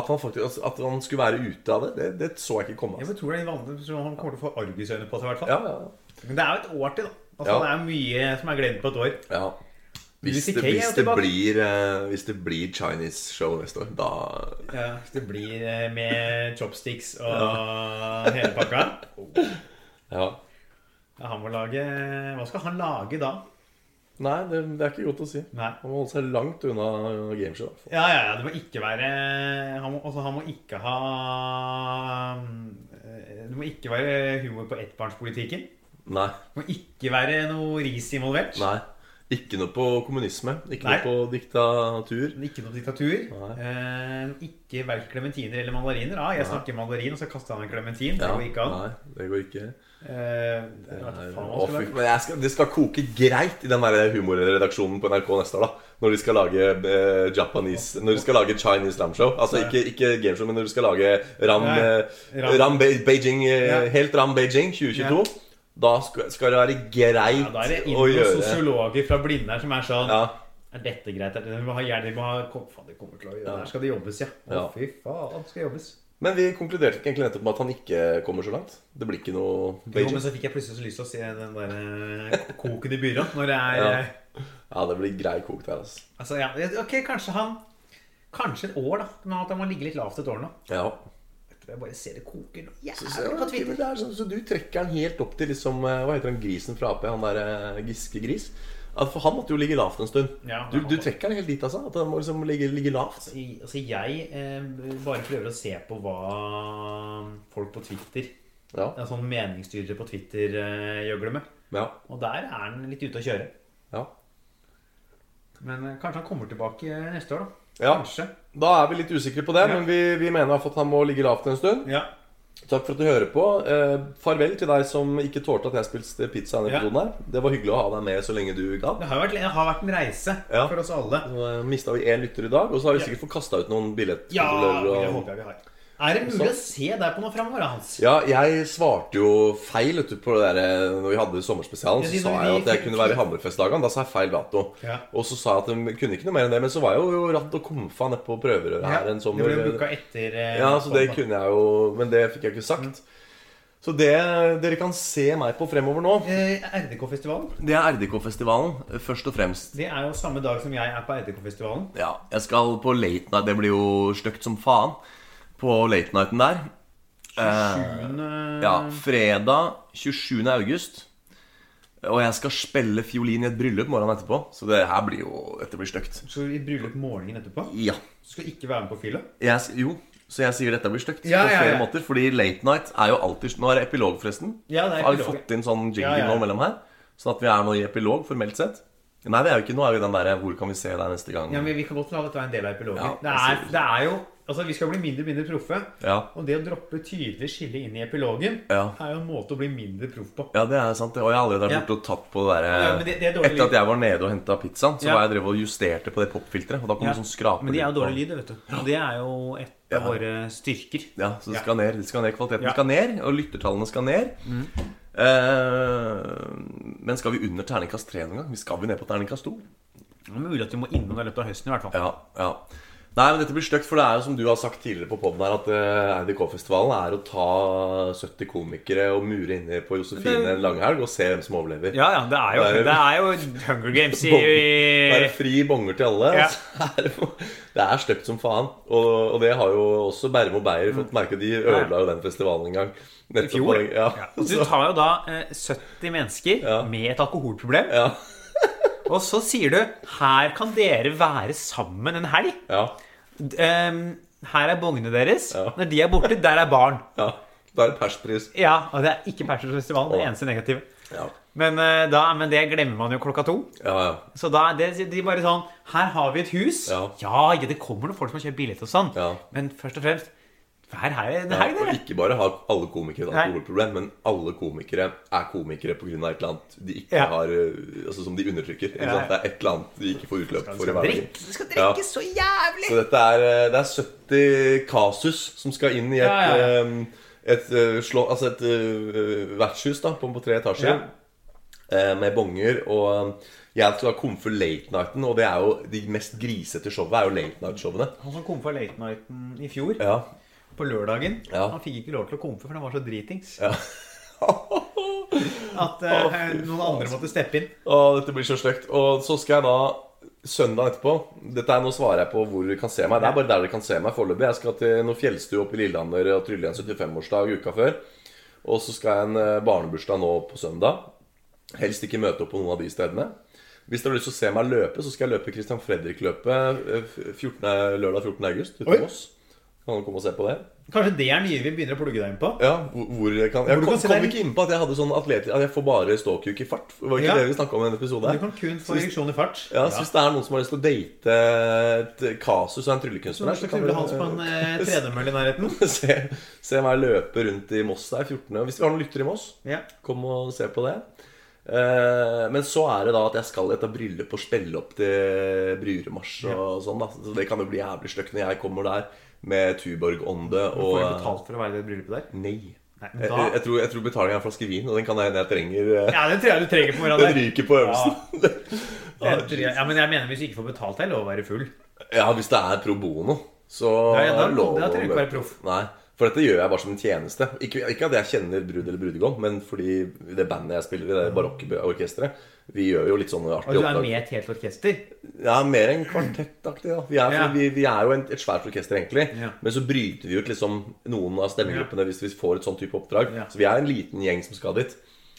[SPEAKER 3] at, han faktisk, at han skulle være ute av det, det, det så jeg ikke komme.
[SPEAKER 2] Jeg
[SPEAKER 3] Altså.
[SPEAKER 2] tror det er litt vanlig, så han kommer til å få argusøyne på seg, i hvert fall.
[SPEAKER 3] Ja, ja, ja.
[SPEAKER 2] Men det er jo et år til, da. Altså,
[SPEAKER 3] Ja.
[SPEAKER 2] Det er mye som er glemt på et år.
[SPEAKER 3] Ja. Hvis
[SPEAKER 2] Louis
[SPEAKER 3] det,
[SPEAKER 2] CK er jo
[SPEAKER 3] hvis, det
[SPEAKER 2] tilbake.
[SPEAKER 3] blir, eh, hvis det blir Chinese show neste år, da
[SPEAKER 2] Ja, det blir eh, med chopsticks og *laughs* hele pakka.
[SPEAKER 3] ja.
[SPEAKER 2] Ja, han må lage Hva skal han lage da?
[SPEAKER 3] Nei, det, det er ikke godt å si.
[SPEAKER 2] Nei.
[SPEAKER 3] Man må holde seg langt unna eh, gameshow. i hvert fall.
[SPEAKER 2] Ja, ja, ja, det må ikke være Han må, altså, han må ikke ha eh, Det må ikke være humor på ettbarnspolitikken.
[SPEAKER 3] Nei.
[SPEAKER 2] Det må ikke være noe ris involvert.
[SPEAKER 3] nei. Ikke noe på kommunisme. Ikke
[SPEAKER 2] Nei.
[SPEAKER 3] noe på diktatur.
[SPEAKER 2] Ikke noe diktatur.
[SPEAKER 3] Nei.
[SPEAKER 2] Eh, ikke verken klementiner eller mandariner. Ah, jeg snakker mandarin, og så kaster han en klementin. Det
[SPEAKER 3] Ja,
[SPEAKER 2] går ikke an.
[SPEAKER 3] Nei, det går ikke.
[SPEAKER 2] Eh, jeg vet
[SPEAKER 3] Nei,
[SPEAKER 2] ikke faen hva
[SPEAKER 3] å,
[SPEAKER 2] han skal
[SPEAKER 3] fy-
[SPEAKER 2] lage.
[SPEAKER 3] Men jeg skal, det skal koke greit i den der humorredaksjonen på NRK neste år, da. Når de skal lage eh, Japanese Når de skal lage Chinese ramshow. Altså ikke, ikke gameshow, men når de skal lage Ram,
[SPEAKER 2] Nei,
[SPEAKER 3] eh,
[SPEAKER 2] Ram.
[SPEAKER 3] ram Be Beijing eh,
[SPEAKER 2] Ja.
[SPEAKER 3] Helt Ram Beijing 2022. Da skal, skal det være greit
[SPEAKER 2] Ja, da er det inn
[SPEAKER 3] å
[SPEAKER 2] noen
[SPEAKER 3] gjøre
[SPEAKER 2] sosiologer fra Blindern som er sånn
[SPEAKER 3] ja.
[SPEAKER 2] Er dette greit? Er det- Vi må ha hjelp, vi må ha kom, faen, det kommer til å gjøre Der skal det jobbes, ja. Å,
[SPEAKER 3] Ja.
[SPEAKER 2] fy faen, det skal jobbes.
[SPEAKER 3] Men vi konkluderte ikke egentlig nettopp med at han ikke kommer så langt. Det blir ikke noe
[SPEAKER 2] Jo, men
[SPEAKER 3] Beijing.
[SPEAKER 2] så fikk jeg plutselig så lyst til å se den der eh, koken i byrån når det er
[SPEAKER 3] Ja.
[SPEAKER 2] eh,
[SPEAKER 3] Ja, det blir grei kok der, altså.
[SPEAKER 2] Altså, ja. Ok, kanskje han Kanskje et år, da. Men at han må ligge litt lavt et år nå.
[SPEAKER 3] Ja.
[SPEAKER 2] Jeg bare ser det koker nå.
[SPEAKER 3] Så, så, ja,
[SPEAKER 2] Jævlig på
[SPEAKER 3] ok, men
[SPEAKER 2] Twitter.
[SPEAKER 3] det er sånn, så du trekker den helt opp til liksom, eh, Hva heter han grisen fra Ap? Han der eh, Giske Gris? At for han måtte jo ligge lavt en stund.
[SPEAKER 2] Ja,
[SPEAKER 3] du,
[SPEAKER 2] det er
[SPEAKER 3] du
[SPEAKER 2] han.
[SPEAKER 3] trekker den helt dit, altså? At han må liksom ligge, ligge lavt?
[SPEAKER 2] I- Altså, jeg eh, bare prøver å se på hva um, folk på Twitter
[SPEAKER 3] Ja.
[SPEAKER 2] ja, Sånn meningsstyrere på Twitter eh, gjøgler med.
[SPEAKER 3] ja,
[SPEAKER 2] Og der er han litt ute å kjøre.
[SPEAKER 3] ja.
[SPEAKER 2] Men eh, kanskje han kommer tilbake eh, neste år, da.
[SPEAKER 3] Ja,
[SPEAKER 2] Kanskje.
[SPEAKER 3] Da er vi litt usikre på det,
[SPEAKER 2] Ja.
[SPEAKER 3] men vi, vi mener i hvert fall at han må ligge lavt en stund.
[SPEAKER 2] Ja.
[SPEAKER 3] Takk for at du hører på. Eh, farvel til deg som ikke tålte at jeg spilte pizza i denne
[SPEAKER 2] Ja.
[SPEAKER 3] episoden her. Det var hyggelig å ha deg med så lenge du gadd.
[SPEAKER 2] Det har jo vært, det har vært en reise
[SPEAKER 3] Ja.
[SPEAKER 2] for oss alle.
[SPEAKER 3] Nå mista vi én lytter i dag, og så har vi
[SPEAKER 2] Ja.
[SPEAKER 3] sikkert fått kasta ut noen
[SPEAKER 2] Ja,
[SPEAKER 3] billettkontrollører.
[SPEAKER 2] det
[SPEAKER 3] og-
[SPEAKER 2] håper jeg vi har. Er det mulig å se deg på noe framover, Hans?
[SPEAKER 3] Ja, jeg svarte jo feil vet du, på det der, eh, Når vi hadde sommerspesialen.
[SPEAKER 2] Ja,
[SPEAKER 3] Så
[SPEAKER 2] siden
[SPEAKER 3] sa
[SPEAKER 2] vi-
[SPEAKER 3] jeg jo at jeg kunne være i Hammerfestdagene. Da sa jeg feil dato.
[SPEAKER 2] Ja.
[SPEAKER 3] Og så sa jeg at de kunne ikke noe mer enn det. Men så var jeg jo ratt og komfa nede på prøverøret her en
[SPEAKER 2] det ble jo
[SPEAKER 3] sommer.
[SPEAKER 2] booka etter eh,
[SPEAKER 3] Ja, så det
[SPEAKER 2] mandag.
[SPEAKER 3] kunne jeg jo Men det fikk jeg ikke
[SPEAKER 2] Mm.
[SPEAKER 3] sagt. Så det dere kan se meg på fremover nå,
[SPEAKER 2] Eh, RDK-festivalen.
[SPEAKER 3] det er RDK-festivalen først og fremst.
[SPEAKER 2] Det er jo samme dag som jeg er på RDK-festivalen.
[SPEAKER 3] Ja, jeg skal på late night. Det blir jo stygt som faen på late nighten der.
[SPEAKER 2] Hun, eh,
[SPEAKER 3] Ja, fredag 27. august. Og jeg skal spille fiolin i et bryllup morgenen etterpå. Så det her blir jo Dette blir stygt.
[SPEAKER 2] Skal vi i bryllup morgenen etterpå?
[SPEAKER 3] Ja.
[SPEAKER 2] Du skal ikke være med på fylla?
[SPEAKER 3] Jeg, s- jo, så jeg sier dette blir stygt
[SPEAKER 2] Ja,
[SPEAKER 3] på
[SPEAKER 2] ja,
[SPEAKER 3] flere
[SPEAKER 2] ja.
[SPEAKER 3] måter. Fordi late night er jo alltid Nå er det epilog, forresten.
[SPEAKER 2] Ja, det er
[SPEAKER 3] har vi
[SPEAKER 2] epilog,
[SPEAKER 3] fått inn sånn jingle
[SPEAKER 2] Ja, ja, ja.
[SPEAKER 3] nå mellom her? Sånn at vi er nå i epilog, formelt sett. Nei, vi er jo ikke Nå er vi i den derre Hvor kan vi se deg neste gang?
[SPEAKER 2] Ja, men Vi kan godt la dette være en del av epilogen.
[SPEAKER 3] Ja,
[SPEAKER 2] det,
[SPEAKER 3] jeg
[SPEAKER 2] er,
[SPEAKER 3] sier det.
[SPEAKER 2] det er jo
[SPEAKER 1] Altså, Vi skal bli mindre og mindre proffe.
[SPEAKER 3] Ja.
[SPEAKER 1] Og det å droppe tydelig skille inn i epilogen
[SPEAKER 3] Ja.
[SPEAKER 1] er jo en måte å bli mindre proff på.
[SPEAKER 3] Ja, det er sant. Og jeg har allerede vært borte og tatt på det der
[SPEAKER 1] Ja, men det- det er dårlig
[SPEAKER 3] Etter at jeg var nede og henta pizzaen, så
[SPEAKER 1] Ja.
[SPEAKER 3] var jeg drev og justerte på det popfilteret. Og da kom
[SPEAKER 1] Ja.
[SPEAKER 3] det sånn skraper
[SPEAKER 2] Men det er jo
[SPEAKER 3] på-
[SPEAKER 2] dårlig lyd, vet du. Og det er jo et av våre styrker.
[SPEAKER 3] Ja, så det skal ned. Det skal ned kvaliteten
[SPEAKER 1] Ja.
[SPEAKER 3] skal ned, og lyttertallene skal ned. Eh, men skal vi under terningkast tre noen gang? Vi skal vi ned på terningkast to?
[SPEAKER 2] Det er mulig at vi må innom det i løpet av høsten, i hvert fall.
[SPEAKER 3] Ja, ja. Nei, men dette blir stygt, for det er jo som du har sagt tidligere på podden her, at eh, RDK-festivalen er å ta 70 komikere og mure inne på Josefine en langhelg og se hvem som overlever.
[SPEAKER 2] Ja, ja, det er jo, det er jo Hunger Games i,
[SPEAKER 3] Det er
[SPEAKER 2] i
[SPEAKER 3] fri bonger til alle.
[SPEAKER 2] Ja.
[SPEAKER 3] og så er *laughs* det, det er stygt som faen. Og, og det har jo også Bærum og Beyer fått merke. De ødela jo den festivalen en gang. Nettopp,
[SPEAKER 2] fjor.
[SPEAKER 3] Ja. *laughs*
[SPEAKER 2] Du tar jo da eh, 70 mennesker
[SPEAKER 3] Ja.
[SPEAKER 2] med et alkoholproblem,
[SPEAKER 3] Ja.
[SPEAKER 2] *laughs* og så sier du 'her kan dere være sammen en helg'.
[SPEAKER 3] ja,
[SPEAKER 2] D- ehm, her er bongene deres.
[SPEAKER 3] Ja.
[SPEAKER 2] Når de er borte, der er baren.
[SPEAKER 3] ja. Da er det perspris.
[SPEAKER 2] Ja, og det er ikke Persfestivalen. Det eneste negative.
[SPEAKER 3] Ja.
[SPEAKER 2] Men, eh, da, men det glemmer man jo klokka to.
[SPEAKER 3] Ja, ja.
[SPEAKER 2] Så da er det, de bare sånn Her har vi et hus.
[SPEAKER 3] Ja.
[SPEAKER 2] ja, ja, det kommer noen folk som har kjøpt billett og sånn.
[SPEAKER 3] Ja.
[SPEAKER 2] Men først og fremst Vær her en
[SPEAKER 3] Ja,
[SPEAKER 2] helg,
[SPEAKER 3] og
[SPEAKER 2] dere.
[SPEAKER 3] ikke bare har alle komikere et
[SPEAKER 2] Nei.
[SPEAKER 3] alkoholproblem, men alle komikere er komikere pga. et eller annet de ikke
[SPEAKER 2] Ja.
[SPEAKER 3] har eh, Altså som de undertrykker. Ikke sant? Det er et eller annet de ikke får utløp for i hverdagen.
[SPEAKER 2] Drikk. Du skal
[SPEAKER 3] Ja.
[SPEAKER 2] drikke så jævlig.
[SPEAKER 3] Så dette er, eh, det er 70 kasus som skal inn i et,
[SPEAKER 2] Ja, ja,
[SPEAKER 3] eh, et, eh, slå, altså et eh, vertshus da, på, på tre etasjer eh, med bonger. Og eh, jeg skal komme for late nighten, og det er jo de mest grisete showene er jo late night-showene.
[SPEAKER 2] Han som kom for Late Nighten i fjor,
[SPEAKER 3] Ja. *laughs*
[SPEAKER 2] på lørdagen
[SPEAKER 3] Ja.
[SPEAKER 2] Han fikk ikke lov til å komme for, for han var så dritings
[SPEAKER 3] ja.
[SPEAKER 2] at eh,
[SPEAKER 3] Å, fy
[SPEAKER 2] noen andre måtte steppe inn.
[SPEAKER 3] Og dette blir så stygt. Og så skal jeg da søndag etterpå Dette er Nå svarer jeg på hvor dere kan se meg. Det er bare der dere kan se meg foreløpig. Jeg skal til noe fjellstue oppe i Lillehammer og trylle en 75-årsdag uka før. Og så skal jeg en eh, barnebursdag nå på søndag. Helst ikke møte opp på noen av de stedene. Hvis dere har lyst til å se meg løpe, så skal jeg løpe Christian Fredrik-løpet eh, 14, lørdag 14. august ute
[SPEAKER 1] Oi.
[SPEAKER 3] på Moss. Kan dere komme og se på det?
[SPEAKER 1] Kanskje det er nye vi begynner å plugge deg inn på?
[SPEAKER 3] Ja, hvor hvor jeg kan Jeg
[SPEAKER 1] Hvor du
[SPEAKER 3] kom,
[SPEAKER 1] kan se
[SPEAKER 3] kom
[SPEAKER 1] deg-
[SPEAKER 3] ikke inn på at jeg hadde sånn atlet... At jeg får bare ståkuk i fart. Var ikke
[SPEAKER 1] Ja.
[SPEAKER 3] det vi snakka om i denne episoden? her?
[SPEAKER 1] Du kan kun
[SPEAKER 3] Så
[SPEAKER 1] få
[SPEAKER 3] hvis-
[SPEAKER 1] ereksjon i fart.
[SPEAKER 3] Ja, så hvis det er noen som har lyst til å date et kasus og en tryllekunstner her,
[SPEAKER 1] Så
[SPEAKER 3] så kan
[SPEAKER 1] knuller Hans på en
[SPEAKER 3] *laughs*
[SPEAKER 1] eh,
[SPEAKER 3] dere
[SPEAKER 1] tredemølle i nærheten.
[SPEAKER 3] *laughs* se, se meg løpe rundt i Moss der 14. Hvis vi har noen lyttere i Moss,
[SPEAKER 1] Ja.
[SPEAKER 3] kom og se på det. Eh, Men så er det da at jeg skal i et bryllup og spille opp til Bruremarsj og sånn. da Så Det kan jo bli jævlig stygt når jeg kommer der med Tuborg-ånde
[SPEAKER 1] Får du
[SPEAKER 3] og
[SPEAKER 1] betalt for å være i det bryllupet der?
[SPEAKER 3] Nei.
[SPEAKER 1] Nei,
[SPEAKER 3] Jeg,
[SPEAKER 1] men da,
[SPEAKER 3] jeg, jeg tror, jeg tror betaling er en flaske vin, og den kan jeg hende jeg trenger. eh,
[SPEAKER 1] ja, det tror jeg du trenger på
[SPEAKER 3] Den
[SPEAKER 1] morgenen. der.
[SPEAKER 3] ryker på øvelsen.
[SPEAKER 1] Det tror jeg- Ja, men jeg mener hvis du ikke får betalt, er det lov å være full.
[SPEAKER 3] Ja, hvis det er pro bono, så
[SPEAKER 1] Ja, ja, da-
[SPEAKER 3] er det lov
[SPEAKER 1] da trenger du ikke
[SPEAKER 3] å-
[SPEAKER 1] være proff.
[SPEAKER 3] Nei, for dette gjør jeg bare som en tjeneste. Ikke, ikke at jeg kjenner brud eller brudgom, men fordi det bandet jeg spiller i, det barokkorkesteret, vi gjør jo litt sånne
[SPEAKER 1] Og
[SPEAKER 3] artige
[SPEAKER 1] du er
[SPEAKER 3] oppdrag.
[SPEAKER 1] med i et helt orkester.
[SPEAKER 3] Ja, mer enn kvartettaktig, da. Vi er,
[SPEAKER 1] Ja.
[SPEAKER 3] vi, vi er jo en, et svært orkester, egentlig.
[SPEAKER 1] Ja.
[SPEAKER 3] Men så bryter vi ut liksom noen av stemmegruppene hvis vi får et sånn type oppdrag.
[SPEAKER 1] Ja.
[SPEAKER 3] Så vi er en liten gjeng som skal dit.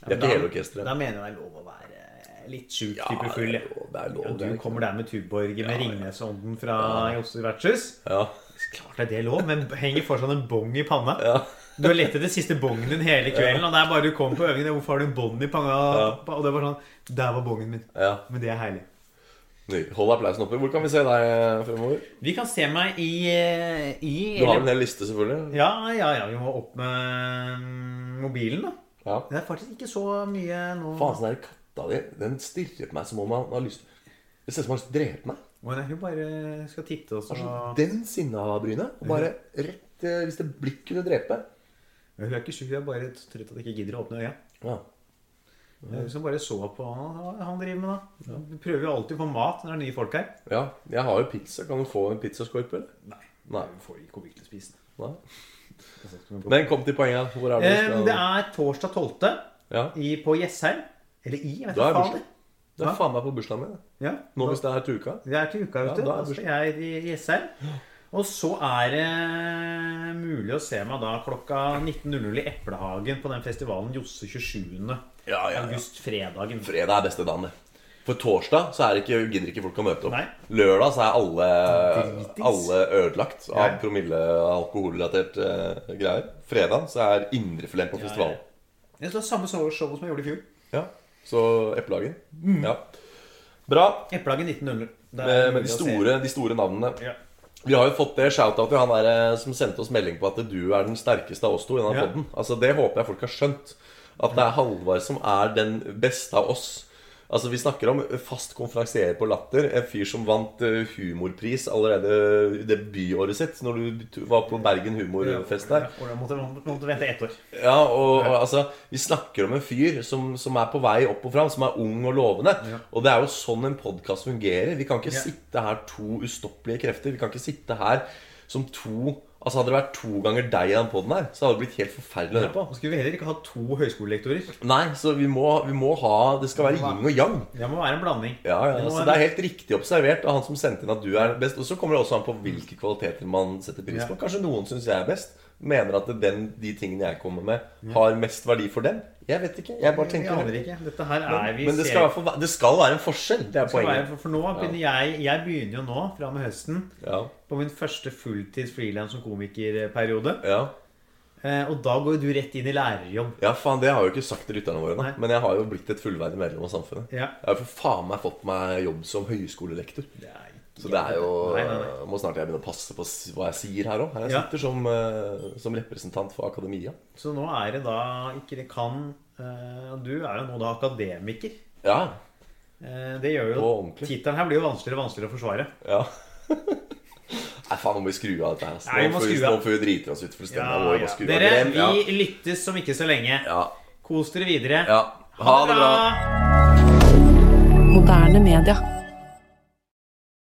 [SPEAKER 3] Vi er
[SPEAKER 1] Da-
[SPEAKER 3] ikke hele orkesteret.
[SPEAKER 1] Da mener jeg det er lov å være eh, litt sjuk
[SPEAKER 3] Ja,
[SPEAKER 1] type full.
[SPEAKER 3] det
[SPEAKER 1] Ja.
[SPEAKER 3] er lov. Det er lov
[SPEAKER 1] Og
[SPEAKER 3] det
[SPEAKER 1] du
[SPEAKER 3] er-
[SPEAKER 1] kommer der med Tuborg med Ringnesånden fra Josse vertshus.
[SPEAKER 3] ja.
[SPEAKER 1] Klart er det lov, men henger fortsatt en bong i panna.
[SPEAKER 3] Ja.
[SPEAKER 1] Du har lett etter siste bongen din hele kvelden, og det er bare du kommer på øving, det er, hvorfor har du en bong i panna? Og det var sånn Der var bongen min.
[SPEAKER 3] ja.
[SPEAKER 1] Men det er herlig.
[SPEAKER 3] Ny. Hold applausen oppe. Hvor kan vi se deg eh, fremover?
[SPEAKER 1] Vi kan se meg i, eh, i
[SPEAKER 3] Du har en hel liste, selvfølgelig.
[SPEAKER 1] Ja, ja, ja. Vi må opp med mm, mobilen, da.
[SPEAKER 3] Ja.
[SPEAKER 1] Det er faktisk ikke så mye nå.
[SPEAKER 3] Faen, sånn der katta di, den stirrer på meg som om han har lyst Det ser ut som han har lyst til å drepe meg.
[SPEAKER 1] Å, nei, Hun bare skal titte og
[SPEAKER 3] Han
[SPEAKER 1] så
[SPEAKER 3] har Den sinna brynet. Og bare rett eh, Hvis det blikk kunne drepe.
[SPEAKER 1] Hun er ikke sjuk, hun er bare trøtt at hun ikke gidder å åpne øya.
[SPEAKER 3] Ja.
[SPEAKER 1] Det er Hun som bare så på han, han driver med, da. Hun prøver jo alltid å få mat når det er nye folk her.
[SPEAKER 3] ja. Jeg har jo pizza. Kan du få en pizzaskorpe, eller?
[SPEAKER 1] Nei.
[SPEAKER 3] Nei.
[SPEAKER 1] Hun får ikke komikk til å spise.
[SPEAKER 3] Nei. Men kom til poenget. Hvor er det
[SPEAKER 1] Eh,
[SPEAKER 3] du
[SPEAKER 1] det
[SPEAKER 3] skal
[SPEAKER 1] er torsdag 12.
[SPEAKER 3] Ja.
[SPEAKER 1] I, på Jessheim. Eller i, jeg vet ikke
[SPEAKER 3] Da er
[SPEAKER 1] faen. det.
[SPEAKER 3] Det er faen meg på bursdagen min. det.
[SPEAKER 1] Ja,
[SPEAKER 3] Nå hvis det er til uka.
[SPEAKER 1] det er til uka, vet
[SPEAKER 3] Ja,
[SPEAKER 1] du.
[SPEAKER 3] da
[SPEAKER 1] Da
[SPEAKER 3] er det
[SPEAKER 1] skal jeg i Jessheim. Og så er det
[SPEAKER 2] eh,
[SPEAKER 1] mulig å se meg da klokka 19.00 i Eplehagen på den festivalen Josse 27.
[SPEAKER 3] Ja, ja, ja.
[SPEAKER 1] august, fredagen.
[SPEAKER 3] Fredag er beste dagen, det. For torsdag så er det ikke, gidder ikke folk å møte opp.
[SPEAKER 1] Nei.
[SPEAKER 3] Lørdag så er alle,
[SPEAKER 1] Dritings.
[SPEAKER 3] alle ødelagt av
[SPEAKER 1] Ja.
[SPEAKER 3] promille- og alkoholrelatert eh, greier. Fredag så er indrefilet på festivalen.
[SPEAKER 1] Det er samme show show som jeg gjorde i fjor.
[SPEAKER 3] Ja, Så Eplehagen.
[SPEAKER 1] Mm.
[SPEAKER 3] Ja. Bra.
[SPEAKER 1] Eplehagen 1900. Det er
[SPEAKER 3] Med, med
[SPEAKER 1] mulig
[SPEAKER 3] de,
[SPEAKER 1] å se.
[SPEAKER 3] store, de store navnene.
[SPEAKER 1] Ja.
[SPEAKER 3] Vi har jo fått det shout-out til han der, eh, som sendte oss melding på at du er den sterkeste av oss to. i denne
[SPEAKER 2] Ja.
[SPEAKER 3] podden. Altså, Det håper jeg folk har skjønt. At det er Halvard som er den beste av oss. Altså, Vi snakker om fast konferansier på Latter. En fyr som vant eh, humorpris allerede i debutåret sitt, når du t- var på Bergen humorfest der.
[SPEAKER 2] Og da måtte, måtte vente ett år.
[SPEAKER 3] Ja, og, og altså, Vi snakker om en fyr som, som er på vei opp og fram, som er ung og lovende. Og det er jo sånn en podkast fungerer. Vi kan ikke
[SPEAKER 2] Ja.
[SPEAKER 3] sitte her to ustoppelige krefter. Vi kan ikke sitte her som to Altså Hadde det vært to ganger deg i den poden her, så hadde det blitt helt forferdelig å høre på.
[SPEAKER 2] Og skulle vi heller ikke ha to høyskolelektorer.
[SPEAKER 3] Nei, så vi må, vi må ha Det skal være yin og yang.
[SPEAKER 2] Det må være en blanding.
[SPEAKER 3] Ja, ja,
[SPEAKER 2] Det må
[SPEAKER 3] altså,
[SPEAKER 2] være-
[SPEAKER 3] det er helt riktig observert av han som sendte inn at du er best. Og så kommer det også an på hvilke kvaliteter man setter pris på. Kanskje noen syns jeg er best. Mener at den, de tingene jeg kommer med, har mest verdi for dem. Jeg vet ikke. Jeg bare
[SPEAKER 2] Vi
[SPEAKER 3] tenker
[SPEAKER 2] aner ikke. Dette her er vi
[SPEAKER 3] Men det
[SPEAKER 2] ser-
[SPEAKER 3] skal, i hvert fall være- det skal være en forskjell. Det er
[SPEAKER 2] skal være,
[SPEAKER 3] poenget.
[SPEAKER 2] for, for nå begynner jeg Jeg begynner jo nå, fra og med høsten,
[SPEAKER 3] Ja,
[SPEAKER 2] på min første fulltids frilans som komikerperiode.
[SPEAKER 3] ja.
[SPEAKER 2] Eh, og da går jo du rett inn i lærerjobb.
[SPEAKER 3] ja, faen, det har jeg jo ikke sagt til lytterne våre, da.
[SPEAKER 2] Nei.
[SPEAKER 3] men jeg har jo blitt et fullverdig medlem av samfunnet.
[SPEAKER 2] Ja.
[SPEAKER 3] Jeg har jo for faen meg fått meg jobb som høyskolelektor.
[SPEAKER 2] Det er ikke-
[SPEAKER 3] Så det er jo eh,
[SPEAKER 2] Nei, nei, nei.
[SPEAKER 3] Må snart jeg begynne å passe på s- hva jeg sier her òg. Jeg
[SPEAKER 2] Ja.
[SPEAKER 3] sitter som, eh, som representant for akademia.
[SPEAKER 2] Så nå er det da ikke det kan eh, og Du er jo nå da akademiker.
[SPEAKER 3] Ja,
[SPEAKER 2] Eh, det gjør
[SPEAKER 3] På
[SPEAKER 2] jo
[SPEAKER 3] ordentlig.
[SPEAKER 2] Tittelen her blir jo vanskeligere og vanskeligere å forsvare.
[SPEAKER 3] Ja. Nei, faen, nå må vi skru av dette her. ass.
[SPEAKER 2] Nei, vi
[SPEAKER 3] Nå
[SPEAKER 2] må
[SPEAKER 3] får vi,
[SPEAKER 2] skru av.
[SPEAKER 3] nå får vi drite oss ut fullstendig. Nå må vi bare skru av.
[SPEAKER 2] Dere,
[SPEAKER 3] Glem- ja.
[SPEAKER 2] vi lyttes om ikke så lenge.
[SPEAKER 3] ja.
[SPEAKER 2] Kos dere videre.
[SPEAKER 3] ja. Ha det bra.
[SPEAKER 6] Moderne media.